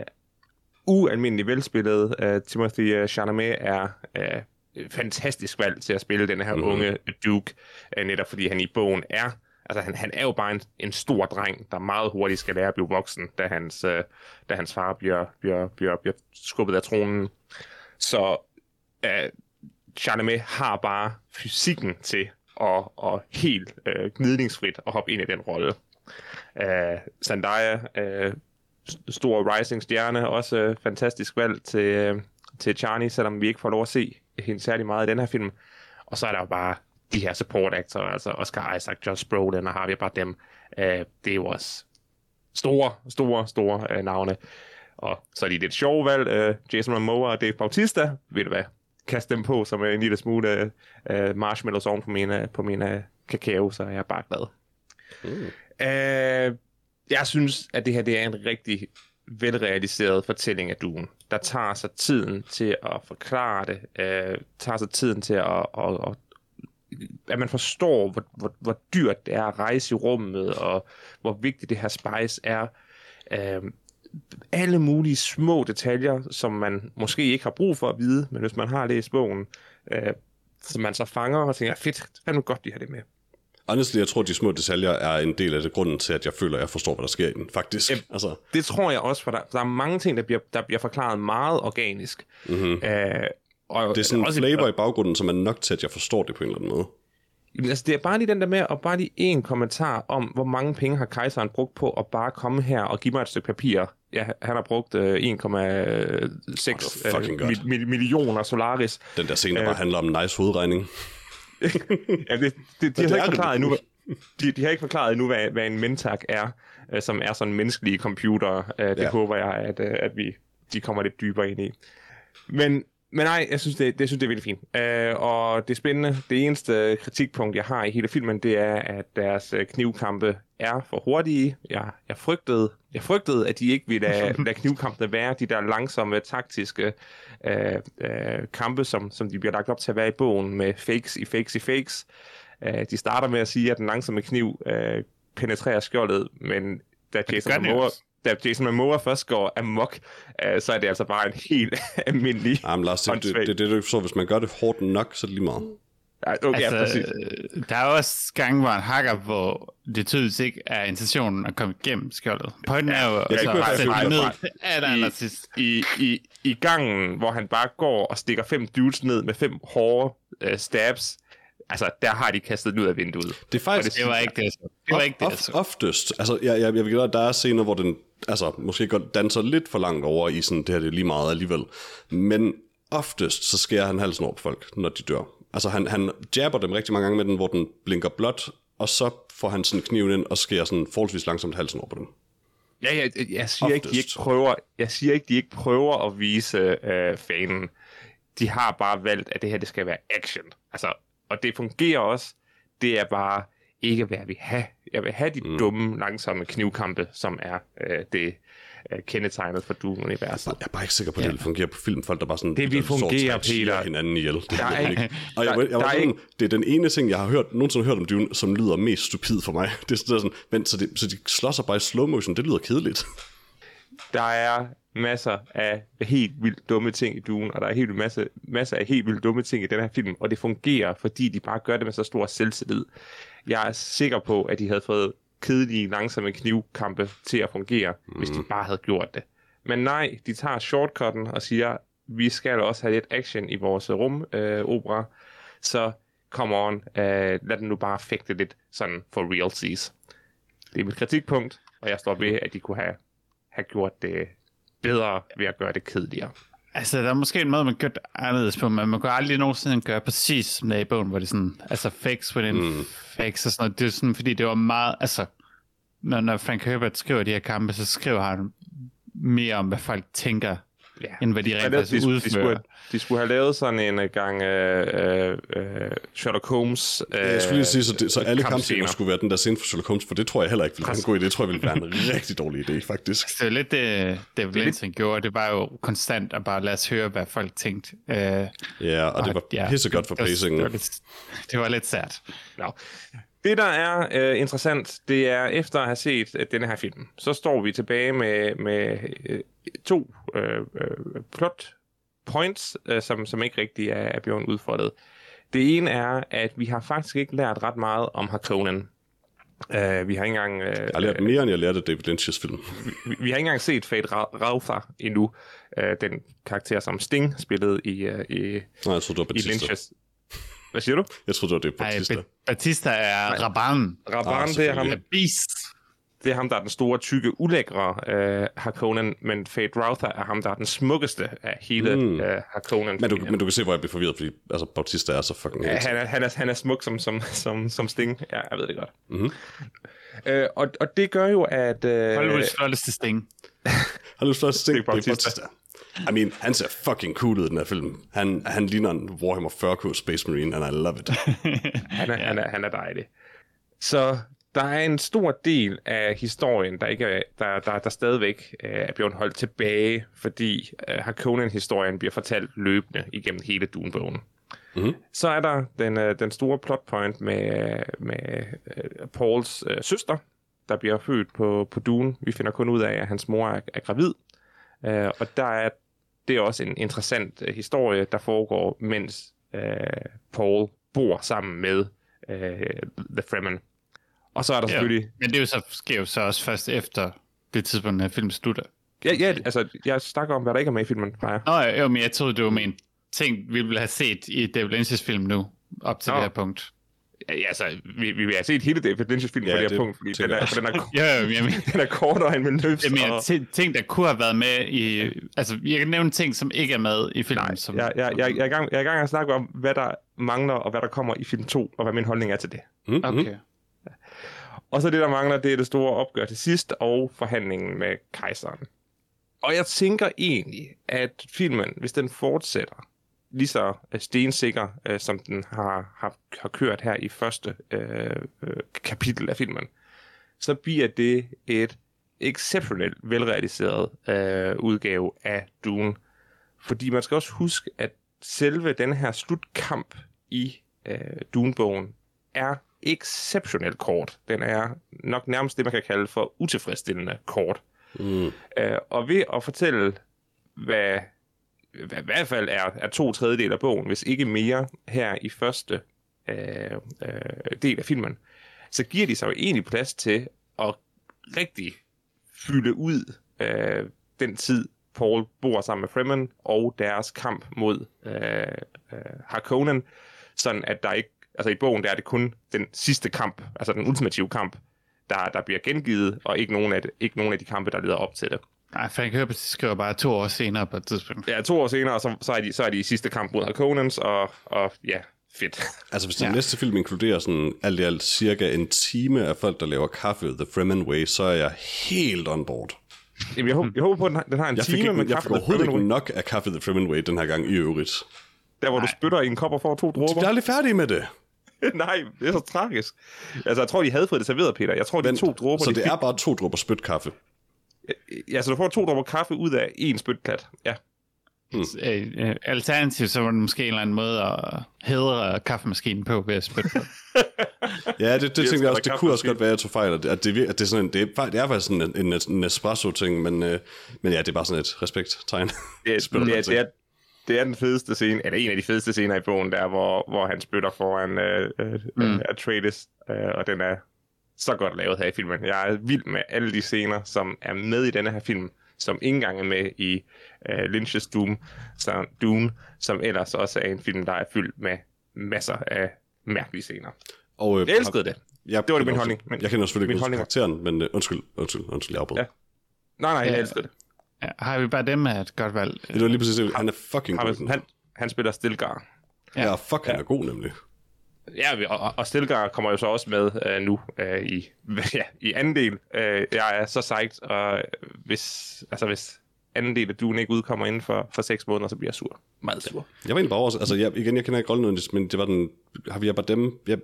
S3: ualmindelig velspillet. Øh, Timothy øh, Chalamet er øh, et fantastisk valg til at spille den her
S2: Mhm.
S3: mm-hmm. unge Duke, øh, netop fordi han i bogen er, altså han, han er jo bare en, en stor dreng, der meget hurtigt skal lære at blive voksen, da hans, øh, da hans far bliver, bliver, bliver, bliver skubbet af tronen. Så øh, Chalamet har bare fysikken til at, at helt øh, gnidningsfrit at hoppe ind i den rolle. Øh, Zendaya, øh, s- stor rising stjerne, også øh, fantastisk valg til, øh, til Charlie, selvom vi ikke får lov at se hende særlig meget i den her film. Og så er der jo bare de her support actors, altså Oscar Isaac, Josh Brolin og Harvey Bardem. Øh, det er jo også store, store, store øh, navne. Og så er de lidt sjove valg. Øh, Jason Momoa og Dave Bautista, ved du hvad, kast dem på som en lille smule øh, marshmallows oven på mine, på mine kakao, så er jeg bare glad.
S2: Mm.
S3: Øh, jeg synes, at det her det er en rigtig velrealiseret fortælling af duen, der tager sig tiden til at forklare det, øh, tager sig tiden til at, at, at at man forstår, hvor, hvor, hvor dyrt det er at rejse i rummet, og hvor vigtigt det her spice er. Øhm, alle mulige små detaljer, som man måske ikke har brug for at vide, men hvis man har læst bogen, øh, som man så fanger og tænker, fedt, fandme godt, de har det med.
S2: Honestly, jeg tror, de små detaljer er en del af det grunden til, at jeg føler, at jeg forstår, hvad der sker i den, faktisk.
S3: Yep.
S2: Altså,
S3: Det tror jeg også, for der, der er mange ting, der bliver, der bliver forklaret meget organisk.
S2: mm-hmm.
S3: Øh, og,
S2: Det er sådan en
S3: også-
S2: flavor i baggrunden, som er nok til, at jeg forstår det på en eller anden måde.
S3: Jamen, altså, det er bare lige den der med, og bare lige en kommentar om, hvor mange penge har kejseren brugt på at bare komme her og give mig et stykke papir. Ja, han har brugt øh, 1,6
S2: Åh, det var fucking
S3: øh,
S2: godt.
S3: mil- mil- millioner solaris.
S2: Den der scene, der
S3: Øh.
S2: bare handler om en nice hovedregning.
S3: Ja, det, det,
S2: Hvad
S3: de, har
S2: lærte
S3: ikke forklaret
S2: du?
S3: endnu, hvad- de, de har ikke forklaret endnu, hvad, hvad en mentak er, øh, som er sådan menneskelige computer. Øh, det
S2: Ja.
S3: ja. håber jeg, at, øh, at vi de kommer lidt dybere ind i. Men, men nej, jeg synes, det, det, synes, det er virkelig fint. Øh, og det er spændende. Det eneste kritikpunkt, jeg har i hele filmen, det er, at deres øh, knivkampe er for hurtige. Jeg, jeg, frygtede, jeg frygtede, at de ikke ville lade, lade knivkampene være de der langsomme, taktiske øh, øh, kampe, som, som de bliver lagt op til at være i bogen med fakes i fakes i fakes. Øh, de starter med at sige, at den langsomme kniv øh, penetrerer skjoldet, men da
S1: gør
S3: Jason
S1: den jo
S3: Momoa
S1: også.
S3: da Jason Momoa først går amok, øh, så er det altså bare en helt almindelig...
S2: Jamen, Lars, det, det,
S3: Åndssvagt.
S2: det, det, er det, så hvis man gør det hårdt nok, så er det lige meget.
S3: Ej, Okay, altså, ja,
S1: Altså,
S3: præcis.
S1: øh, der er også gange, hvor han hakker, hvor det tydeligvis ikke er intentionen at komme igennem skjoldet. Pointen er jo,
S2: det
S1: altså,
S2: kunne
S1: at
S2: jeg faktisk
S1: sætte
S2: følge
S1: ned
S3: dig fra.
S1: af der allersidst.
S3: I, i, I gangen, hvor han bare går og stikker fem dudes ned med fem hårde øh, stabs, altså, der har de kastet den ud af vinduet.
S2: Det er faktisk...
S1: Det var ikke det, jeg så. Det var ikke det, jeg
S2: of,
S1: så.
S2: oftest. Altså, jeg, jeg, jeg ved godt, der er scener, hvor den altså, måske godt danser lidt for langt over i sådan, det her det er lige meget alligevel. Men oftest, så skærer han halsen over på folk, når de dør. Altså, han, han jabber dem rigtig mange gange med den, hvor den blinker blåt, og så får han sådan kniven ind og skærer sådan forholdsvis langsomt halsen over på dem.
S3: Ja, jeg, jeg, jeg siger ikke, de
S2: Oftest.
S3: ikke prøver, jeg siger ikke, de ikke prøver at vise øh, fanen. De har bare valgt, at det her det skal være action. Altså, og det fungerer også. Det er bare ikke, hvad jeg vil have. Jeg vil have de mm. dumme, langsomme knivkampe, som er øh, det øh, kendetegnet for Doom-universet.
S2: Jeg er bare ikke sikker på, at det vil fungere på film. Folk, der bare sådan...
S3: Det vil
S2: der står og
S3: fungere,
S2: trækker siger
S3: Peter.
S2: hinanden ihjel. Det
S3: Der er
S2: er ikke.
S3: ikke-
S2: Og jeg,
S3: der-
S2: jeg, jeg,
S3: der
S2: var
S3: er
S2: sådan, det er den ene ting, jeg har hørt, nogensinde har hørt om Dune, som lyder mest stupid for mig. Det er sådan, der sådan vent, så, det, så de slår sig bare i slow motion. Det lyder kedeligt.
S3: Der er masser af helt vildt dumme ting i Dune, og der er helt vildt masse, masser af helt vildt dumme ting i den her film, og det fungerer, fordi de bare gør det med så stor selvtillid. Jeg er sikker på, at de havde fået kedelige, langsomme knivkampe til at fungere, mm. hvis de bare havde gjort det. Men nej, de tager shortcutten og siger, vi skal også have lidt action i vores rumopera, øh, opera." så come on, øh, lad den nu bare fægte lidt sådan for realties. Det er mit kritikpunkt, og jeg står ved, at de kunne have have gjort det bedre ved at gøre det kedeligere.
S1: Altså, der er måske en måde, man gør det anderledes på, men man kan aldrig nogensinde gøre præcis som det er i bogen, hvor det er sådan, altså facts within mm. facts og sådan noget. Det er sådan, fordi det var meget, altså, når, når Frank Herbert skriver de her kampe, så skriver han mere om, hvad folk tænker,
S3: Ja.
S1: end hvad de
S3: Og
S1: rent
S3: det, de,
S1: faktisk
S3: de,
S1: udfører.
S3: skulle, de skulle have lavet sådan en øh, gang øh, øh, øh, Sherlock Holmes. Øh,
S2: Jeg skulle lige sige, så, det, så alle
S3: kampscener.
S2: kampscener skulle være den der scene for Sherlock Holmes, for det tror jeg heller ikke ville være en god idé. Det tror jeg ville være en rigtig dårlig idé, faktisk.
S1: Altså, Det var lidt det, David Lynch gjorde. Det var jo konstant at bare lade os høre, hvad folk tænkte. Øh,
S2: Ja, og det var pissegodt for
S1: det var- Det var,
S2: pacingen.
S1: lidt, det var lidt sært.
S3: Nå. Det, der er øh, interessant, det er, efter at have set øh, denne her film, så står vi tilbage med, med øh, to øh, øh, plot points, øh, som, som ikke rigtig er, er blevet udfordret. Det ene er, at vi har faktisk ikke lært ret meget om Harkonnen. Uh, vi har ikke engang... øh,
S2: Jeg har lært mere, end jeg lærte af David Lynch's film.
S3: vi, vi har ikke engang set Fate Ra- Rauther endnu, øh, den karakter, som Sting spillede i, øh, i,
S2: Nej, jeg troede, det var
S3: i
S2: Batista.
S3: Lynch's... Hvad siger du?
S2: Jeg troede, det var det,
S1: Ej,
S2: Batista.
S1: Ba- Batista er rabarn.
S3: Raban, det, er ham,
S2: Ah, selvfølgelig.
S1: Beast.
S3: det er ham, der er den store, tykke, ulækre øh, Harkonnen, men Fate Rauther er ham, der er den smukkeste af hele
S2: Mm.
S3: mm. øh, harkonnen
S2: Men du, men du kan se, hvor jeg bliver forvirret, fordi altså, Bautista er så fucking
S3: Ja,
S2: ja,
S3: han, er, han, er, han er smuk som, som, som, som Sting. Ja, jeg ved det godt.
S2: Mhm.
S3: Øh, og, og det gør jo, at... Øh,
S1: Hollywoods flotteste sting.
S2: Har du først
S3: det
S2: tænkt,
S3: er
S2: det er
S3: Bautista.
S2: Bautista? I mean, han ser fucking cool ud i den her film. Han, han ligner en Warhammer 40k Space Marine, and I love it.
S3: Han er, ja. han, er, han er dejlig. Så der er en stor del af historien, der ikke er, der, der, der stadigvæk øh, er blevet holdt tilbage, fordi øh, Harkonnen-historien bliver fortalt løbende igennem hele Dune-bogen.
S2: Mhm.
S3: Så er der den, øh, den store plot point med, øh, med øh, Pauls øh, søster, der bliver født på, på Dune. Vi finder kun ud af, at hans mor er, er gravid. Øh, og der er, det er også en interessant øh, historie, der foregår, mens øh, Paul bor sammen med øh, The Fremen. Og så er der
S1: Ja.
S3: selvfølgelig...
S1: Men det er jo så, sker jo så også først efter det tidspunkt, når filmen slutter.
S3: Ja, ja, altså, jeg snakker om, hvad der ikke er med i filmen, Freja.
S1: Nå, ja, jo, men jeg troede, det var en ting, vi ville have set i David Lynch's film nu, op til
S3: Nå.
S1: det her punkt.
S3: Ja, altså, vi, vi, vi har set hele David Lynch's film
S2: Ja,
S3: ja, på det her
S2: det
S3: punkt, fordi den
S2: tænker
S3: er,
S2: jeg.
S3: den, er,
S1: Jo, jo, men jeg mener,
S3: den er kortere end min løbs.
S1: jeg mener
S3: og-
S1: ti- ting, der kunne have været med i... Altså, jeg kan nævne ting, som ikke er med i filmen. Nej, som,
S3: jeg, jeg, jeg, jeg, er i gang, jeg er i gang med at snakke om, hvad der mangler, og hvad der kommer i film 2, og hvad min holdning er til det.
S2: Mm-hmm.
S1: Okay.
S3: Og så det, der mangler, det er det store opgør til sidst, og forhandlingen med kejseren. Og jeg tænker egentlig, at filmen, hvis den fortsætter, lige så øh, stensikker, øh, som den har, har, har kørt her i første øh, øh, kapitel af filmen, så bliver det et exceptionelt velrealiseret øh, udgave af Dune. Fordi man skal også huske, at selve den her slutkamp i øh, Dune-bogen er exceptionelt kort. Den er nok nærmest det, man kan kalde for utilfredsstillende kort.
S2: Mm.
S3: Øh, og ved at fortælle, hvad, hvad i hvert fald er, er to tredjedel af bogen, hvis ikke mere, her i første øh, øh, del af filmen, så giver de sig jo egentlig plads til at rigtig fylde ud øh, den tid, Paul bor sammen med Fremen, og deres kamp mod øh, øh, Harkonnen, sådan at der ikke, altså i bogen der er det kun den sidste kamp, altså den ultimative kamp, der, der bliver gengivet, og ikke nogen, af det, ikke nogen af de kampe, der leder op til det.
S1: Nej, Frank Herbert skriver bare to år senere på et tidspunkt.
S3: Ja, to år senere, så, så, er, de, så er de i sidste kamp mod Harkonnens, og, og ja, fedt.
S2: Altså, hvis den ja. næste film inkluderer sådan alt i alt cirka en time af folk, der laver kaffe The Fremen Way, så er jeg helt on board.
S3: Jamen, jeg, håber, jeg håber på, at den har, den har en
S2: Jeg fik,
S3: time
S2: ikke,
S3: med
S2: jeg
S3: kaffe.
S2: fik overhovedet ikke nok af kaffe The Fremen Way den her gang i øvrigt.
S3: Der, hvor Nej. du spytter i en kop og får to
S2: De bliver
S3: dråber.
S2: aldrig færdige med det.
S3: Nej, det er så tragisk. Altså, jeg tror, de havde fået det serveret, Peter. Jeg tror, de
S2: Vent,
S3: to dråber...
S2: så
S3: de
S2: det er bare to dråber spytkaffe.
S3: fik... Ja, så du får to dråber kaffe ud af en spytklat. Ja.
S1: Øh, øh, Alternativt, så var det måske en eller anden måde at hedre kaffemaskinen på ved at spytte på.
S2: Ja, det, det
S3: elsker
S2: tænkte jeg også.
S3: da
S2: Det kunne også
S3: kaffemaskine.
S2: godt være, at jeg tog fejl. At det, at det, vir- at det, er, sådan en, det, er, fakt- det er faktisk sådan en, en, en Nespresso-ting, men, øh, men ja, det er bare sådan et respekttegn.
S3: Det, er,
S2: Spytter
S3: det, er,
S2: man til.
S3: det, er, det er den fedeste scene, eller en af de fedeste scener i bogen, der hvor, hvor han spytter foran øh, øh, mm. Atreides, øh, og den er så godt lavet her i filmen. Jeg er vild med alle de scener, som er med i denne her film, som ikke engang er med i øh, Lynch's Doom, så, Dune, som ellers også er en film, der er fyldt med masser af mærkelige scener.
S2: Og, øh,
S3: Jeg elskede det.
S2: Jeg
S3: Det
S2: kender
S3: var det min
S2: også-
S3: holdning, men-
S2: jeg kender selvfølgelig
S3: min
S2: ikke huske
S3: holdning var-
S2: karakteren, men øh, undskyld, undskyld, undskyld, jeg afbrød. Ja.
S3: Ja. Nej, nej, jeg
S1: Ja.
S3: elskede det.
S1: Ja, har vi bare dem af et godt valg?
S2: Det var lige præcis det. Han er fucking god.
S3: Han, han, han spiller Stilgar.
S2: Ja, fuck, han er god nemlig.
S3: Ja, og, og Stilgar kommer jo så også med øh, nu øh, i, ja, i anden del. Øh, jeg er så sejt, og øh, hvis, altså, hvis anden del af Dune ikke udkommer inden for, for seks måneder, så bliver jeg sur. Meget sur.
S2: Jeg var egentlig bare også, altså jeg, igen, jeg kender ikke rollen nødvendigvis, men det var den, har vi jeg bare dem, jeg,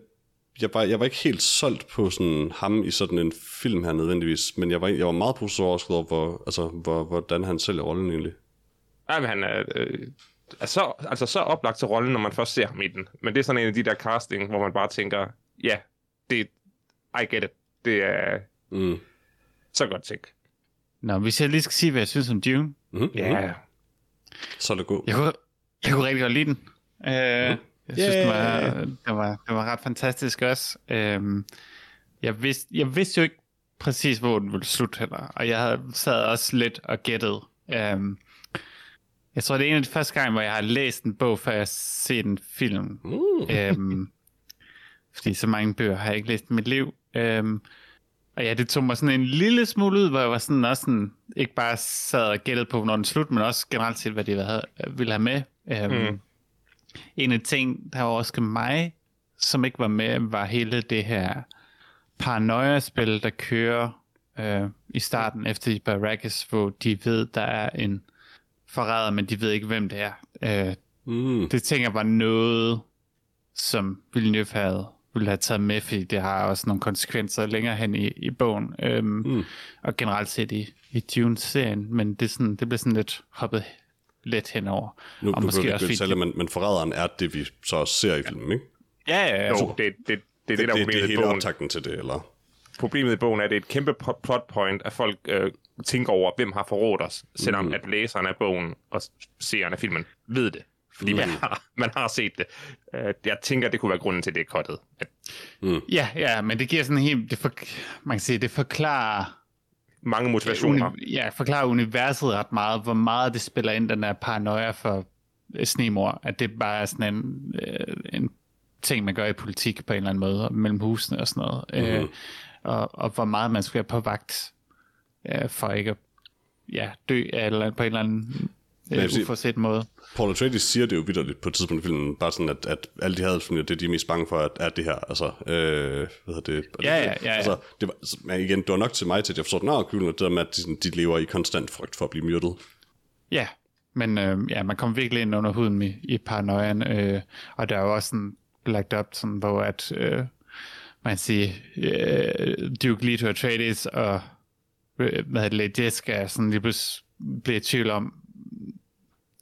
S2: jeg, var, jeg var ikke helt solgt på sådan ham i sådan en film her nødvendigvis, men jeg var, jeg var meget positiv overrasket over, hvor, altså, hvor, hvordan han sælger rollen egentlig.
S3: Nej, men han er, øh, er så, altså, så oplagt til rollen, når man først ser ham i den. Men det er sådan en af de der casting, hvor man bare tænker, ja, det I get it. Det er
S2: Mm.
S3: så godt tænkt.
S1: Nå, hvis jeg lige skal sige, hvad jeg synes om Dune.
S2: Mm-hmm.
S3: Ja,
S2: Så er det god.
S1: Jeg kunne, jeg kunne rigtig godt lide den. Øh, jeg synes, yeah. den, var, den, var, den var ret fantastisk også. Øh, jeg, vidste, jeg vidste jo ikke præcis, hvor den ville slutte heller. Og jeg havde sad også lidt og gættede. Øh, jeg tror, det er en af de første gange, hvor jeg har læst en bog, før jeg har set en film.
S2: Mm.
S1: øhm, fordi så mange bøger har jeg ikke læst i mit liv. Øhm, og ja, det tog mig sådan en lille smule ud, hvor jeg var sådan også sådan, ikke bare sad og gættede på, hvornår den slut, men også generelt set, hvad de havde, ville have med. Øhm, mm. En af de ting, der var også til mig, som ikke var med, var hele det her paranoia-spil, der kører øh, i starten efter de Baracus, hvor de ved, der er en forræder, men de ved ikke, hvem det er. Øh,
S2: Mm.
S1: det tænker jeg var noget, som Villeneuve havde, ville have taget med, fordi det har også nogle konsekvenser længere hen i, i bogen, øhm, mm. og generelt set i, i Dune-serien, men det, er sådan, det blev sådan lidt hoppet let henover.
S2: Nu,
S1: og
S2: nu behøver vi ikke
S1: fordi-
S2: blive sælge, men, men forræderen er det, vi så også ser i filmen, ikke?
S1: Ja, ja, altså. ja.
S3: jo,
S1: Jo.
S3: det, det, det, det er det,
S2: Det,
S3: der
S2: det,
S3: er
S2: det er
S3: problemet i
S2: hele
S3: bogen.
S2: optakten til det, eller?
S3: problemet i bogen er, at det er et kæmpe po- plot point, at folk øh, tænker over, hvem har forrådt os, selvom mm. at læseren af bogen og s- seeren af filmen ved det. Fordi mm. man, har, man har set det. Øh, jeg tænker, det kunne være grunden til, at det er kottet. At
S1: ja, ja, men det giver sådan en helt... Det for, man kan sige, det forklarer
S3: mange motivationer.
S1: uni, ja, forklarer universet ret meget, hvor meget det spiller ind, den der paranoia for øh, snemor, at det bare er sådan en, øh, en ting, man gør i politik på en eller anden måde, og mellem husene og sådan noget, øh, og, og hvor meget man skal være på vagt øh, for ikke at ja, dø af eller, på en eller anden
S2: jeg
S1: øh,
S2: vil sige-
S1: uforsæt måde.
S2: Paul Atreides siger det jo vidderligt på et tidspunkt i filmen, bare sådan, at, at alle de hadelsfamilier, det de er mest bange for, at, er det her, altså, øh, hvad hedder det?
S1: Ja, ja, ja, ja.
S2: Altså, det var, altså, men igen, det var nok til mig til, at jeg forstod, at kylden det der med, at de, sådan, de, lever i konstant frygt for at blive myrdet.
S1: Ja, men øh, ja, man kom virkelig ind under huden i, i paranoian, øh, og der er jo også sådan lagt op, sådan, hvor at, øh, man kan sige, øh, Duke Leto Atreides og øh, hvad hedder det, Lejesk er sådan lige pludselig bliver i tvivl om,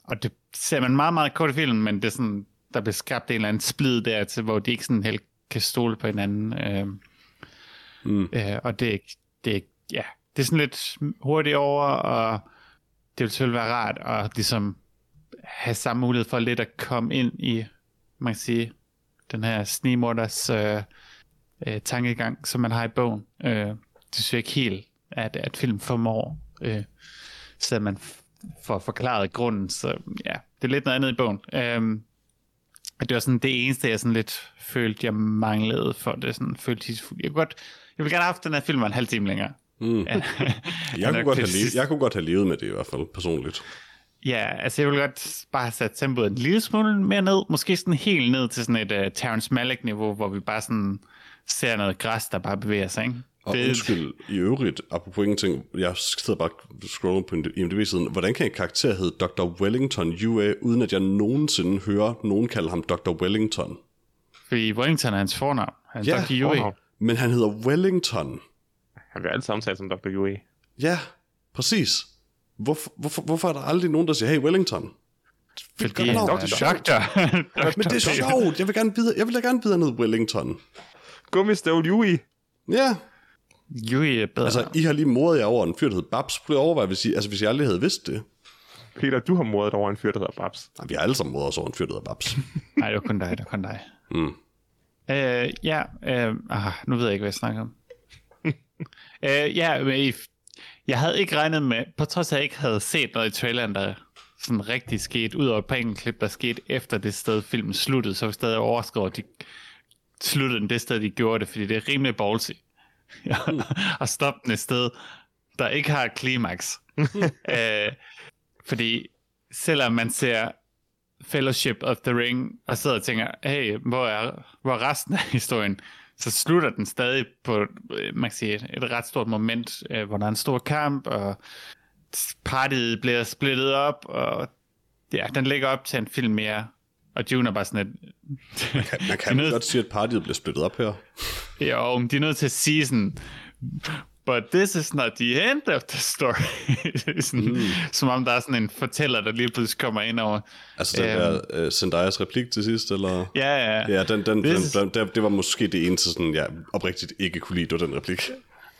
S1: og det ser man meget, meget kort i filmen, men det er sådan, der bliver skabt en eller anden splid der, til, hvor de ikke sådan helt kan stole på hinanden. Øh, mm. øh, og det er ikke, det er ikke, ja, det er sådan lidt hurtigt over, og det ville selvfølgelig være rart at ligesom have samme mulighed for lidt at komme ind i, man kan sige, den her snigmorders øh, øh, tankegang, som man har i bogen. Øh, det synes jeg ikke helt, at, at film formår, øh, så man f- får forklaret grunden. Så ja, det er lidt noget andet i bogen. Øh, og det var sådan det eneste, jeg sådan lidt følte, jeg manglede for det. Sådan, følte tidsfuldt. Jeg, kunne godt, jeg ville gerne have haft den her film var en halv time længere. Mm.
S2: Jeg, kunne godt, have levet, jeg kunne godt have levet med det i hvert fald, personligt.
S1: Ja, altså jeg vil godt bare have sat tempoet en lille smule mere ned. Måske sådan helt ned til sådan et uh, Terrence Malick-niveau, hvor vi bare sådan ser noget græs, der bare bevæger sig, ikke?
S2: Og
S1: Det-
S2: det... undskyld i øvrigt, apropos ingenting, jeg sidder bare og scroller på IMDb-siden. Hvordan kan en karakter hedde Dr. Wellington UA, uden at jeg nogensinde hører nogen kalde ham Dr. Wellington?
S1: Fordi Wellington er hans fornavn. Han
S2: Ja,
S1: er Dr. Yui.
S3: fornavn.
S2: Men han hedder Wellington.
S3: Han bliver altid omtalt som Dr. Yui.
S2: Ja, præcis. Hvorfor, hvorfor, hvorfor er der aldrig nogen, der siger, hey Wellington? Det
S1: Fordi han
S2: nok,
S1: er
S2: det er
S1: doktor.
S2: Men det er sjovt, jeg vil gerne vide, jeg vil da gerne vide, at han hedder Wellington.
S3: Gummistøvl Yui.
S2: Ja,
S1: Yui er bedre.
S2: altså I har lige mordet jer over en fyr, der hedder Babs. Prøv lige at overveje, hvis I, altså, hvis jeg aldrig havde vidst det.
S3: Peter, du har mordet over en fyr, der hedder Babs.
S2: Nej, vi har alle sammen mordet os over en fyr, der hedder Babs.
S1: Nej, det var kun dig, det var kun dig.
S2: Mm.
S1: Øh, ja, øh, ah, nu ved jeg ikke, hvad jeg snakker om. øh, ja, men I- jeg havde ikke regnet med, på trods af, at jeg ikke havde set noget i traileren, der sådan rigtig skete, ud over et par enkelte klip, der skete efter det sted, filmen sluttede, så var jeg stadig overskrevet, at de sluttede den det sted, de gjorde det, fordi det er rimelig ballsy. og stoppe den et sted, der ikke har et klimaks. øh, fordi selvom man ser Fellowship of the Ring, og sidder og tænker, hey, hvor er hvor er resten af historien? Så slutter den stadig på, øh, man kan sige, et, et ret stort moment, øh, hvor der er en stor kamp, og partiet bliver splittet op, og ja, den ligger op til en film mere, og June er bare sådan et... Man kan,
S2: Man kan vel godt sige, at partiet bliver splittet op her.
S1: jo, men de er nødt til at sige sådan, but this is not the end of the story. sådan, mm. Som om der er sådan en fortæller, der lige pludselig kommer ind over.
S2: Altså den
S1: Øhm.
S2: der uh, Zendayas replik til sidst, eller?
S1: Ja, ja.
S2: Ja, den, den, den,
S1: This-
S2: den, den, det var måske det eneste, sådan, jeg oprigtigt ikke kunne lide, det var den replik. Det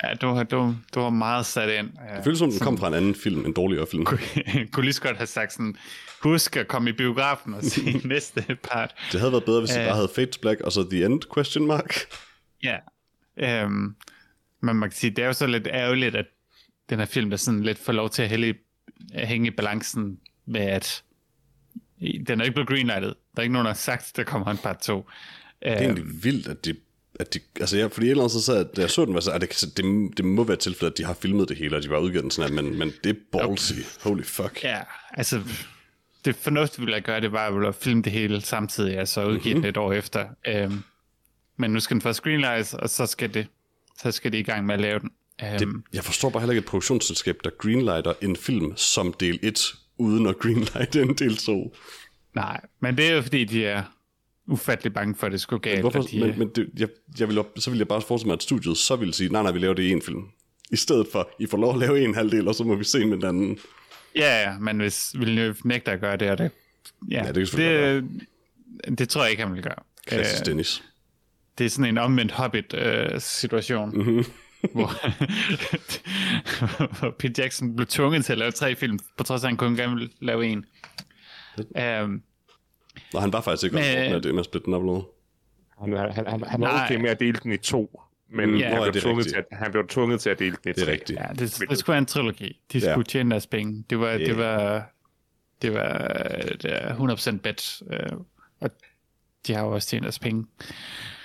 S1: ja du, har- du, du var meget sat ind. Ja.
S2: føles som, den kom fra en anden film, en dårligere film.
S1: kunne lige så godt have sagt sådan, husk at komme i biografen og se næste part.
S2: Det havde været bedre, hvis de
S1: Ja.
S2: bare havde Fate to Black, og så The End, question mark.
S1: Ja. Øhm, men man kan sige, det er jo så lidt ærgerligt, at den her film, der sådan lidt får lov til at hælde, at hænge i balancen med, at i- den er ikke blevet greenlightet. Der er ikke nogen, der har sagt, der kommer en part 2.
S2: Det er egentlig vildt, at de... At de altså, jeg, fordi et eller andet så sad, jeg- da jeg så den, var jeg så, at det, kan- det, det må være et tilfælde, at de har filmet det hele, og de var udgivet den sådan her, men, men det er ballsy. Holy fuck.
S1: Ja, altså det fornuftige ville jeg gøre, det var vel at filme det hele samtidig, altså udgive
S2: Mhm.
S1: mm-hmm. den et år efter. Øhm, men nu skal den først screenlightes, og så skal det, så skal de i gang med at lave den. Øhm,
S2: Det, jeg forstår bare heller ikke et produktionsselskab, der greenlighter en film som del 1, uden at greenlighte en del 2.
S1: Nej, men det er jo fordi, de er ufattelig bange for, at det skulle gå galt.
S2: Hvorfor?
S1: og de,
S2: men men det, jeg, jeg vil, op- så vil jeg bare forestille mig, at studiet så ville sige, nej, nej, vi laver det i en film. I stedet for, I får lov at lave en halvdel, og så må vi se med den anden.
S1: Ja, ja, men hvis Villeneuve nægter at gøre det, og det... Ja,
S2: det kan selvfølgelig
S1: det, det tror jeg ikke, han vil gøre.
S2: Klassisk øh. Dennis.
S1: det er sådan en omvendt Hobbit-situation, øh, mm-hmm. hvor, hvor Peter Jackson blev tvunget til at lave tre film, på trods af, at han kun gerne ville lave en. Um,
S2: Nå, han var faktisk ikke
S1: Men-
S2: med det med at splitte den op noget.
S3: Han, han, han, han, han var
S1: Nej.
S3: okay med at dele den i to, men
S1: Mm,
S3: mm,
S1: ja.
S3: han,
S2: Nå,
S3: blev
S2: det er
S3: tvunget til
S2: rigtigt.
S3: at, han blev tvunget til at dele den i
S2: Det er
S3: tre.
S2: rigtigt.
S1: ja, det, det skulle være en trilogi. De
S2: Ja.
S1: skulle tjene deres penge. Det var,
S2: Yeah.
S1: det var, det var, det var 100% bet, øh, og de har jo også tjent deres penge.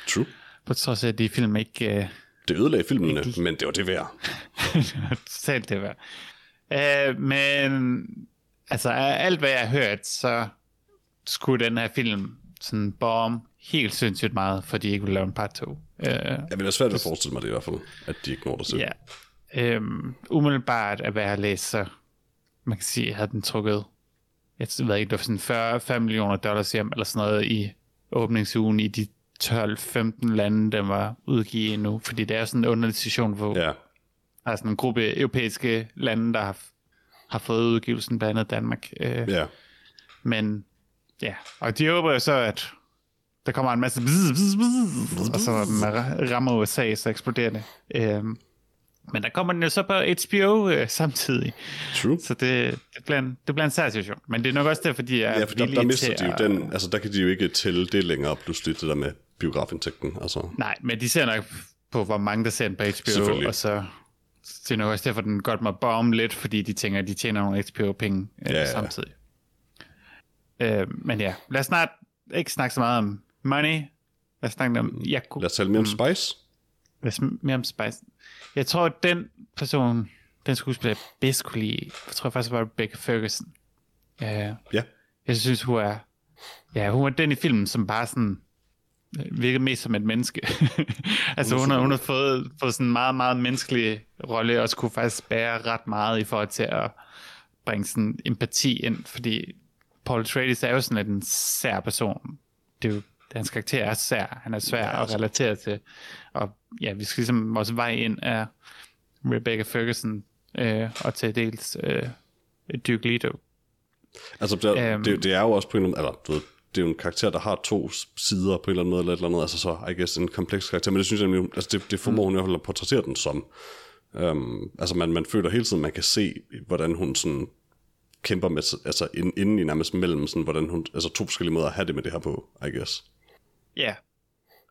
S2: True.
S1: På trods af, at de film ikke... Øh,
S2: Det ødelagde filmene, men det var det værd.
S1: totalt det værd. Øh, men altså af alt hvad jeg har hørt, så skulle den her film sådan bombe helt sindssygt meget, fordi de ikke ville lave en part 2. Øh,
S2: Jeg vil være svært ved at forestille mig det i hvert fald, at de ikke når det selv.
S1: ja. Øh, umiddelbart at hvad jeg har læst, så man kan sige, havde den trukket, jeg ved ikke, det var sådan 40, 40 millioner dollars hjem, eller sådan noget i åbningsugen i de 12-15 lande, den var udgivet endnu, fordi det er sådan en underlig situation, hvor
S2: Ja.
S1: der er sådan en gruppe europæiske lande, der har, har fået udgivelsen, blandt andet Danmark. Øh, ja.
S2: ja.
S1: Men ja, og de håber jo så, at der kommer en masse bzz, bzz, bzz, og så når den ra- rammer USA, så eksploderer det. Øh, men der kommer den jo så på HBO øh, samtidig,
S2: True.
S1: så det, det, bliver en, det bliver en sær situation. Men det er nok også derfor, de er
S2: Ja, for der,
S1: villige
S2: der mister
S1: til
S2: de jo
S1: at-
S2: den, altså der kan de jo ikke tælle det længere, pludselig det der med biografindtægten, altså.
S1: Nej, men de ser nok på, hvor mange der ser den på HBO,
S2: Selvfølgelig.
S1: og så det er nok også derfor, den godt må bombe lidt, fordi de tænker, at de tjener nogle HBO-penge øh,
S2: Ja,
S1: ja,
S2: ja.
S1: ja. samtidig. Øh, men ja, lad os snart ikke snakke så meget om money. Lad os snakke om Yaku.
S2: Mm, Lad os tale mere
S1: Mm.
S2: om Spice.
S1: Lad os mere om Spice. Jeg tror, at den person, den skuespiller, jeg bedst kunne lide, jeg tror faktisk, var Rebecca Ferguson. Øh,
S2: Ja.
S1: jeg synes, hun er... Ja, hun er den i filmen, som bare sådan... virkede mest som et menneske. altså hun har, hun har fået, fået sådan en meget, meget menneskelig rolle, og skulle faktisk bære ret meget i forhold til at bringe sådan empati ind, fordi Paul Atreides er jo sådan lidt en sær person. Det er jo, hans karakter er sær, han er svær at relatere til. Og ja, vi skal ligesom også vej ind af Rebecca Ferguson øh, og til dels øh, Duke Leto.
S2: Altså, det,
S1: Øhm.
S2: øhm. det, det er jo også på en eller anden eller, du ved, det er jo en karakter, der har to s- sider på en eller anden måde, eller et eller andet, altså så, I guess, en kompleks karakter, men det synes jeg nemlig, altså det, det formår hun
S3: Mm.
S2: i hvert fald at portrættere den som. Øhm, altså man, man føler hele tiden, man kan se, hvordan hun sådan kæmper med, s- altså ind, inden i nærmest mellem, sådan, hvordan hun, altså to forskellige måder at have det med det her på, I guess.
S1: Ja,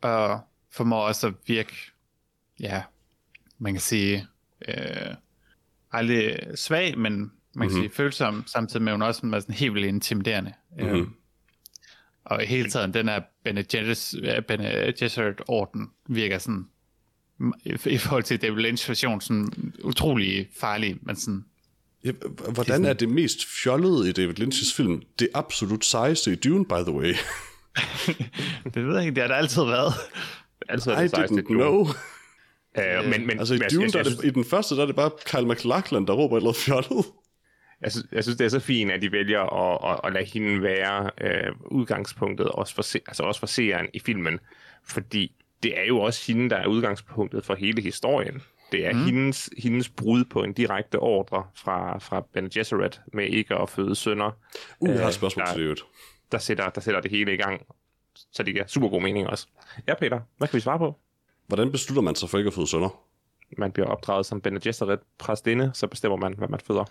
S1: og formår også at virke, ja, man kan sige, øh, aldrig svag, men man kan mm-hmm. sige følsom, samtidig med, at hun også var sådan helt vildt intimiderende. Mm-hmm. Øh, og i hele tiden, den her Bene, Gesserit, øh, Bene Gesserit-orden virker sådan, i- i forhold til David Lynch version, sådan utrolig farlig, men sådan,
S2: Ja, h- hvordan er det mest fjollede i David Lynch's film? Det absolut sejeste i Dune, by the way.
S1: det ved jeg ikke, det har der altid været.
S3: Altid er
S2: I
S3: det sejeste
S2: didn't
S3: Dune.
S2: know.
S3: Øh, men, men,
S2: Altså i
S3: men jeg-
S2: Dune,
S3: jeg-
S2: der er
S3: jeg synes-
S2: det, i den første, der er det bare Kyle MacLachlan, der råber et eller andet fjollet.
S3: jeg, synes, jeg synes, det er så fint, at de vælger at, at, at lade hende være øh, udgangspunktet, også for, se, altså også for seeren i filmen. Fordi det er jo også hende, der er udgangspunktet for hele historien. Det er mm. hendes, hendes brud på en direkte ordre fra, fra Ben Gesserit med ikke at føde sønner,
S2: Uh, jeg har
S3: Øh,
S2: et spørgsmål
S3: der-
S2: til det i øvrigt.
S3: der sætter, der sætter det hele i gang. Så det giver super god mening også. Ja, Peter, hvad kan vi svare på?
S2: Hvordan beslutter man sig for ikke at føde sønner?
S3: Man bliver opdraget som Ben Gesserit præstinde, så bestemmer man, hvad man føder.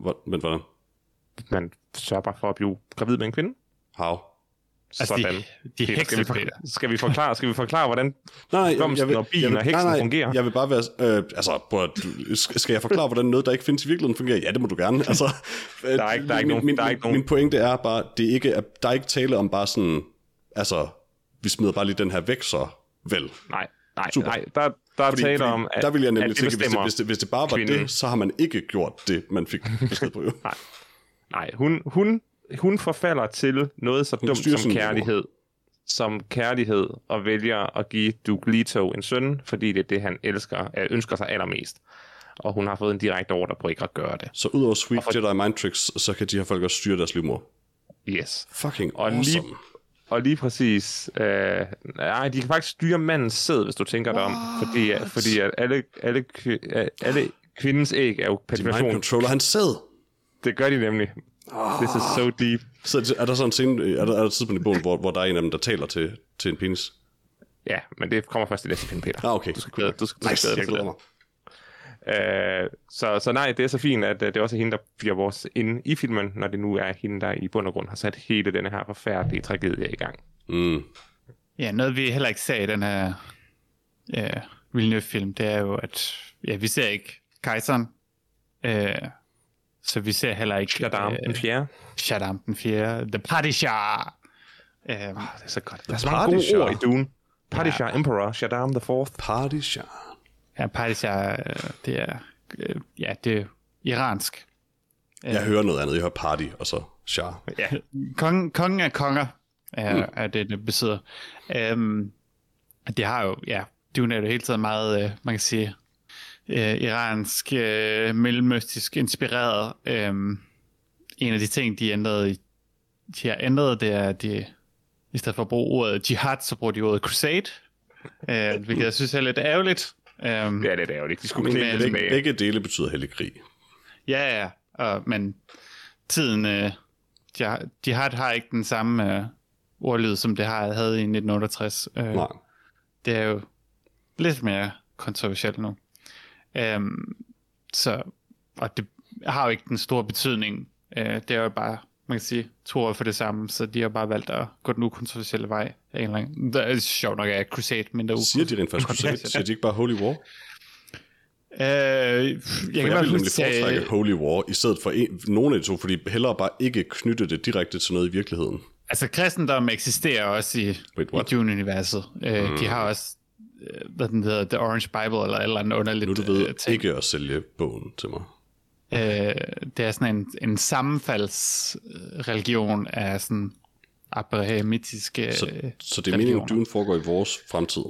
S2: Hvor, men hvordan?
S3: Man sørger bare for at blive gravid med en kvinde.
S2: How?
S1: Altså,
S3: Sådan.
S1: de, de
S3: Peter, skal, vi
S1: hekser, Peter.
S3: for, skal vi forklare, skal vi forklare hvordan...
S2: Nej, jeg,
S3: Blomsten og bilen og heksen fungerer.
S2: Jeg vil bare være... Øh, altså, prøv, at- sk- skal jeg forklare, hvordan noget, der ikke findes i virkeligheden, fungerer? Ja, det må du gerne. Altså, der
S3: er ikke- der er ikke
S2: min,
S3: nogen-
S2: Min,
S3: der er ikke nogen-
S2: min pointe er bare, det er ikke, at der er ikke tale om bare sådan... Altså, vi smider bare lige den her væk, så vel.
S3: Nej, nej,
S2: Super.
S3: nej. Der, der er
S2: Fordi,
S3: tale
S2: fordi
S3: om, at,
S2: der vil jeg nemlig
S3: at det
S2: tænke, hvis det,
S3: bestemmer-
S2: hvis, det, hvis det bare var
S3: kvinden.
S2: det, så har man ikke gjort det, man fik besked på.
S3: Nej, hun, hun, hun forfalder til noget så dumt
S2: styrer
S3: som
S2: sin mor.
S3: kærlighed. Som kærlighed og vælger at give Duke Leto en søn, fordi det er det, han elsker, øh, ønsker sig allermest. Og hun har fået en direkte ordre på ikke at gøre det.
S2: så udover Sweet Jedi Mind Tricks, så kan de her folk også styre deres livmor.
S3: Yes.
S2: Fucking
S3: Og lige-
S2: awesome.
S3: Og lige præcis, øh, nej, de kan faktisk styre mandens sæd, hvis du tænker dig om. Fordi, fordi at alle, alle, kvi- øh, alle kvindens æg er jo per
S2: Mind
S3: definition.
S2: Controller, han sad.
S3: Det gør de nemlig. This is so
S2: Ah.
S3: deep.
S2: Så er der sådan en scene, øh, er der, er der et tidspunkt i bogen, hvor, hvor der er en af dem, der taler til, til en penis?
S3: Ja, men det kommer først i næste film, Peter.
S2: Ah, okay.
S3: Du skal glæde, du skal, du skal
S2: Nice,
S3: glæde dig
S2: jeg
S3: til det.
S2: glæder mig.
S3: Øh, så, så nej, det er så fint, at øh, det er også hende, der bliver vores inde i filmen, når det nu er hende, der i bund og grund har sat hele den her forfærdelige tragedie i gang.
S2: Mm.
S1: Ja, noget vi heller ikke ser i den her øh, Villeneuve-film, det er jo, at ja, vi ser ikke kejseren, øh, så vi ser heller ikke
S3: Shadam, øh, den fjerde.
S1: Shaddam den fjerde, The Padishah. Øh,
S3: Ah, Det er så godt. Der er så mange
S2: Padishah.
S3: gode ord i Dune. Mm. Padishah, Emperor, Shadam the Fourth.
S2: Party shot.
S1: ja, Padishah, øh, det er, øh, ja, det er iransk.
S2: Jeg hører noget andet, jeg hører party, og så char.
S3: Ja,
S1: Kongen, kongen af konger er, mm. er det, det besidder. Øhm, det har jo, ja, Dune er jo hele tiden meget, øh, man kan sige, øh, iransk, øh, mellemøstisk inspireret. Øhm, en af de ting, de ændrede, i- de har ændret, det er, at de i stedet for at bruge ordet jihad, så bruger de ordet crusade, øh, hvilket jeg synes er lidt ærgerligt. Øhm,
S3: det er lidt ærgerligt. De skulle
S1: Men-
S3: klippe det
S2: Begge,
S3: tilbage.
S2: begge dele betyder hellig krig.
S1: Ja, ja, og, men tiden, øh, de, har, de har, har ikke den samme øh, ordlyd, som det har, havde i 1968. Øh,
S2: Nej.
S1: det er jo lidt mere kontroversielt nu. Øhm, så, og det har jo ikke den store betydning. Øh, det er jo bare, man kan sige, to år for det samme, så de har bare valgt at gå den ukontroversielle vej. af en eller anden- Det er sjovt nok, at Crusade mindre ukontroversielt.
S2: Siger de rent faktisk crusade? Siger de ikke bare holy war?
S1: Øh,
S2: For
S1: jeg, kan i
S2: jeg
S1: hvert
S2: ville
S1: fald
S2: nemlig
S1: huske, at-
S3: øh,
S2: foretrække holy war, i stedet for en, nogen af de to, fordi hellere bare ikke knytte det direkte til noget i virkeligheden.
S1: Altså, kristendommen eksisterer også i,
S2: Wait,
S1: i
S2: what?
S1: Dune-universet. Uh, mm. De har også, øh, hvad den hedder, The Orange Bible, eller et eller andet underligt
S2: Nu du
S1: øh,
S2: ved
S1: ting.
S2: ikke at sælge bogen til mig.
S1: Øh, det er sådan en, en sammenfaldsreligion af sådan abrahamitiske...
S2: Så,
S1: øh,
S2: så det er meningen, at
S1: religioner.
S2: Dune foregår i vores fremtid.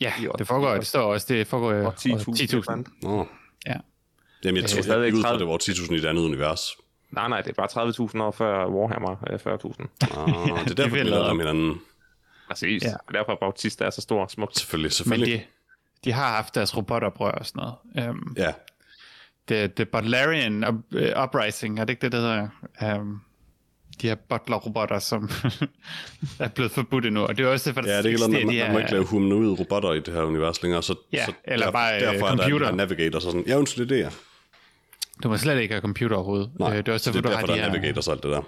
S1: Ja,
S3: I år-
S1: det foregår, det står også, det foregår øh,
S3: Og 10.000.
S1: 10.000.
S2: Nå.
S1: Ja.
S2: Jamen, jeg
S1: Øh,
S2: tror, jeg
S3: stadigvæk
S2: gik ud fra,
S3: 30.
S2: at det var 10.000 i et andet univers.
S3: Nej, nej, det er bare 30.000 år før Warhammer
S2: Ah, det
S3: øh, 40.000.
S2: er
S1: det
S2: derfor, vi
S1: vil
S2: lader
S1: jeg.
S2: om hinanden.
S3: Præcis.
S1: Ja.
S3: Ja. Og derfor er Bautista er så stor og smuk.
S2: Selvfølgelig,
S1: Men
S2: selvfølgelig.
S1: de, de har haft deres robotoprør og sådan noget. Um,
S2: Ja,
S1: The, the Butlerian up, uh, Uprising, er det ikke det, der hedder? Um, de her butler-robotter, som er blevet forbudt endnu, og det er også det, for
S2: ja det er ikke noget, man, man, man må ikke lave humanoide robotter i det her univers længere, så,
S1: Ja,
S2: så
S1: eller bare, øh,
S2: derfor er der
S1: computer.
S2: den her navigator så sådan, ja, undskyld, det er jeg.
S1: Du må slet ikke have computer overhovedet.
S2: Nej,
S1: Øh, det er også
S2: det er
S1: derfor, du
S2: derfor,
S1: har
S2: der
S1: de
S2: er
S1: her,
S2: navigator og alt det der.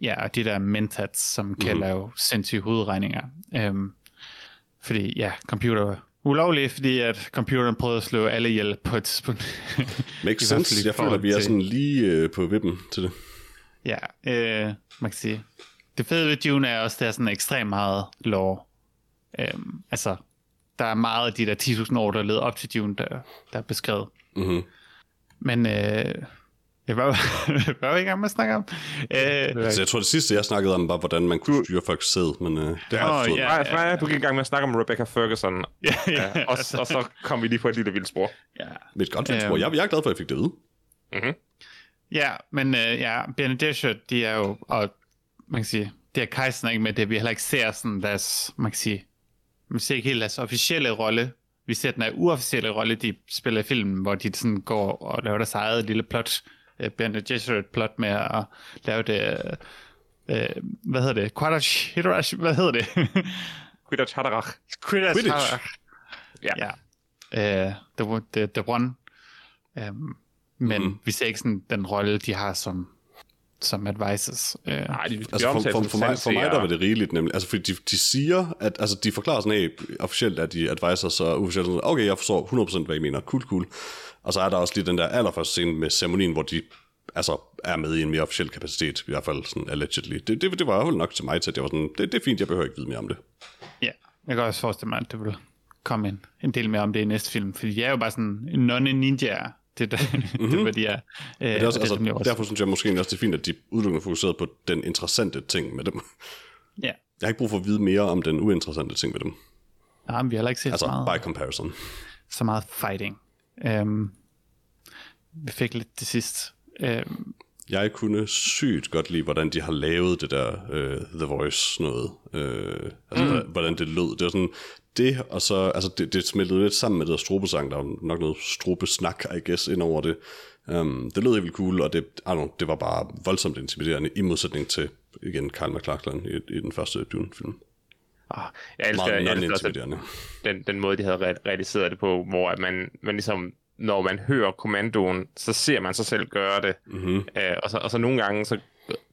S1: ja, og de der mentats, som kan
S2: Mhm.
S1: mm. lave sindssyge hovedregninger. Um, fordi, ja, computer var ulovlig, fordi at computeren prøvede at slå alle ihjel på et tidspunkt. I
S2: Makes
S1: hvert fald
S2: sense.
S1: i
S2: Jeg føler, at vi er
S1: forhold til-
S2: sådan lige øh, på vippen til det.
S1: Ja, øh, man kan sige. Det fede ved Dune er også, at der er sådan ekstremt meget lore. Øhm, altså, der er meget af de der 10.000 år, der leder op til Dune, der, der er beskrevet.
S2: Mm-hmm.
S1: Men øh, jeg var jo ikke i gang med at snakke om. Øh,
S2: Så jeg tror, det sidste, jeg snakkede om, var, hvordan man kunne styre folks sæd, men øh, det har
S1: Åh,
S2: jeg forstået.
S1: ja.
S3: Nej, nej, du gik i gang med at snakke om Rebecca Ferguson,
S1: ja, ja, altså,
S3: ja, og, og så kom vi lige på et lille vildt spor.
S1: ja.
S2: Det er et godt vildspor.
S1: Øhm.
S2: Jeg, jeg er glad for, at jeg fik det at vide.
S1: ja, men øh, ja, Benedictshire, de er jo, og man kan sige, det er kejseren ikke med det, vi heller ikke ser sådan deres, man kan sige, man ser ikke helt deres officielle rolle. Vi ser den her uofficielle rolle, de spiller i filmen, hvor de sådan går og laver deres eget lille plot, øh, Bernard Jesuit plot med at lave det, øh, øh, hvad hedder det, Quidditch, Hidrash, hvad hedder det?
S3: Quidditch Hadarach.
S1: Quidditch.
S3: Ja.
S1: Ja. ja. Øh, the, the, the One. Øhm, men mm. vi ser ikke sådan den rolle, de har som, som advisors. Øh,
S3: Nej, de, de
S2: Altså for,
S3: omtales
S2: for,
S3: som
S2: for, mig, for mig der
S3: sanseere.
S2: var det rigeligt nemlig. Altså fordi de, de siger, at altså, de forklarer sådan, hey, officielt er de advisors, så uofficielt sådan, okay, jeg forstår 100% hvad I mener, cool, cool. Og så er der også lige den der allerførste scene med ceremonien, hvor de altså er med i en mere officiel kapacitet, i hvert fald sådan allegedly. Det, det, det var i hvert fald nok til mig til, at jeg var sådan, det, det er fint, jeg behøver ikke vide mere om det.
S1: Ja, jeg kan også forestille mig, at det vil komme en, en del mere om det i næste film, fordi de er jo bare sådan nonne ninjaer, det, der, mm-hmm. det er, hvad de er. Øh,
S2: Mhm. Det er også,
S1: og
S2: altså,
S1: som jeg også-
S2: derfor synes jeg måske egentlig også, det er fint, at de udelukkende fokuseret på den interessante ting med dem.
S1: Ja,
S2: Jeg har ikke brug for at vide mere om den uinteressante ting ved dem.
S1: Nej, men vi har heller ikke set altså,
S2: Altså,
S1: så, meget,
S2: by comparison.
S1: så meget fighting. Øhm, vi fik lidt til sidst. Øhm,
S2: Jeg kunne sygt godt lide, hvordan de har lavet det der øh, The Voice noget. Øh, altså, mm. hvordan, hvordan det lød. Det var sådan, det, og så, altså, det, det smeltede lidt sammen med det der strobesang. Der var nok noget strobesnak, I guess, ind over det. Um, det lød helt vildt cool, og det, I don't know, det var bare voldsomt intimiderende, i modsætning til, igen, Karl McLachlan i, i den første Dune-film.
S3: Ah, Jeg elsker,
S2: Meget
S3: jeg elsker også, at
S2: non-intimiderende.
S3: den, den måde, de havde re- realiseret det på, hvor at man, man ligesom, når man hører kommandoen, så ser man sig selv gøre det. Mm-hmm. Øh, og, så, og så nogle gange, så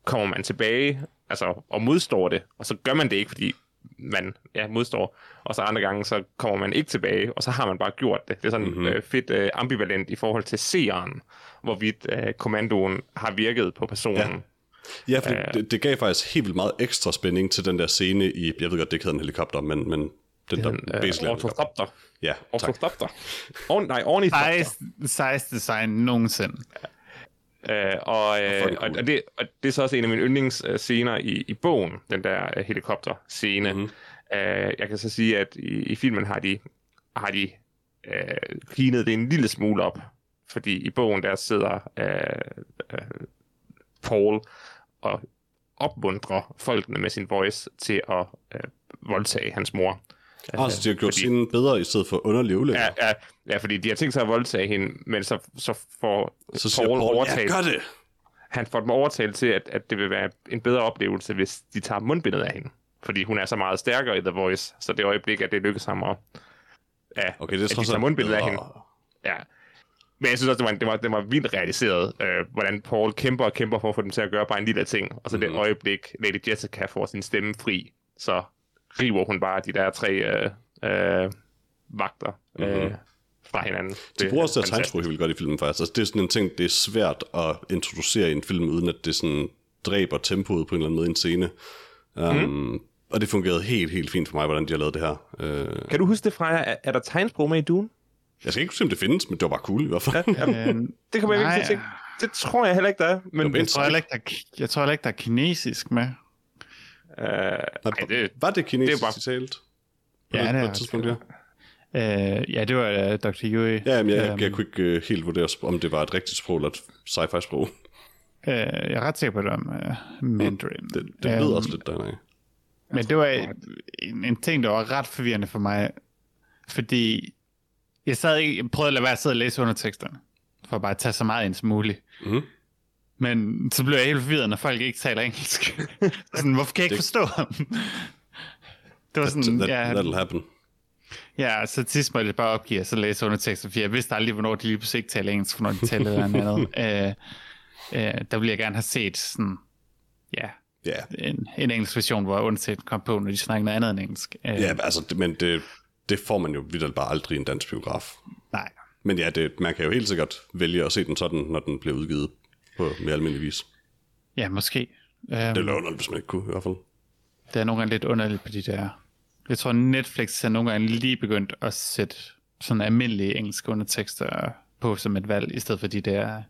S3: kommer man tilbage altså, og modstår det, og så gør man det ikke, fordi man ja, modstår. Og så andre gange, så kommer man ikke tilbage, og så har man bare gjort det. Det er sådan mm-hmm. øh, fedt øh, ambivalent i forhold til seeren, hvorvidt øh, kommandoen har virket på personen. Ja.
S2: Ja, for det, det, det gav faktisk helt vildt meget ekstra spænding til den der scene i, jeg ved godt, det ikke hedder en helikopter, men, men den der
S3: Den, øh,
S2: baseline.
S3: ortopter.
S2: Ja, tak.
S3: Ortopter. Orn, nej, ornitopter.
S1: sejst- sejst design nogensinde.
S3: Øh, og, øh,
S2: Hvor er det
S3: og,
S2: cool.
S3: og, det, og det er så også en af mine yndlingsscener i, i bogen, den der øh, helikopter-scene.
S2: Mhm.
S3: Mm-hmm. Øh, jeg kan så sige, at i, i filmen har de, har de øh, klinet det en lille smule op, fordi i bogen der sidder øh, øh, Paul og opmuntrer folkene med sin voice til at øh, voldtage hans mor. Altså-
S2: Ah, så de har gjort
S3: fordi-
S2: fordi... scenen bedre, i stedet for underlig ulækker. Ja,
S3: Ja, ja, ja, fordi de har tænkt sig at voldtage hende, men så, så får
S2: så siger
S3: Paul,
S2: Paul,
S3: overtaget
S2: ja, gør det!
S3: han får dem overtalt til, at, at det vil være en bedre oplevelse, hvis de tager mundbindet af hende. Fordi hun er så meget stærkere i The Voice, så det øjeblik, at det lykkes ham at, ja,
S2: Okay, det er
S3: at Altså, de
S2: trods
S3: tager
S2: alt
S3: mundbindet af
S2: bedre.
S3: hende. Ja. Men jeg synes også, det var, en- det var, det var vildt realiseret, øh, hvordan Paul kæmper og kæmper for at få dem til at gøre bare en lille ting. Og så
S2: Mhm.
S3: mm-hmm. det øjeblik, Lady Jessica får sin stemme fri, så river hun bare de der tre øh, øh, vagter øh, mm-hmm. fra hinanden.
S2: Mhm. De bruger også
S3: er
S2: deres tegnsprog helt vildt godt i filmen, faktisk. Altså, det er sådan en ting, det er svært at introducere i en film, uden at det sådan dræber tempoet på en eller anden måde i en scene. Um,
S3: Mhm.
S2: mm. Og det fungerede helt, helt fint for mig, hvordan de har lavet det her. Uh,
S3: Kan du huske det, Freja? Er, er der tegnsprog med i Dune?
S2: jeg skal ikke se, om det findes, men det var bare cool i hvert fald. Ja,
S1: Øh,
S3: Det kommer jeg
S1: Nej,
S3: ikke til at tænke. Det tror jeg heller ikke, der er. Men
S2: men-
S1: jeg, tror heller ikke, der, er- jeg tror heller ikke, der er kinesisk med.
S3: Øh, nej,
S2: Nej,
S3: det,
S2: var det kinesisk
S3: det er
S2: bare...
S3: bare-
S2: talt? På
S1: Ja,
S2: det,
S1: det
S2: på
S1: er
S2: et tidspunkt, ja.
S1: også- Øh, ja, det var uh, Dr. Yui.
S2: Ja, men jeg, jeg,
S1: Øhm,
S2: jeg kunne ikke øh, helt vurdere, om det var et rigtigt sprog eller et sci-fi sprog.
S1: øh, jeg er ret sikker på, at det var uh, Mandarin.
S2: Det, det
S1: Øhm,
S2: lyder også lidt dernede.
S1: Men det var en, en ting, der var ret forvirrende for mig, fordi jeg, sad ikke, jeg prøvede at lade være at sidde og læse underteksterne, for at bare tage så meget ind som muligt.
S2: Mhm.
S1: Men så blev jeg helt forvirret, når folk ikke taler engelsk. sådan, hvorfor kan jeg ikke
S2: Det-
S1: forstå ham? det var sådan,
S2: That,
S1: ja,
S2: That'll happen.
S1: ja, og så sidst måtte jeg bare opgive og så læse undertekster, for jeg vidste aldrig, hvornår de lige pludselig ikke taler engelsk, hvornår de taler et eller andet. Øh, øh, der ville jeg gerne have set sådan, ja,
S2: Ja,
S1: en, en engelsk version, hvor underteksten kom på, når de snakkede noget andet end engelsk. Øh,
S2: ja altså, det, men det, det får man jo vidt bare aldrig i en dansk biograf.
S1: Nej.
S2: Men ja, det, man kan jo helt sikkert vælge at se den sådan, når den bliver udgivet på mere almindelig vis.
S1: Ja, måske. Øhm,
S2: Det er underligt, hvis man ikke kunne, i hvert fald.
S1: det er nogle gange lidt underligt på de der... Jeg tror, Netflix er nogle gange lige begyndt at sætte sådan almindelige engelske undertekster på som et valg, i stedet for de der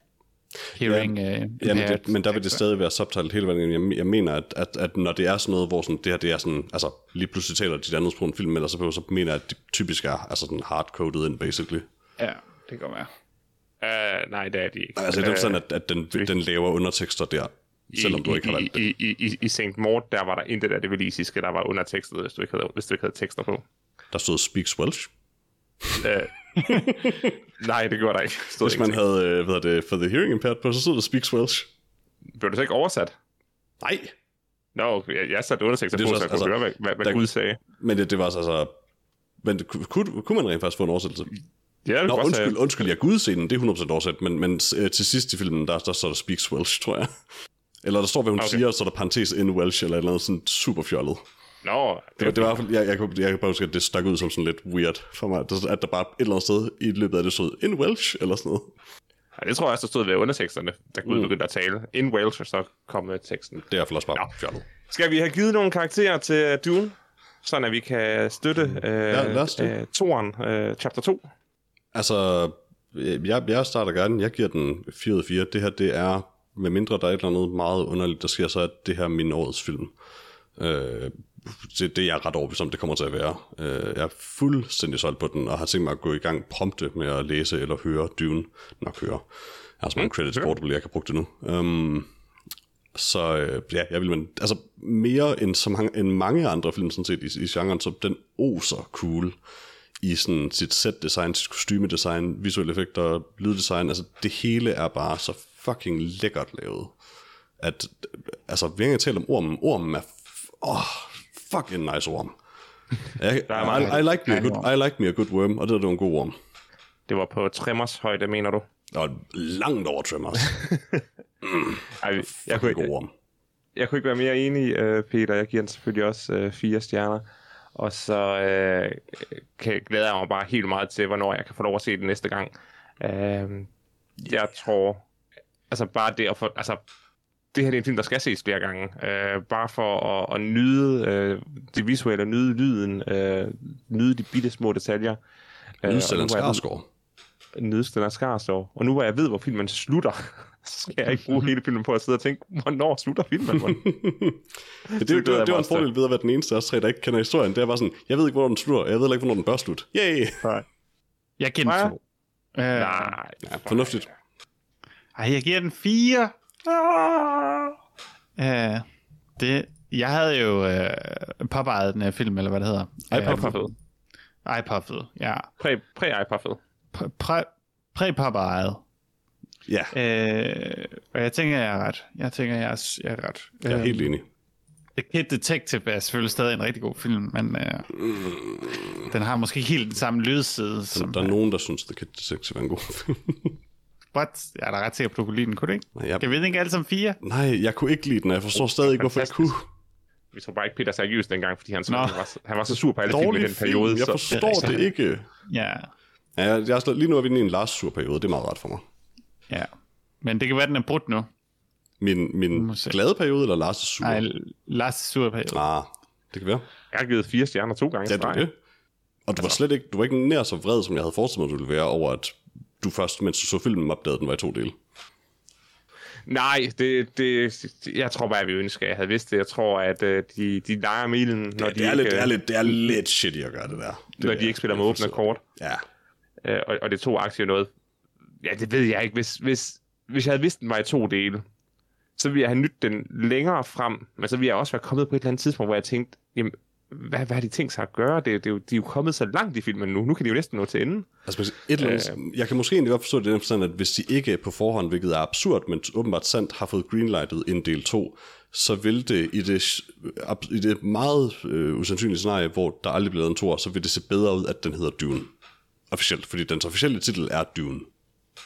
S1: hearing øh, ja,
S2: Jamen, det, men der vil det stadig være subtitlet hele vejen. igennem. Jeg, jeg mener, at, at, at, når det er sådan noget, hvor sådan, det her det er sådan, altså lige pludselig taler de et andet sprog en film, eller så, så mener jeg, at det typisk er altså sådan hardcoded ind, basically.
S1: Ja, det kan godt være.
S3: øh, nej, det er de ikke.
S2: Altså det er
S3: Øh,
S2: sådan, at, at den, den laver undertekster der, selvom du ikke har valgt det.
S3: I, i, i, i St. Mort, der var der intet af det velisiske, der var undertekstet, hvis du ikke havde, hvis du ikke havde tekster på.
S2: Der stod Speaks Welsh.
S3: Øh, nej, det gjorde der ikke. Stod
S2: Hvis man
S3: ikke.
S2: havde, øh, hvad hedder det, for The Hearing Impaired på, så stod der Speaks Welsh.
S3: Blev det så ikke oversat?
S2: Nej,
S3: Nå, jeg, jeg satte undertekster
S2: Det er
S3: på,
S2: så-
S3: så jeg kunne
S2: altså,
S3: høre, hvad, hvad, hvad
S2: der-
S3: Gud sagde.
S2: men det, det var så altså... Men det, kunne- kunne, kunne man rent faktisk få en oversættelse?
S3: Ja,
S2: Nå,
S3: det kunne godt
S2: undskyld,
S3: have-
S2: undskyld, jeg gud scenen, det er 100% oversat, men, men øh, til sidst i filmen, der, der står der speaks Welsh, tror jeg. Eller der står, hvad hun okay.
S3: Okay.
S2: siger, og så er der parentes in Welsh, eller et eller andet sådan super fjollet.
S3: Nå,
S2: Det, var- det var i hvert fald, jeg, jeg, kunne- jeg kan bare huske, at det stak ud som sådan lidt weird for mig, at- at der bare et eller andet sted i løbet af det stod in Welsh, eller sådan noget.
S3: Ja, det tror jeg også, der stod ved underteksterne, da Gud
S2: Mm.
S3: begyndte at tale. In Wales, og så kom øh, teksten.
S2: Det er i hvert fald også bare
S3: Nå.
S2: fjollet.
S3: Skal vi have givet nogle karakterer til øh, Dune? Sådan at vi kan støtte øh,
S2: Mm. lad os det.
S3: øh, toeren, øh, chapter 2.
S2: Altså, øh, jeg, jeg starter gerne. Jeg giver den 4 ud af 4. Det her, det er, med mindre der er et eller andet meget underligt, der sker, så er det her min årets film. Øh, det, det er jeg ret overbevist om, det kommer til at være. Øh, jeg er fuldstændig solgt på den, og har tænkt mig at gå i gang prompte med at læse eller høre Dune. Nok høre. Jeg har
S3: Mm,
S2: så mange credits portable, jeg kan bruge det nu. Um, så øh, ja, jeg vil man, altså mere end, så mange, end mange andre film sådan set i, i genren, så den oser cool i sådan sit set design, sit kostyme design, visuelle effekter, lyddesign, altså det hele er bare så fucking lækkert lavet. At, øh, altså vi har ikke talt om ormen, ormen er, f- åh, fucking nice orm. Jeg, I, I, like me a good, I like me a good worm, og det er jo en god orm.
S3: Det var på Tremmers højde, mener du?
S2: Og langt over Tremors.
S3: Ej, jeg, jeg, kunne,
S2: Fucking god
S3: jeg,
S2: orm.
S3: jeg kunne ikke være mere enig, øh, Peter. Jeg giver den selvfølgelig også øh, fire stjerner. Og så øh, kan, glæder jeg mig bare helt meget til, hvornår jeg kan få lov at se den næste gang. Øh, jeg tror, altså bare det at få, altså det her det er en film, der skal ses flere gange. Øh, bare for at, at nyde øh, det visuelle, nyde lyden, øh, nyde de bitte små detaljer. Øh, og
S2: Lydstilleren
S3: nu hvor jeg ved-
S2: Skarsgård.
S3: nedstiller Skarsgård. Og nu hvor jeg ved, hvor filmen slutter, så skal jeg ikke bruge hele filmen på at sidde og tænke, hvornår slutter filmen? Hvornår?
S2: Det, det, det,
S3: glæder
S2: det,
S3: jeg
S2: det
S3: mig
S2: var en
S3: også til.
S2: fordel ved at være den eneste af os tre, der ikke kender historien. Det er bare sådan, jeg ved ikke, hvornår den slutter, og jeg ved heller ikke, hvornår den bør slutte. Yay!
S1: Jeg giver
S3: Freja?
S1: den to. Øh, ej,
S3: Nej.
S2: Ja, fornuftigt.
S1: jeg giver den fire.
S3: Ah.
S1: Øh, det, jeg havde jo øh, påvejet den her film, eller hvad det hedder.
S2: iPod.
S3: Ipuffet.
S1: Øh, iPuffet, ja.
S3: Præ- Præ-ipuffet.
S1: Præ- præ- Præ-påvejet.
S2: Ja,
S1: Øh, og jeg tænker, jeg er ret. Jeg tænker, jeg er, jeg er ret. Øh,
S2: jeg er helt enig.
S1: The Kid Detective er selvfølgelig stadig en rigtig god film, men øh, den har måske ikke helt den samme lydside som...
S2: Der er nogen, der synes, The Kid Detective er en god film.
S1: What? Jeg er da ret sikker på, du kunne lide den, kunne du ikke?
S2: Nej, jeg-
S1: Kan vi ikke alle sammen fire?
S2: Nej, jeg kunne ikke lide den, og jeg forstår stadig ikke, hvorfor jeg kunne.
S3: Vi tror bare ikke Peter seriøst dengang, fordi han, så,
S1: Nå.
S3: han, var, så- han var så sur på alle film i
S2: Dårlig
S3: den
S2: film,
S3: periode.
S2: jeg
S3: så,
S2: forstår det ikke.
S1: Ja,
S2: Ja, jeg, jeg er slet, lige nu er vi inde i en Lars-sur periode, det er meget rart for mig.
S1: ja. Men det kan være, den er brudt nu.
S2: Min, min
S1: se.
S2: glade periode, eller Lars' sur?
S1: Nej, Lars Surperiode.
S2: Ah, det kan være.
S3: jeg har givet fire stjerner to gange.
S2: Ja, det er
S3: streg.
S2: det. Og du
S3: Altså-
S2: var slet ikke, du var ikke nær så vred, som jeg havde forestillet mig, du ville være over, at du først, mens du så filmen, opdagede, at den var i to dele.
S3: Nej, det, det, jeg tror bare, at vi ønsker, at jeg havde vidst det. Jeg tror, at øh, de, de leger milen, når,
S2: det,
S3: de
S2: det, er
S3: ikke,
S2: lidt, det, er
S3: øh,
S2: lidt, det er lidt shitty at gøre det der. Det
S3: når
S2: er-
S3: de ikke spiller
S2: det
S3: med
S2: er
S3: åbne
S2: forstået.
S3: kort.
S2: Ja.
S3: Øh, og, og det er to aktier noget. Ja, det ved jeg ikke. Hvis, hvis, hvis jeg havde vidst, den var i to dele, så ville jeg have nyttet den længere frem. Men så ville jeg også være kommet på et eller andet tidspunkt, hvor jeg tænkte, jamen, hvad, hvad har de tænkt sig at gøre? Det, det, er jo- de er jo kommet så langt i filmen nu. Nu kan de jo næsten nå til enden.
S2: Altså, hvis et eller
S3: Øhm.
S2: andet, jeg kan måske egentlig godt forstå det i den forstand, at hvis de ikke på forhånd, hvilket er absurd, men åbenbart sandt, har fået greenlightet en del 2, så vil det i det, ab- i det meget øh, usandsynlige scenarie, hvor der aldrig bliver lavet en 2, så vil det se bedre ud, at den hedder Dune. Officielt, fordi dens officielle titel er Dune.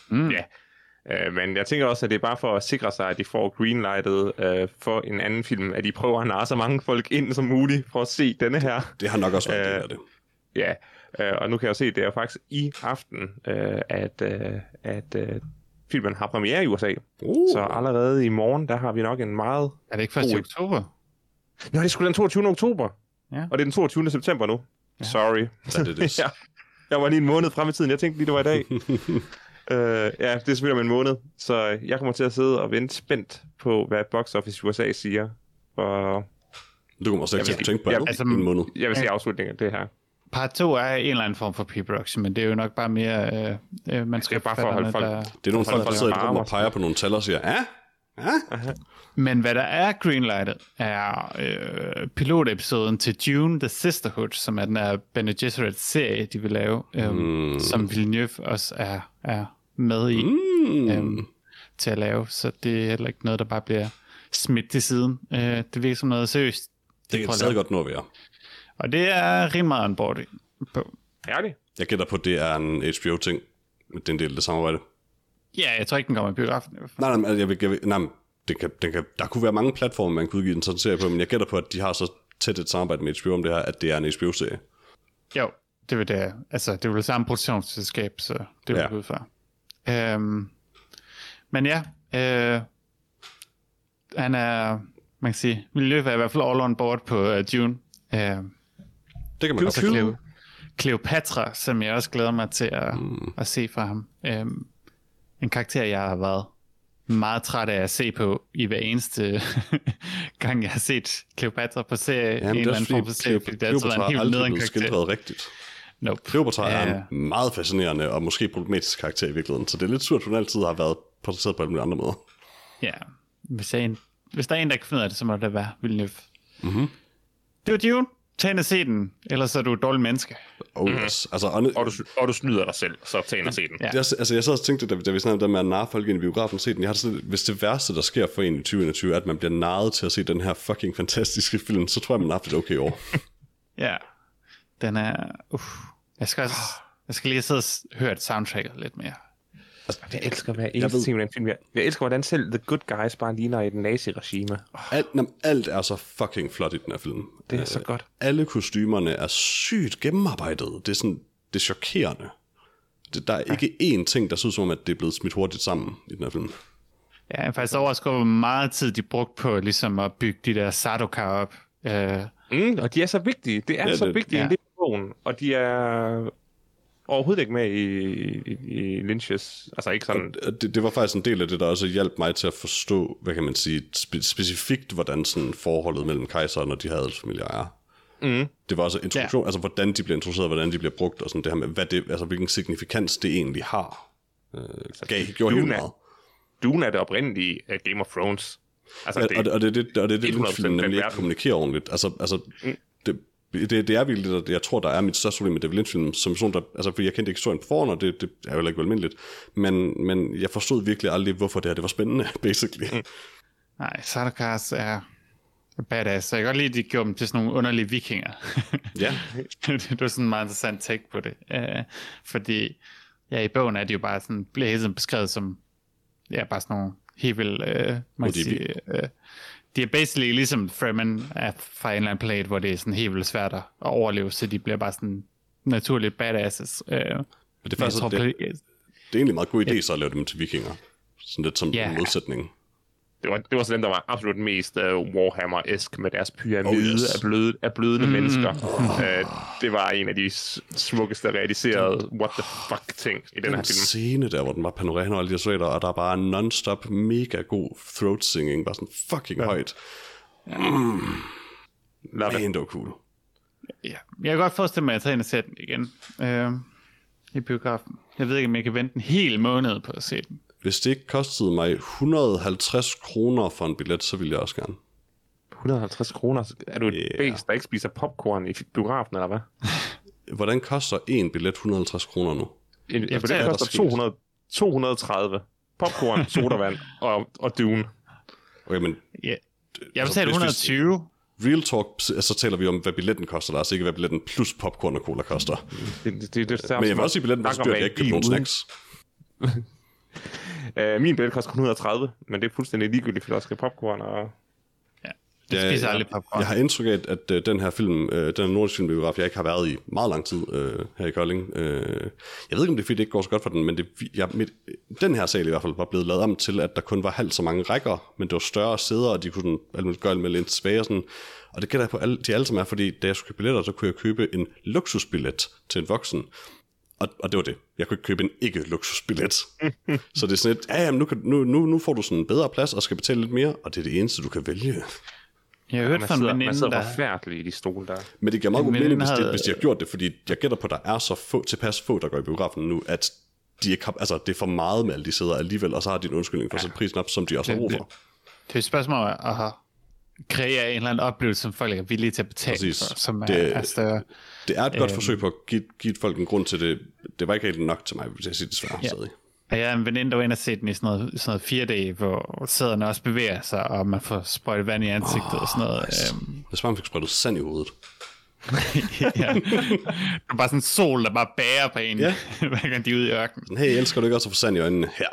S3: Mm. Ja. Øh, men jeg tænker også, at det er bare for at sikre sig, at de får greenlightet øh, for en anden film, at de prøver at narre så mange folk ind som muligt for at se denne her.
S2: Det har nok også været en del
S3: Øh,
S2: af det.
S3: Ja, øh, og nu kan jeg jo se, at det er faktisk i aften, øh, at, øh, at øh, filmen har premiere i USA.
S2: Uh.
S3: Så allerede i morgen, der har vi nok en meget...
S1: Er det ikke 1.
S3: Ui.
S1: oktober?
S3: Nå, det er sgu den 22. oktober.
S1: Ja.
S3: Og det er den 22. september nu. Ja. Sorry.
S2: That it is.
S3: ja. Jeg var lige en måned frem i tiden. Jeg tænkte lige, det var i dag. øh, ja, det er selvfølgelig om en måned. Så jeg kommer til at sidde og vente spændt på, hvad Box Office USA siger. For
S2: Du kommer også ikke til
S3: Jamen,
S2: at tænke på
S3: jamen,
S2: det
S1: altså,
S2: altså, en måned.
S3: jeg vil sige afslutningen af det her.
S1: Part 2 er en eller anden form for pre-production, men det er jo nok bare mere... Øh, øh, man skal
S3: bare for at holde folk-
S2: Det er nogle folk, der
S3: folk
S2: sidder i et rum
S3: larmer
S2: og peger på nogle tal og siger, ja, ja,
S1: Men hvad der er greenlightet, er øh, pilotepisoden til Dune The Sisterhood, som er den her Bene Gesserit-serie, de vil lave, øh, mm. som Villeneuve også er, er med i
S2: mm,
S1: øh, til at lave. Så det er heller ikke noget, der bare bliver smidt til siden. Øh, det virker som noget seriøst.
S2: det
S1: prøver
S2: kan
S1: at
S2: stadig
S1: lave.
S2: godt nå at være.
S1: Og det er rimelig meget on board på.
S3: Ærligt?
S2: Jeg gætter på, at det er en HBO-ting. men Det er en del af det samarbejde.
S1: Ja, jeg tror ikke, den kommer i biografen. i hvert fald.
S2: Nej, nej, men altså, jeg vil, jeg vil, nej men det kan, den kan, der kunne være mange platforme, man kunne udgive en sådan serie på, men jeg gætter på, at de har så tæt et samarbejde med HBO om det her, at det er en HBO-serie.
S1: Jo, det vil det. Altså, det er vel samme produktionsselskab, så det vil
S2: Ja.
S1: ja. ud fra. Øhm, men ja, øh, han er, man kan sige, Miljø er i hvert fald all on board på uh, Dune. Øh,
S2: Det kan man godt
S1: så Cleo, Cleopatra, som jeg også glæder mig til at, mm. at se fra ham. Øh, en karakter, jeg har været meget træt af at se på i hver eneste gang, jeg har set Cleopatra på serie.
S2: Jamen,
S1: en
S2: det er
S1: eller
S2: også
S1: anden form for serie,
S2: fordi,
S1: fordi det er altid
S2: Cleopatra
S1: været
S2: har
S1: en helt
S2: aldrig
S1: nederen
S2: blevet
S1: karakter.
S2: skildret rigtigt.
S1: Nope.
S2: Cleopatra
S1: Ja.
S2: er en meget fascinerende og måske problematisk karakter i virkeligheden, så det er lidt surt, at hun altid har været portrætteret på alle mulige andre måder.
S1: Ja, hvis, jeg er en, hvis der er en, der kan finde ud af det, så må det være Villeneuve. Mm-hmm. Det var Dune. Tag ind og se den, ellers er du et dårligt menneske.
S2: Oh, yes. altså, og,
S3: Og du, og du snyder dig selv, så tag ind og se den.
S1: Mhm. Ja.
S2: Ja. Jeg, altså, jeg sad og tænkte, da, vi- da vi snakkede om det med at narre folk ind i biografen, se den. Jeg har det sådan, lidt, hvis det værste, der sker for en i 2021, er, at man bliver narret til at se den her fucking fantastiske film, så tror jeg, man har haft et okay år.
S1: Ja, den er... Uh, jeg, skal også, jeg skal lige sidde og s- høre et soundtracket lidt mere.
S3: Jeg elsker hver eneste
S2: ved-
S3: ting i den film. Jeg, jeg elsker, hvordan selv The Good Guys bare ligner et naziregime. Oh,
S2: Alt, nem, alt er så fucking flot i den her film.
S3: det er så godt.
S2: Alle kostymerne er sygt gennemarbejdet. Det er sådan, det er chokerende. Det, der er ikke én ting, der ser ud som om, at det er blevet smidt hurtigt sammen i den her film.
S1: Ja, jeg er faktisk overrasket over, hvor meget tid de brugte på ligesom at bygge de der Sardaukar op. Uh,
S3: Mm, og de er så vigtige. Det er
S2: Ja,
S3: så
S2: det-
S3: vigtige
S1: ja.
S3: ja. en del af bogen. Og de er overhovedet ikke med i, i, i Lynch's. Altså ikke sådan...
S2: Og Det, det var faktisk en del af det, der også hjalp mig til at forstå, hvad kan man sige, spe, specifikt, hvordan sådan forholdet mellem kejseren og de her adelsfamilier er. Mm. Det var også introduktion, ja. altså hvordan de bliver introduceret, hvordan de bliver brugt, og sådan det her med, hvad det, altså, hvilken signifikans det egentlig har. Øh, gav, gjorde helt
S3: Dune er-
S2: meget.
S3: Dune er det oprindelige af Game of Thrones. Altså,
S2: Og, og, det, og det er det, og det, er det
S3: 100%
S2: Lynch-filmen
S3: den
S2: nemlig ikke
S3: verden.
S2: kommunikerer ordentligt. Altså, altså det, det, det er virkelig det, der- jeg tror, der er mit største problem med David Lynch-filmen, som sådan, der, altså, fordi jeg kendte ikke historien på forhånd, og det, det er jo heller ikke almindeligt, men, men jeg forstod virkelig aldrig, hvorfor det her det var spændende, basically. Mm.
S1: nej, Sardaukars er er badass. Så jeg kan godt lide, at de gjorde dem til sådan nogle underlige vikinger.
S2: Ja,
S1: det var sådan en meget interessant take på det. Øh, fordi ja, i bogen er de jo bare sådan, bliver hele tiden beskrevet som ja, bare sådan nogle helt vildt, øh, man kan
S2: de er
S1: sige, øh, de er basically ligesom Fremen er fra en eller anden planet, hvor det er sådan helt vildt svært at overleve, så de bliver bare sådan naturligt badasses. Øh, men
S2: men det er
S1: jeg
S2: faktisk
S1: tror,
S2: tror, det,
S1: pla-
S2: det er egentlig en meget god idé, så at lave dem til vikinger. Sådan lidt som
S1: Ja.
S2: yeah. modsætning.
S3: Det var, det var så dem, der var absolut mest uh, Warhammer-esk med deres pyramide oh,
S2: yes.
S3: yes. af, bløde, af blødende mm. mennesker. Uh, det var en af de s- smukkeste realiserede what the fuck ting i den her
S2: Den
S3: film.
S2: scene der, hvor den var panorama og alle de her soldater, og der er bare non-stop mega god throat singing, bare sådan fucking ja. højt.
S3: Love it.
S2: Man, det var cool.
S1: Ja. Jeg kan godt forestille mig, at jeg tager ind og ser den igen øh, i biografen. Jeg ved ikke, om jeg kan vente en hel måned på at se den.
S2: Hvis det ikke kostede mig 150 kroner for en billet, så ville jeg også gerne.
S3: 150 kroner. Er du et
S2: Ja.
S3: yeah. bæst, der ikke spiser popcorn i biografen, eller hvad?
S2: Hvordan koster en billet 150 kroner nu?
S3: En, jeg
S1: det er
S3: det koster
S1: ellers
S3: 200, 230. Popcorn, sodavand og, og dune.
S2: Okay, men
S1: Ja. Jeg
S2: Altså,
S1: betalte
S2: hvis vi-
S1: 120.
S2: real talk, altså, så taler vi om, hvad billetten koster, Lars, ikke hvad billetten plus popcorn og cola koster.
S3: Det, det, det, det,
S2: Men jeg vil også sige, at billetten var så dyr, at jeg ikke købte nogen snacks.
S3: Øh, min billet koster kun 130, men det er fuldstændig ligegyldigt, for der skal popcorn og...
S1: Jeg
S2: Ja,
S1: spiser
S2: jeg,
S1: aldrig popcorn.
S2: Jeg har indtryk af, at, at øh, den her film, øh, den her nordisk filmbiograf, jeg ikke har været i meget lang tid øh, her i Kolding. Øh, jeg ved ikke, om det er fordi, det ikke går så godt for den, men det, jeg, mit, den her sal i hvert fald var blevet lavet om til, at der kun var halvt så mange rækker, men det var større sæder, og de kunne sådan, alt muligt gøre med lidt svage og sådan. Og det gælder jeg på alle, de alle sammen er, fordi da jeg skulle købe billetter, så kunne jeg købe en luksusbillet til en voksen. Og, og det var det. Jeg kunne ikke købe en ikke-luksusbillet. så det er sådan et, ja, jamen, nu, kan, nu, nu, nu får du sådan en bedre plads og skal betale lidt mere, og det er det eneste, du kan vælge.
S1: Jeg har hørt
S3: Man
S1: fra en
S3: sidder, man
S1: veninde,
S3: sidder
S1: der...
S3: forfærdeligt i de stole der.
S2: Men det giver meget god
S1: Men den
S2: mening, hvis, de,
S1: havde-
S2: hvis de har gjort det, fordi jeg gætter på, at der er så få, tilpas få, der går i biografen nu, at de ikke har, altså, det er for meget med alle de sæder alligevel, og så har de en undskyldning for at sætte prisen op, som de også har brug for.
S1: Det er et spørgsmål om at have kreere en eller anden oplevelse, som folk er villige til at betale
S2: Præcis.
S1: for, som
S2: Det-
S1: det... er større.
S2: Det er et
S1: Øhm.
S2: godt forsøg på at give, give folk en grund til det. Det var ikke helt nok til mig, hvis jeg siger desværre. Ja.
S1: Ja.
S2: Stadig.
S1: Og jeg er en veninde, der var inde og se den i sådan noget, sådan noget fire dage, hvor sæderne også bevæger sig, og man får sprøjtet vand i ansigtet oh, og sådan noget. Nice. Øhm,
S2: Hvis man fik sprøjtet sand i hovedet.
S1: ja. Det er bare sådan en sol, der bare bærer på en,
S2: Ja.
S1: ja. hver gang de er ude i ørkenen.
S2: Men hey, elsker du ikke også at få sand i øjnene? Her.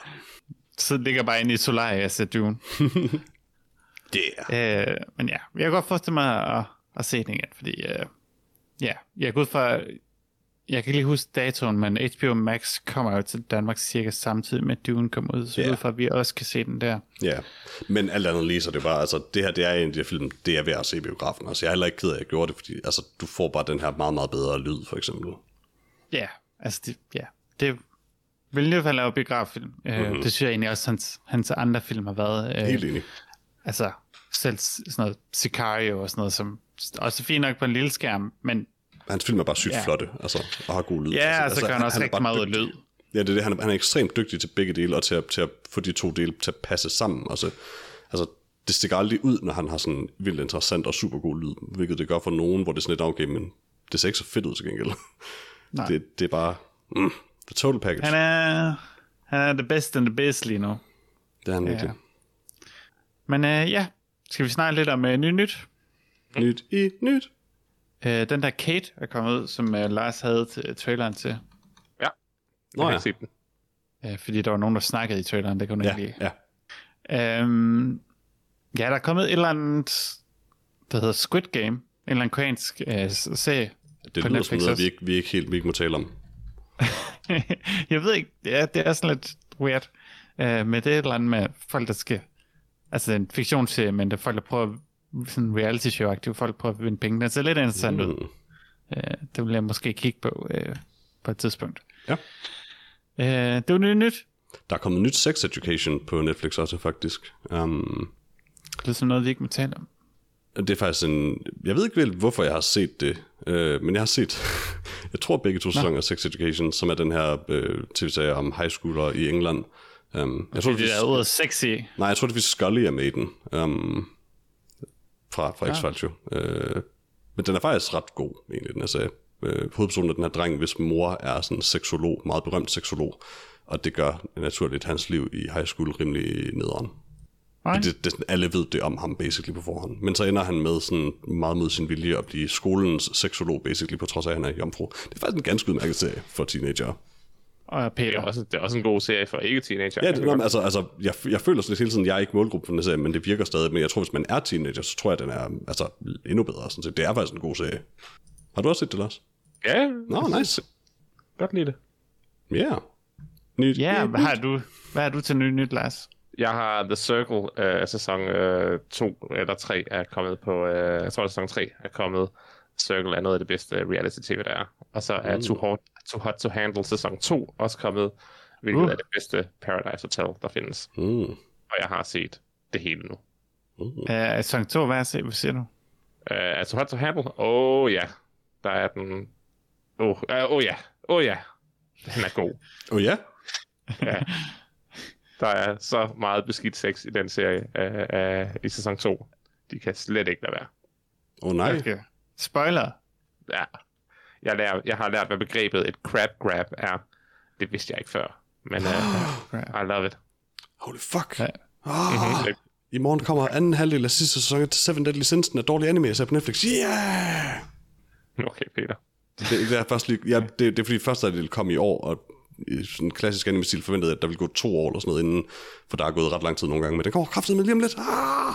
S1: Så ligger jeg bare inde i Solaris af Dune.
S2: Det yeah.
S1: Øh, men ja, jeg kan godt forestille mig at, at se den igen, fordi øh, ja, jeg går ud fra, jeg kan ikke lige huske datoen, men HBO Max kommer jo til Danmark cirka samtidig med at Dune kommer ud, så
S2: Ja.
S1: yeah. ud fra, at vi også kan se den der.
S2: Ja, men alt andet lige, så det er bare, altså, det her, det er en af de her film, det er ved at se i biografen. Altså, jeg er heller ikke ked af, at jeg gjorde det, fordi altså, du får bare den her meget, meget bedre lyd, for eksempel.
S1: Ja, yeah, altså det, ja, det vil i hvert fald lave biograffilm. Mm-hmm. Øh, det synes jeg egentlig også, hans, hans andre film har været. Øh,
S2: Mhm. Helt enig.
S1: altså selv s- sådan noget Sicario og sådan noget, som også er fint nok på en lille skærm, men
S2: Hans film er bare sygt ja.
S1: Ja.
S2: flotte, altså, og har god lyd.
S1: ja, altså, altså, så gør han også
S2: er
S1: rigtig
S2: bare
S1: meget ud af
S2: dygtig.
S1: lyd.
S2: Ja, det er det. Han er, han er ekstremt dygtig til begge dele, og til at, til at få de to dele til at passe sammen. Altså, altså, det stikker aldrig ud, når han har sådan vildt interessant og super god lyd, hvilket det gør for nogen, hvor det er sådan lidt "Ah, okay, men det ser ikke så fedt ud til gengæld.
S1: Nej.
S2: Det, det er bare mm, the total package.
S1: Han er, han er the best and the best lige nu.
S2: det er han virkelig.
S1: Men øh, ja, skal vi snakke lidt om øh, nyt nyt.
S2: Ja. Nyt i nyt.
S1: Øh, den der Kate er kommet ud, som øh, Lars havde til, traileren til.
S3: Jeg
S2: Nå
S3: har
S2: ja.
S3: ikke set den.
S1: Øh, fordi der var nogen, der snakkede i traileren, det kunne jeg
S2: Ja,
S1: ikke lide.
S2: ja.
S1: Øhm, ja, der er kommet et eller andet, der hedder Squid Game. En eller anden koreansk øh, s- serie.
S2: Det
S1: På
S2: lyder
S1: Netflix
S2: som noget,
S1: også.
S2: vi ikke, vi ikke helt vi ikke må tale om.
S1: jeg ved ikke, det er, det er sådan lidt weird. Øh, men det er et eller andet med folk, der skal... Altså, det er en fiktionsserie, men det er folk, der prøver... at- Sådan reality show aktive folk prøver at vinde penge. Den ser lidt interessant ud.
S2: Mm.
S1: Øh, det vil jeg måske kigge på øh, på et tidspunkt.
S2: Ja.
S1: Øh, det var nyt nyt.
S2: Der er kommet nyt sex education på Netflix også, faktisk. Um,
S1: Det er sådan noget, vi ikke må tale om.
S2: Det er faktisk en... Jeg ved ikke vel, hvorfor jeg har set det, øh, men jeg har set... jeg tror begge to sæsoner af Sex Education, som er den her øh, tv-serie om high schooler i England. Um, jeg tror, det,
S1: Det der ordet sexy.
S2: Nej, jeg tror, det er Scully er med i den. Um, fra fra X-Files jo. Øh, men den er faktisk ret god, egentlig, den her serie. Øh, hovedpersonen er den her dreng, hvis mor er sådan en seksolog, meget berømt seksolog, og det gør naturligt hans liv i high school rimelig nederen.
S1: Nej.
S2: Men det, det, er sådan, alle ved det om ham basically på forhånd. Men så ender han med sådan meget mod sin vilje at blive skolens seksolog basically, på trods af, at han er jomfru. Det er faktisk en ganske udmærket serie for teenager.
S1: Og
S3: Det
S1: Peter
S3: er, også, det er også en god serie for ikke-teenager.
S2: Ja, det, nå, men altså, altså jeg, jeg føler sådan lidt hele tiden, jeg er ikke målgruppen for den her serie, men det virker stadig. Men jeg tror, hvis man er teenager, så tror jeg, den er altså, endnu bedre. Sådan set. Det er faktisk en god serie. Har du også set det, Lars?
S3: ja
S2: Nå, no, nice.
S3: godt lide det.
S2: Ja. Yeah. Nyt.
S1: Ja,
S2: nyt,
S1: hvad har du, hvad har du til nyt nyt, Lars?
S3: Jeg har The Circle, øh, sæson 2 øh, to eller 3 er kommet på, øh, jeg tror det er sæson 3 er kommet. Circle er noget af det bedste reality-tv, der er. Og så er
S2: Mm.
S3: Too, Hot, Too Hot to Handle sæson 2 også kommet, hvilket
S1: Uh.
S3: er det bedste Paradise Hotel, der findes.
S2: Mm.
S3: Og jeg har set det hele nu.
S2: Mm.
S1: Øh, sæson 2, hvad, se, hvad siger du?
S3: Uh, altså Hot to Handle? Åh oh, ja. Der er den... Åh oh, uh, oh, ja. Åh oh, ja. Den er god.
S2: Oh ja?
S3: ja. Der er så meget beskidt sex i den serie uh, uh, i sæson 2. De kan slet ikke lade være.
S2: Åh oh, nej.
S1: Okay. Spoiler.
S3: Ja. Jeg, lærer, jeg har lært, hvad begrebet et crab grab er. Det vidste jeg ikke før. Men uh, I love it.
S2: Holy fuck.
S1: Ja.
S2: Ah, I morgen kommer anden halvdel af sidste sæson af Seven Deadly Sins, den er dårlig anime, jeg ser på Netflix. Yeah!
S3: Okay, Peter.
S2: Det er, ikke det, jeg først lige, ja, det, det er fordi første del kom i år, og i sådan en klassisk anime-stil forventede, jeg, at der ville gå to år eller sådan noget inden, for der er gået ret lang tid nogle gange, men den kommer kraftigt med lige om lidt. Ah!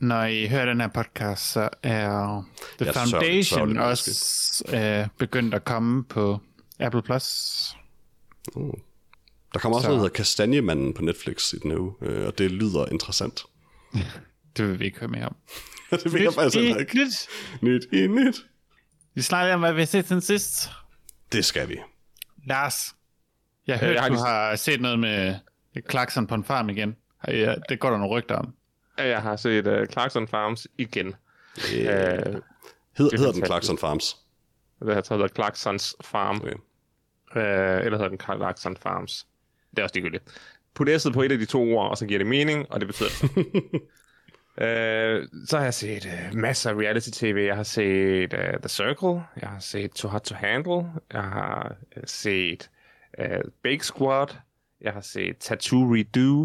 S1: Når I hører den her podcast, så er The
S2: Jeg
S1: jeg
S2: sørger-
S1: Foundation
S2: sørger det
S1: sørger,
S2: meget
S1: også øh, begyndt at komme på Apple+. Plus.
S2: Der kommer også
S1: Så-
S2: noget, der hedder Kastanjemanden på Netflix i den her uge, øh, og det lyder interessant.
S1: Det vil vi ikke høre mere om.
S2: det ved jeg faktisk heller ikke.
S1: nyt.
S2: Nyt i nyt.
S1: Vi snakker om, hvad vi har set siden sidst.
S2: Det skal vi.
S1: Lars, jeg
S2: Øh,
S1: hørte, jeg
S3: jeg
S1: har
S3: har
S1: du
S3: lige-
S1: har set noget med klakson på en farm igen. Har I- Ja, det går der nogle rygter om.
S3: Jeg har set uh, Clarkson Farms igen.
S2: Yeah.
S3: Uh,
S2: Hed, hedder den
S3: fantastisk. Mm.
S2: Clarkson Farms?
S3: det har taget Clarksons Farm.
S2: Okay.
S3: Øh, eller hedder den Karl Laxon Farms. Det er også ligegyldigt. Put S'et på et af de to ord, og så giver det mening, og det betyder det. øh, så har jeg set øh, masser af reality-tv. Jeg har set øh, The Circle. Jeg har set Too Hot to Handle. Jeg har øh, set øh, Bake Squad. Jeg har set Tattoo Redo.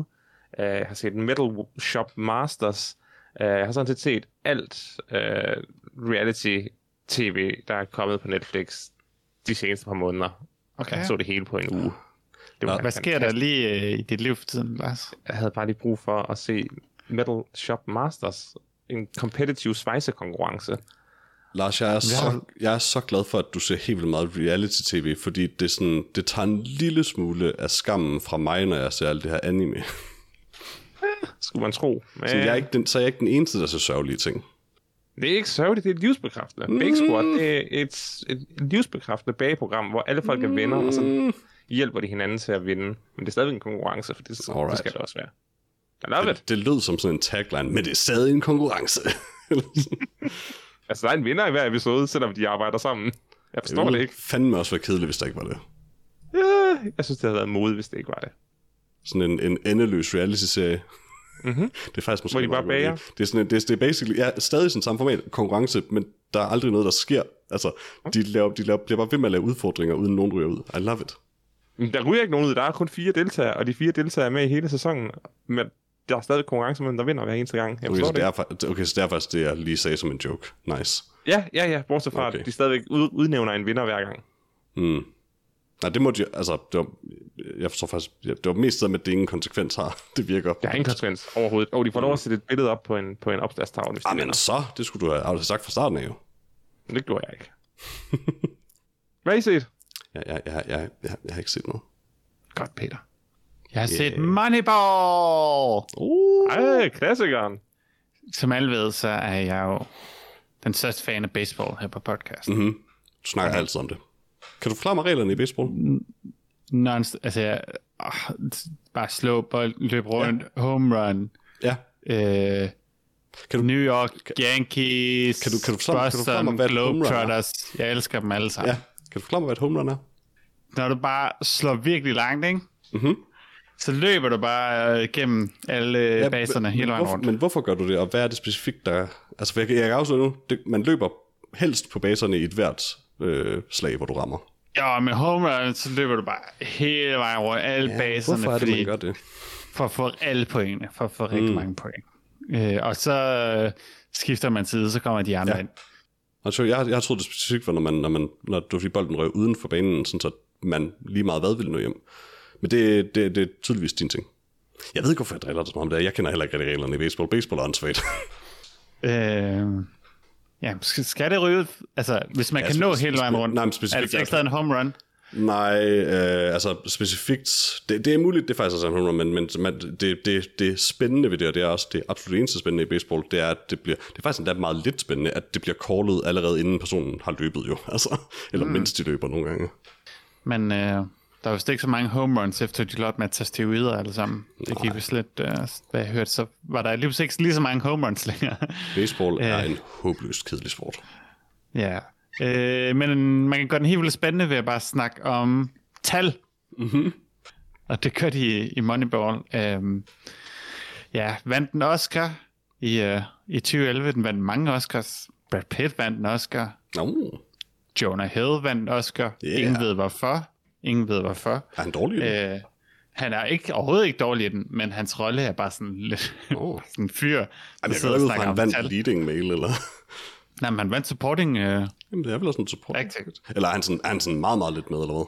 S3: Øh, jeg har set Metal Shop Masters. Øh, jeg har sådan set set alt øh, reality-tv, der er kommet på Netflix de seneste par måneder. Okay. Jeg så det hele på en uge. Det var
S1: Altså, Hvad sker der lige øh, i dit liv for tiden, Lars?
S3: Jeg havde bare lige brug for at se Metal Shop Masters, en competitive svejsekonkurrence.
S2: Lars, jeg er, så, jeg er så glad for, at du ser helt vildt meget reality-tv, fordi det, er sådan, det tager en lille smule af skammen fra mig, når jeg ser alt det her anime.
S3: Skulle man tro. Men
S2: Så jeg er ikke den, så er jeg ikke den eneste, der ser sørgelige ting.
S3: Det er ikke sørgeligt, det er livsbekræftende. Mm. Big Squad det er et, et livsbekræftende bageprogram, hvor alle folk er venner, og
S2: Mm.
S3: så hjælper de hinanden til at vinde. Men det er stadigvæk en konkurrence, for det, det
S2: Alright.
S3: skal det også være. I love it.
S2: Det, det lød som sådan en tagline, men det er stadig en konkurrence.
S3: Altså, der er en vinder i hver episode, selvom de arbejder sammen. Jeg forstår
S2: Øhm.
S3: det ikke.
S2: fandme også være kedeligt, hvis der ikke var det.
S3: Ja, Jeg synes, det havde været modigt, hvis det ikke var det.
S2: Sådan en, en endeløs reality-serie.
S3: Mhm.
S2: Det er faktisk måske...
S3: Hvor de
S2: en meget
S3: bare
S2: god idé.
S3: bager.
S2: Det er, sådan, en- det, er, det er basically, ja, stadig sådan samme format, konkurrence, men der er aldrig noget, der sker. Altså, de, laver, de laver, bliver bare ved med at lave udfordringer, uden nogen ryger ud. I love it.
S3: Men Der ryger ikke nogen ud. Der er kun fire deltagere, og de fire deltagere er med i hele sæsonen. Men der er stadig konkurrence mellem, der vinder hver eneste gang. Jeg
S2: Okay, så
S3: forstår
S2: det
S3: det.
S2: er, fa- okay, så det er faktisk det, jeg lige sagde som en joke. Nice.
S3: Ja, ja, ja. Bortset fra,
S2: Okay.
S3: at de stadigvæk ud, udnævner en vinder hver gang.
S2: Mm. Nej, det måtte jeg, altså, det var, jeg forstår faktisk, ja, det var mest det med, at det ingen konsekvens har. Det virker.
S3: Der er ingen konsekvens overhovedet. Og de får lov at sætte et billede op på en, på en opslagstavle, hvis de
S2: Jamen
S3: vinder.
S2: Ah, så, det skulle du have have sagt fra starten af jo.
S3: Men det gjorde jeg ikke. Hvad har I set?
S2: Jeg, jeg, jeg, jeg, jeg, jeg har ikke set noget.
S3: Godt, Peter.
S1: Jeg har set Moneyball!
S2: Uh.
S3: Ej, klassikeren.
S1: Som alle ved, så er jeg jo den største fan af baseball her på podcasten. Mm.
S2: Du snakker altid om det. Kan du forklare mig reglerne i baseball?
S1: Non, altså, jeg, åh, bare slå bold, løb rundt, ja. home run,
S2: Ja.
S1: øh,
S2: Kan
S1: kan
S2: du-
S1: du, New York Yankees,
S2: Kan du- kan du forklare- kan du forklare
S1: Boston
S2: mig, hvad et home run er?
S1: Globetrotters. Jeg elsker dem alle sammen.
S2: ja. Kan du forklare mig, hvad et home run er?
S1: når du bare slår virkelig langt, ikke? Mm-hmm. Så løber du bare øh, gennem alle ja, baserne
S2: men,
S1: hele
S2: men
S1: vejen
S2: hvorfor,
S1: rundt.
S2: Men hvorfor gør du det, og hvad er det specifikt, der er? Altså, for jeg, kan- jeg kan afsløre nu, det, man løber helst på baserne i et hvert øh, slag, hvor du rammer.
S1: Ja, med home run, så løber du bare hele vejen rundt alle ja, baserne,
S2: Hvorfor er det,
S1: fordi,
S2: man gør Mm. det?
S1: for at få alle pointene, for at få rigtig mange point. Øh, og så øh, skifter man side, så kommer de andre ja. ind.
S2: Altså, jeg, jeg troede, det specifikt var, når, man, når, man, når du fik bolden røg uden for banen, sådan så man lige meget hvad ville nå hjem. Men det, det, det er tydeligvis din ting. Jeg ved ikke, hvorfor jeg driller dig så meget om det. her. Jeg kender heller ikke rigtig reglerne i baseball. Baseball er åndssvagt.
S1: Øh, ja, skal, skal det ryge? ud? Altså, hvis man
S2: Ja,
S1: kan
S2: spe-
S1: nå
S2: spe-
S1: hele vejen
S2: spe-
S1: rundt.
S2: nej, men specifikt
S1: er det
S2: også.
S1: ikke stadig en home run?
S2: Nej, øh, altså specifikt, det, det er muligt, det faktisk er Sam Homer, men, men man, det, det, det spændende ved det, og det er også det absolut eneste spændende i baseball, det er, at det bliver, det er faktisk endda meget lidt spændende, at det bliver callet allerede inden personen har løbet jo, altså, eller mm. mens de løber nogle gange.
S1: Men øh, der er vist ikke så mange home runs, efter de lot med at tage steroider alle sammen. Det gik vist lidt, øh, hvad jeg hørte, så var der lige pludselig ikke lige så mange home runs længere.
S2: Baseball er en håbløst kedelig sport.
S1: ja. Øh, men man kan gøre den helt vildt spændende ved at bare snakke om tal.
S2: Mm-hmm.
S1: Og det gør de i, i Moneyball. Øhm, ja, vandt en Oscar i, øh, i 2011. Den vandt mange Oscars. Brad Pitt vandt en Oscar.
S2: Nå,
S1: Jonah Hill vandt en Oscar.
S2: Yeah.
S1: Yeah. Ingen ved hvorfor. Ingen ved hvorfor.
S2: er han dårlig? Øh.
S1: Øh, han er ikke overhovedet ikke dårlig i den, men hans rolle er bare sådan lidt
S2: Oh.
S1: sådan en fyr, der
S2: Jamen, jeg
S1: sidder
S2: går
S1: og
S2: ud fra,
S1: snakker
S2: han
S1: om
S2: vandt
S1: tal.
S2: leading mail, eller?
S1: Nej, men han vandt supporting. Øh,
S2: Jamen, det er vel også en support.
S1: Acting.
S2: Eller er han, sådan, er han sådan meget, meget lidt med, eller hvad?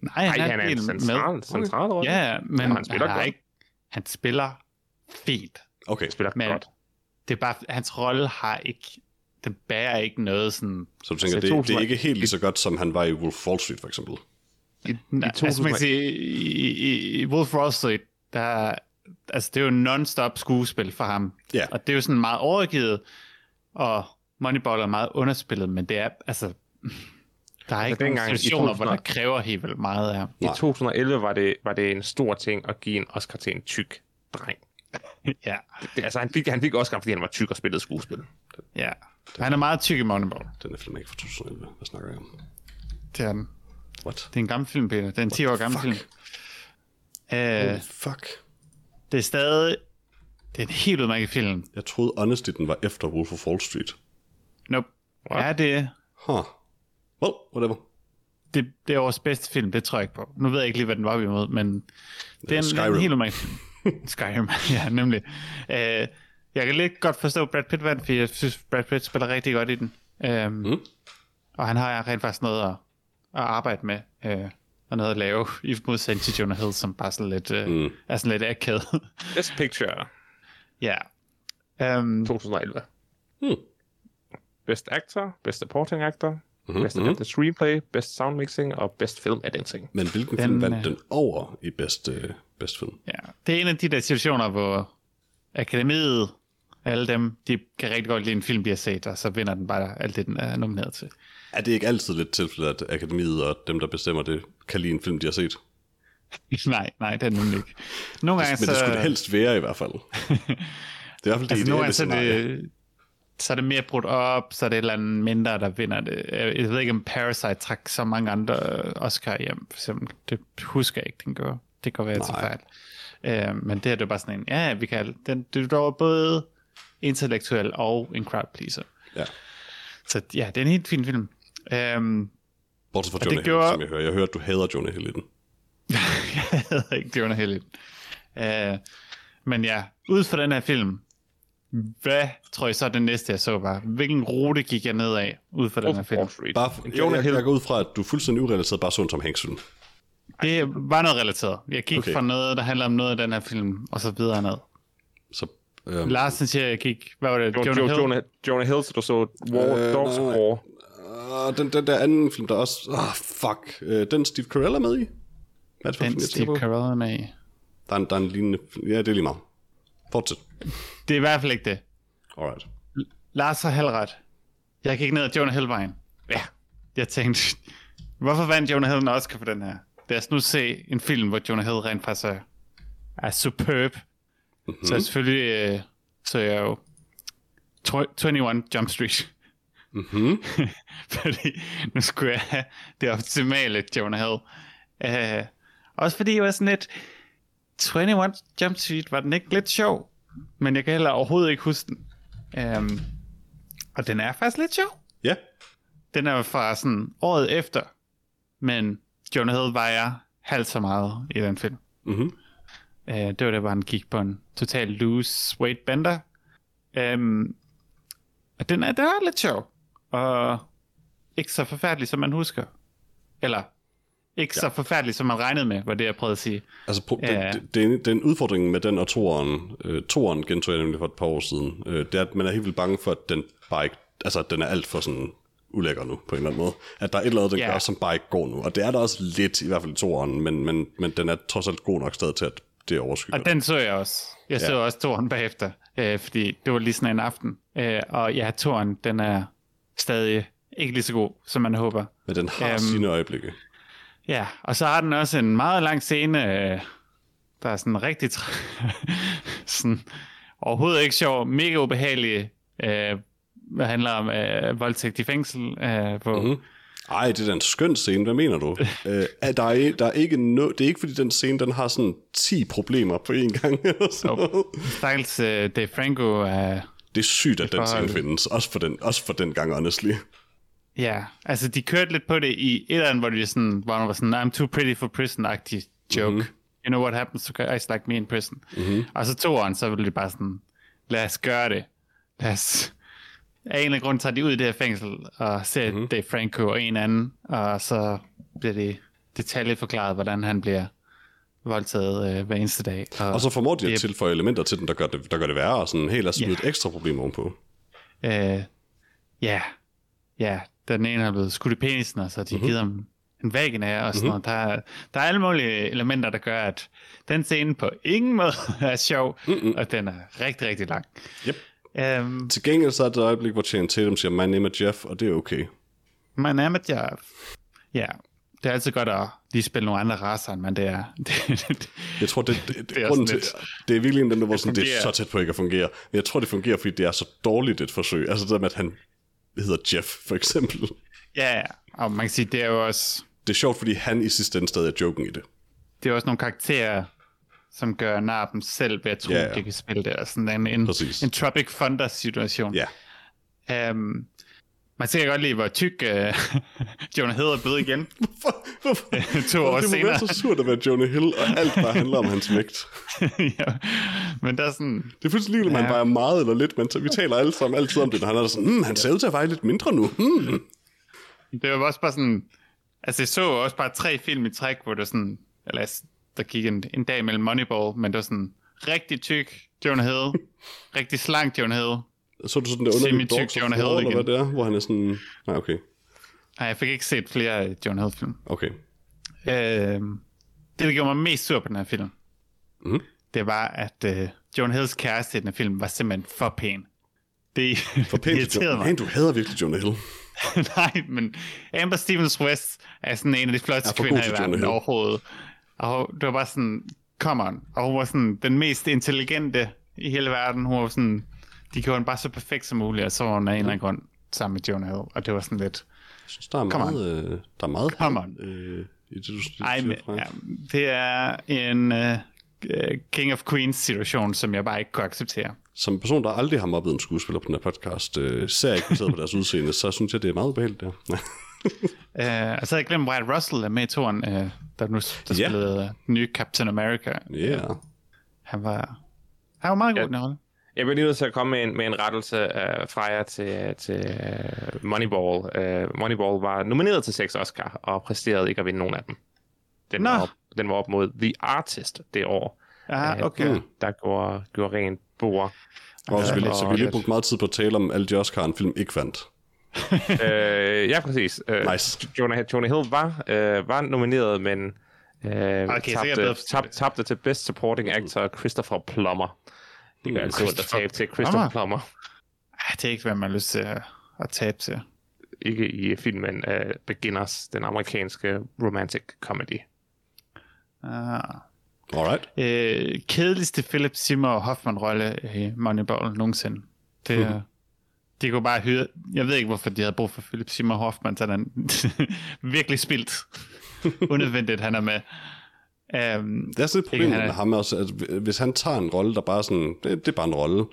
S1: nej, han,
S3: Nej, han er
S1: ikke
S3: en
S1: helt
S3: central, central rolle.
S1: Ja, men
S3: han
S1: han
S3: spiller
S1: spiller, han, er
S3: godt.
S1: ikke, han spiller fint.
S2: Okay,
S3: spiller
S1: Men
S3: godt.
S1: det er bare, hans rolle har ikke, den bærer ikke noget sådan...
S2: så du tænker,
S3: Altså,
S2: det, det er
S3: 2000
S2: ikke helt lige så godt, som han var i Wolf of Wall Street, for eksempel.
S1: Nej, altså, man
S3: 2000
S1: kan sige, i, i, i Wolf of Wall Street, der, altså, det er jo non-stop skuespil for ham.
S2: Ja.
S1: Og det er jo sådan meget overgivet, og Moneyball er meget underspillet, men det er, altså... Der er ikke
S3: dengang
S1: nogen
S3: i
S1: situationer, hvor der
S3: 2000'erne.
S1: kræver helt vildt meget af ham.
S3: I
S2: Nej.
S3: 2011 var det, var det en stor ting at give en Oscar til en tyk dreng.
S1: Ja,
S3: Det, altså, han fik, han fik Oscar, fordi han var tyk og spillede skuespil.
S1: ja. Han er meget tyk i Moneyball.
S2: Den er film ikke fra 2011. Hvad snakker jeg om?
S1: Det er den.
S2: What?
S1: Det er en gammel film, Peter. Det er en 10 år gammel film. Øh,
S2: Holy fuck.
S1: det er stadig... Det er en helt udmærket film.
S2: Jeg troede honestly, den var efter Wolf of Wall Street.
S1: Nope.
S3: What?
S1: Er det...
S2: Huh. Well, whatever.
S1: Det, det er årets bedste film, det tror jeg ikke på. Nu ved jeg ikke lige, hvad den var op imod, men det er en, det er
S2: Skyrim.
S1: en helt udmærket film. Skyrim, ja, nemlig. Øh, jeg kan lidt godt forstå, at Brad Pitt vandt, fordi jeg synes, Brad Pitt spiller rigtig godt i den. Øhm, mm. Og han har rent faktisk noget at, at arbejde med, øh, og noget at lave, i modsætning til Jonah Hill, som bare sådan lidt, øh, mm. er sådan lidt akavet.
S3: Best Picture
S1: ja. Øhm,
S3: 2011.
S2: Hmm.
S3: Best Actor, Best Supporting Actor, mm-hmm. Best Adapted Screenplay, Best Sound Mixing og Best Film Editing.
S2: Men hvilken den, film
S1: Den,
S2: vandt
S1: øh,
S2: den over i bedste, øh, bedste film?
S1: Ja, det er en af de der situationer, hvor akademiet, alle dem, de kan rigtig godt lide en film, de har set, og så vinder den bare alt det, den er nomineret til.
S2: Er det ikke altid lidt tilfældet, at akademiet og dem, der bestemmer det, kan lide en film, de har set?
S1: nej, nej, det er den nemlig ikke. Nogle gange
S2: Men
S1: så...
S2: det skulle det helst være i hvert fald. Det Altså- er øh, i hvert fald det
S1: altså, nogle
S2: ideelle
S1: gange, så,
S2: scenarie.
S1: er det, så er det mere brudt op, så er det et eller andet mindre, der vinder det. Jeg jeg ved ikke, om Parasite trak så mange andre øh, Oscar hjem, for eksempel. Det husker jeg ikke, den gjorde. Det kan være til
S2: Nej.
S1: fejl. Øh, men det her, det er bare sådan en, ja, vi kan... Den, det var både intellektuel og en crowd pleaser.
S2: Ja.
S1: Så ja, det er en helt fin film. Øhm,
S2: Bortset fra
S1: det
S2: Jonah Hill,
S1: gjorde-
S2: som jeg hører. Jeg hører, at du hader Jonah Hill i den.
S1: jeg havde ikke Jonah Hill i den. øh, Men ja, ud fra den her film, hvad tror I så det næste, jeg så var? Hvilken rute gik jeg ned af ud fra den her film?
S3: Wall Street.
S2: Bare,
S3: Jonah
S2: jeg, jeg,
S3: Hill.
S2: jeg, går ud fra, at du er fuldstændig urealiseret bare så en Tom Hanks film.
S1: Det var noget relateret. Jeg gik
S2: Okay.
S1: okay. fra noget, der handler om noget af den her film, og så videre ned.
S2: Så, øhm,
S1: Larsen siger, jeg gik... Hvad var det?
S3: Jonah,
S1: Jonah,
S3: Jonah,
S1: Hill?
S3: Jonah, Jonah Hill, så du så War,
S2: Øh,
S3: Dogs
S2: nej.
S3: War.
S2: Og Ah, den, den der anden film, der også... Ah, oh, fuck. Øh, den Steve Carell er med i? Hvad er det for en
S1: Den
S2: film, jeg tænker
S1: Steve
S2: på?
S1: Carell er med i.
S2: Der er, en, der er en lignende... film. Ja, det er lige meget. Fortsæt.
S1: Det er i hvert fald ikke det.
S2: Alright.
S1: Lars har halvret. Jeg gik ned ad Jonah Hill-vejen.
S3: Ja.
S1: jeg tænkte, hvorfor vandt Jonah Hill en Oscar for den her? Lad os nu se en film, hvor Jonah Hill rent faktisk er, er superb. Mm-hmm. Så selvfølgelig øh, så jeg jo tw- 21 Jump Street.
S2: Mhm.
S1: Mm-hmm. fordi nu skulle jeg have det optimale Jonah Hill. Uh, også fordi jeg var sådan lidt, 21 Jump Street var den ikke lidt sjov, men jeg kan heller overhovedet ikke huske den. Um, og den er faktisk lidt sjov
S2: Ja.
S1: den er jo fra sådan året efter, men Jonah Hill vejer halvt så meget i den film.
S2: Mhm.
S1: Øh, det var der, hvor han gik på en total loose weight bender. Øhm, og den er, den er lidt sjov, og ikke så forfærdelig, som man husker. Eller ikke ja. så forfærdelig, som man regnede med, var det, jeg prøvede at sige.
S2: Altså, pro-
S1: Ja.
S2: det, det, det, er en- det er en udfordring med den og toeren. Øh, toeren gentog jeg nemlig for et par år siden. Øh, det er, at man er helt vildt bange for, at den bare ikke... Altså, at den er alt for sådan ulækker nu, på en eller anden måde. At der er et eller andet, den
S1: Ja.
S2: yeah. gør, som bare ikke går nu. Og det er der også lidt, i hvert fald i toeren, men, men, men den er trods alt god nok stadig til, at det er overskygget.
S1: Og den så jeg også. Jeg så
S2: Ja.
S1: også toren bagefter, øh, fordi det var lige sådan en aften. Øh, og ja, toren, den er stadig ikke lige så god, som man håber.
S2: Men den har
S1: Øhm.
S2: sine øjeblikke.
S1: Ja, og så har den også en meget lang scene, øh, der er sådan rigtig tr- sådan, overhovedet ikke sjov, mega ubehagelig, øh, hvad handler om øh, voldtægt i fængsel øh, på mm-hmm.
S2: Ej, det er da en skøn scene, hvad mener du? Øh, er der, er, der er ikke no, det er ikke fordi den scene, den har sådan 10 problemer på én gang. Eller sådan noget.
S1: Stakkels øh, Dave Franco. Øh,
S2: Det er sygt, at den scene
S1: forholdet.
S2: findes, også for den, også for den gang, honestly.
S1: ja, altså de kørte lidt på det i et eller andet, hvor de sådan, hvor han var sådan, I'm too pretty for prison-agtig joke. Mm-hmm. You know what happens to guys like me in prison. Mm-hmm. Og så toeren, så ville de bare sådan, lad os gøre det. Lad os... Af en eller anden grund tager de ud i det her fængsel og ser mm-hmm. Dave Franco og en anden, og så bliver det detaljeforklaret, hvordan han bliver voldtaget øh, hver eneste dag.
S2: Og så formår de at
S1: Yep.
S2: tilføje elementer til den, der gør det, der gør det værre, og sådan helt at smide
S1: Ja.
S2: et ekstra problem ovenpå.
S1: Øh, ja, ja, den ene har blevet skudt i penisen, og så har de mm-hmm. givet ham en vagina og sådan mm-hmm. noget. Der, er- der er alle mulige elementer, der gør, at den scene på ingen måde er sjov, mm-hmm. og den er rigtig, rigtig lang.
S2: Yep.
S1: Øhm,
S2: Til gengæld så er det et øjeblik, hvor Channing Tatum siger, my name is Jeff, og det er okay.
S1: my name is Jeff. Ja, det er altid godt at lige spille nogle andre racer, end man det er. Det-
S2: Jeg tror, det, det, det,
S1: er
S2: er, grunden
S1: sådan
S2: til,
S1: lidt-
S2: det er virkelig en af dem, der hvor sådan, det er så
S1: fungerer.
S2: tæt på ikke at fungere. Men jeg tror, det fungerer, fordi det er så dårligt et forsøg. Altså det der med, at han hedder Jeff, for eksempel.
S1: ja, ja, og man kan sige, det er jo også,
S2: Det er sjovt, fordi han i sidste ende stadig er joken i det.
S1: det er også nogle karakterer, som gør nar dem selv ved at tro,
S2: Ja,
S1: yeah,
S2: ja.
S1: yeah. de kan spille det. Og sådan en, en,
S2: Præcis.
S1: en Tropic Thunder-situation.
S2: Ja,
S1: Um, man ser godt lige, hvor tyk uh, Jonah Hill er blevet igen.
S2: Hvorfor? Hvorfor?
S1: To år
S2: det Det
S1: senere.
S2: så surt at være Jonah Hill, og alt bare handler om hans vægt.
S1: ja. Men der er sådan,
S2: Det er fuldstændig ligegyldigt, om han
S1: Ja.
S2: vejer meget eller lidt, men så- vi taler alle sammen altid om det, når han er sådan, mm, han ser ud til at veje lidt mindre nu. Mm.
S1: det var også bare sådan, altså jeg så også bare tre film i træk, hvor der sådan, eller altså, der gik en, en dag mellem Moneyball, men der var sådan rigtig tyk Jonah Hill, rigtig slank Jonah Hill.
S2: Så er du sådan det underlige
S1: Semi-tyk
S2: Dogs of
S1: Jonah
S2: War,
S1: Hill
S2: eller hvad
S1: igen.
S2: det er, hvor han er sådan, nej, okay,
S1: Nej, jeg fik ikke set flere øh, Jonah Hill-film.
S2: okay.
S1: Øhm, det, der gjorde mig mest sur på den her film,
S2: Mhm.
S1: det var, at øh, John Hills kæreste i den her film var simpelthen for pæn. Det,
S2: For pænt,
S1: det
S2: til Jonah-
S1: irriterede mig.
S2: Man, du hader virkelig Jonah Hill.
S1: Nej, men Amber Stevens West er sådan en af de flotteste
S2: for god
S1: kvinder
S2: til
S1: i
S2: Jonah
S1: verden
S2: Hill.
S1: overhovedet. Og det var bare sådan, come on. Og hun var sådan den mest intelligente i hele verden. Hun var sådan, de gjorde hende bare så perfekt som muligt, og så var hun af en eller anden grund sammen med Jonah Hill. Og det var sådan lidt,
S2: Jeg synes, der er
S1: Come
S2: meget, øh, der er meget
S1: Come on.
S2: øh, i det, du siger.
S1: ej, men,
S2: Frank.
S1: ja, det er en øh, øh, King of Queens situation, som jeg bare ikke kunne acceptere.
S2: Som person, der aldrig har mobbet en skuespiller på den her podcast, øh, ser ikke baseret på deres udseende, så synes jeg, det er meget ubehageligt der.
S1: Øh, og så havde jeg glemt, Wyatt Russell er med i toren, øh, der nu der
S2: Ja.
S1: spillede øh, den nye Captain America.
S2: yeah.
S1: Han var, han var meget god i den rolle.
S3: Jeg bliver lige nødt til at komme med en, med en rettelse uh, fra jer til, til uh, Moneyball. Uh, Moneyball var nomineret til seks Oscar, og præsterede ikke at vinde nogen af dem. Den,
S1: Nå.
S3: var op, den var op mod The Artist det år,
S1: Ah,
S3: øh,
S1: okay.
S3: der gjorde, gjorde rent bord.
S2: Og så vi,
S3: Ja,
S2: så
S3: og
S2: vi lige
S3: lidt.
S2: brugt meget tid på at tale om alle de Oscar, en film ikke vandt.
S3: øh, ja, præcis. Øh,
S2: Nice.
S3: Jonah, Jonah Hill var, øh, var nomineret, men øh,
S1: så kan jeg Ah, bedre
S3: tabte,
S1: forstå
S3: tab, tabte til Best Supporting Actor Christopher Plummer. Det gør altid ondt at
S1: Christopher
S3: tabe til Christopher
S1: Plummer?
S3: Plummer.
S1: Ah, det er ikke, hvad man har lyst til at, at tabe til.
S3: Ikke i filmen uh, Beginners, den amerikanske romantic comedy.
S1: Ah.
S2: Hmm. Alright.
S1: Øh, kedeligste Philip Seymour Hoffman-rolle i Moneyball nogensinde. Det, mm. De kunne bare hyre... Jeg ved ikke, hvorfor de havde brug for Philip Seymour Hoffman, så er den virkelig spildt. Unødvendigt, han er med. Um,
S2: Det er sådan et problem
S1: han er-
S2: med ham også, at hvis han tager en rolle, der bare er sådan, det, det er bare en rolle,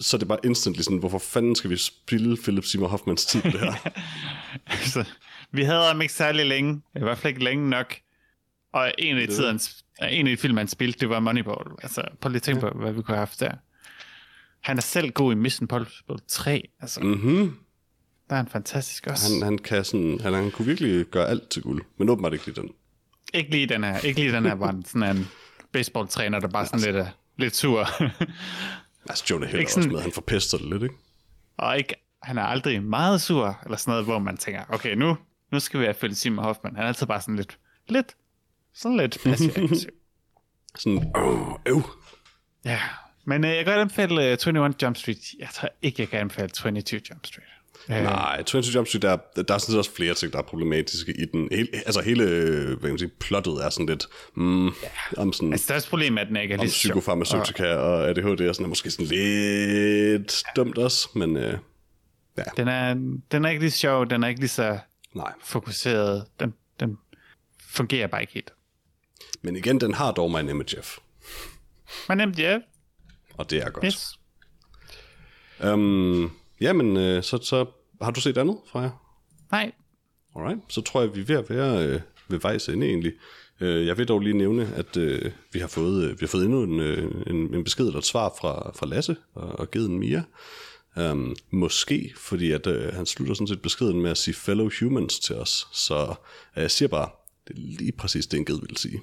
S2: så er det bare instantly sådan, hvorfor fanden skal vi spille Philip Seymour Hoffmans tid på det her?
S1: så, vi havde ham ikke særlig længe. I hvert fald ikke længe nok. Og en af, tiden, en af de film, han spilte, det var Moneyball. Altså, prøv lige at tænke på, hvad vi kunne have haft der. Han er selv god i Mission Impossible 3. Altså,
S2: mm-hmm.
S1: der er han fantastisk også.
S2: han, han, kan sådan, han, han kunne virkelig gøre alt til guld, men åbenbart ikke lige den.
S1: Ikke lige den her. Ikke lige den her, hvor han sådan er en baseballtræner, der bare sådan lidt, er, lidt sur.
S2: Altså Jonah Hill er
S1: Ikke
S2: også
S1: sådan-
S2: med, han forpester det lidt, ikke?
S1: og ikke han er aldrig meget sur, eller sådan noget, hvor man tænker, okay, nu, nu skal vi have følge Simon Hoffman. Han er altid bare sådan lidt, lidt, sådan lidt passiv
S2: Sådan, øh, øh.
S1: Ja, men øh, jeg kan godt anbefale øh, 21 Jump Street. Jeg tror ikke, jeg kan anbefale 22 Jump Street. Øh,
S2: Nej, 22 Jump Street, der, er- der er sådan set også flere ting, der er problematiske i den. Hele, altså hele, øh, hvad kan man sige, plottet er sådan lidt, mm, om sådan...
S1: Altså, største problem er, at den ikke er
S2: om
S1: lige så sjov.
S2: psykofarmaceutika og ADHD og sådan er måske sådan lidt dumt også, men øh,
S1: Den er, den er ikke lige så sjov, den er ikke lige så
S2: nej.
S1: fokuseret. Den, den fungerer bare ikke helt.
S2: Men igen, den har dog mig en MJF,
S1: Men nemt, ja.
S2: og det er godt. Yes.
S1: Yes.
S2: Um, jamen, øh, så, så har du set andet fra jer?
S1: Nej,
S2: Alright, så tror jeg, vi er ved at være øh, ved vejs ende egentlig. Øh, jeg vil dog lige nævne, at øh, vi, har fået, øh, vi har fået endnu en, øh, en, en besked eller et svar fra, fra Lasse og, og givet en Mia. Um, måske, fordi at, øh, han slutter sådan set beskeden med at sige fellow humans til os. Så øh, jeg siger bare, det er lige præcis det, en ged ville sige.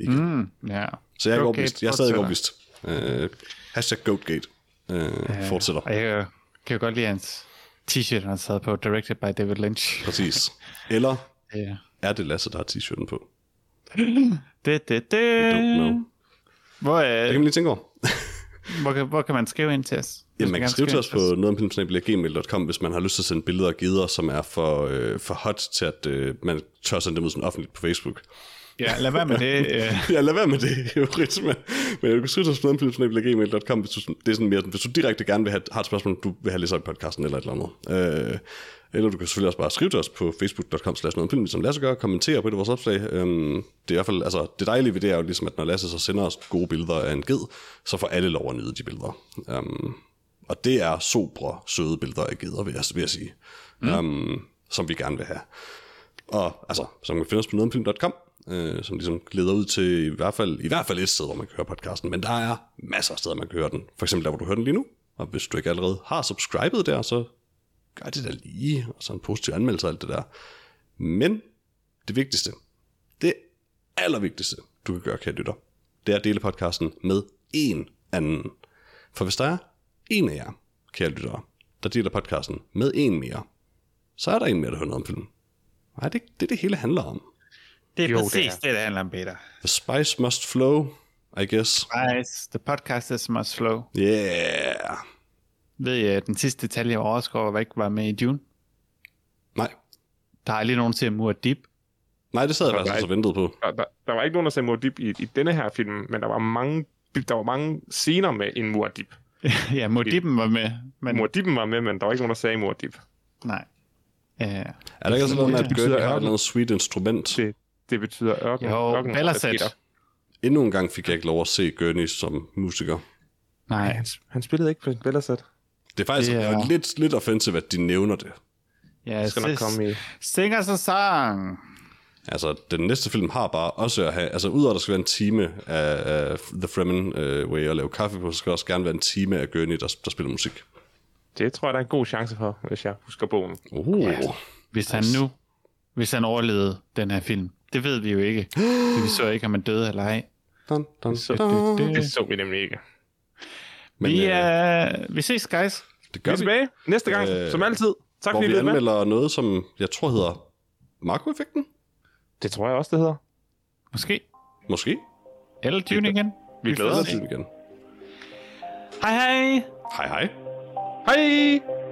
S1: Mm, ja.
S2: Så jeg er,
S1: Goatgate
S2: ikke overbevist. jeg er stadig ikke
S1: fortsætter.
S2: overbevist. Øh, hashtag GoatGate øh, ja. fortsætter.
S1: Og jeg kan jo- kan jo godt lide hans t-shirt, han sad på, directed by David Lynch.
S2: Præcis. Eller
S1: Ja.
S2: er det Lasse, der har t-shirten på?
S1: Det, det,
S2: Don't know.
S1: det. Hvor,
S2: Det
S1: øh,
S2: kan man lige tænke over.
S1: hvor, kan, hvor kan man skrive ind til os?
S2: Jamen, man kan
S1: Hvis
S2: skrive
S1: gerne
S2: til os på
S1: ind
S2: nogetomfilmsnabel.gmail.com, hvis man har lyst til at sende billeder og gider, som er for, øh, for hot til, at øh, man tør sende dem ud sådan offentligt på Facebook.
S1: Ja, lad være med det. øh.
S2: ja, lad være med det, Eurit, men, men du kan skrive til os på nogetomfilmsnabel.gmail.com, hvis du, sådan- det er sådan mere, sådan, hvis du direkte gerne vil have, har et spørgsmål, du vil have læst op i podcasten eller et eller andet. Øh, eller du kan selvfølgelig også bare skrive til os på facebook.com slash nogetomfilm, som Lasse gør, kommentere på et af vores opslag. Øhm, det er i hvert fald, altså, det dejlige ved det er jo ligesom, at når Lasse så sender os gode billeder af en ged, så får alle lov at nyde de billeder. Øhm, og det er sobre, søde billeder af geder, vil jeg, vil jeg sige. Mm. Um, som vi gerne vil have. Og altså, som kan finde os på nogetomfilm.com, øh, som ligesom leder ud til i hvert fald, i hvert fald et sted, hvor man kan høre podcasten. Men der er masser af steder, man kan høre den. For eksempel der, hvor du hører den lige nu. Og hvis du ikke allerede har subscribet der, så gør det da lige. Og så en positiv anmeldelse og alt det der. Men det vigtigste, det allervigtigste, du kan gøre, kære lytter, det er at dele podcasten med en anden. For hvis der er en af jer, kære lyttere, der deler podcasten med en mere, så er der en mere, der hører noget om filmen. Nej, det, det er det hele handler om.
S1: Det er
S3: Jo,
S1: jo,
S3: det
S1: præcis
S3: er.
S1: det, det handler om, Peter.
S2: The spice must flow, I guess.
S1: Nice. The podcast is must flow.
S2: Yeah.
S1: Ved I, at den sidste detalje, jeg overskår, var ikke var med i Dune?
S2: Nej,
S1: Der er aldrig nogen til at mure deep.
S2: Nej det sad jeg faktisk også og ventede på.
S3: Der, der, der var ikke nogen, der sagde Muad'Dib i, i denne her film, men der var mange, der var mange scener med en Muad'Dib.
S1: ja, mure deepen var med. Men,
S3: Muad'Dib'en var med, men der var ikke nogen, der sagde Muad'Dib.
S1: nej. Øh,
S2: Er der ikke også noget med, at
S1: Det
S2: Gert
S3: betyder
S2: har et
S3: ørken.
S2: eller andet sweet instrument?
S3: Det, det betyder ørken.
S1: jo,
S3: ørken
S1: Balasat.
S3: Peter.
S2: Endnu en gang fik jeg ikke lov at se Gurney som musiker.
S1: Nej,
S3: Han, han spillede ikke på Balasat.
S2: Det er faktisk
S1: Det er-
S2: yeah. lidt, lidt offensive, at de nævner det.
S1: ja,
S3: Jeg skal nok
S1: sis-
S3: komme i...
S1: Sing os en sang.
S2: Altså, den næste film har bare også at have... Altså, udover at der skal være en time af, af The Fremen øh, Way at lave kaffe på, så skal der også gerne være en time af Gurney, der, der spiller musik.
S3: Det tror jeg, der er en god chance for, hvis jeg husker bogen.
S2: Uh.
S1: Hvis han nu, hvis han overlevede den her film. Det ved vi jo ikke. For vi så ikke, om han døde eller ej.
S2: Dun, dun,
S3: Så-
S2: dun.
S1: det-
S3: Det så vi nemlig ikke.
S2: Men
S1: vi,
S2: øh,
S1: øh, vi ses, guys.
S2: det
S3: Vi
S2: gør
S3: er
S2: vi,
S3: tilbage næste gang,
S2: Øh,
S3: øh, som altid. Tak
S2: hvor
S3: fordi I
S2: vi
S3: lyttede med.
S2: anmelder noget, som jeg tror hedder Marco-effekten.
S3: Det tror jeg også, det hedder.
S1: Måske.
S2: Måske.
S1: Eller Dune igen.
S3: Vi glæder
S1: får
S2: Eller
S3: os.
S1: se.
S2: til igen.
S1: Hej hej.
S2: Hej hej.
S3: Hej!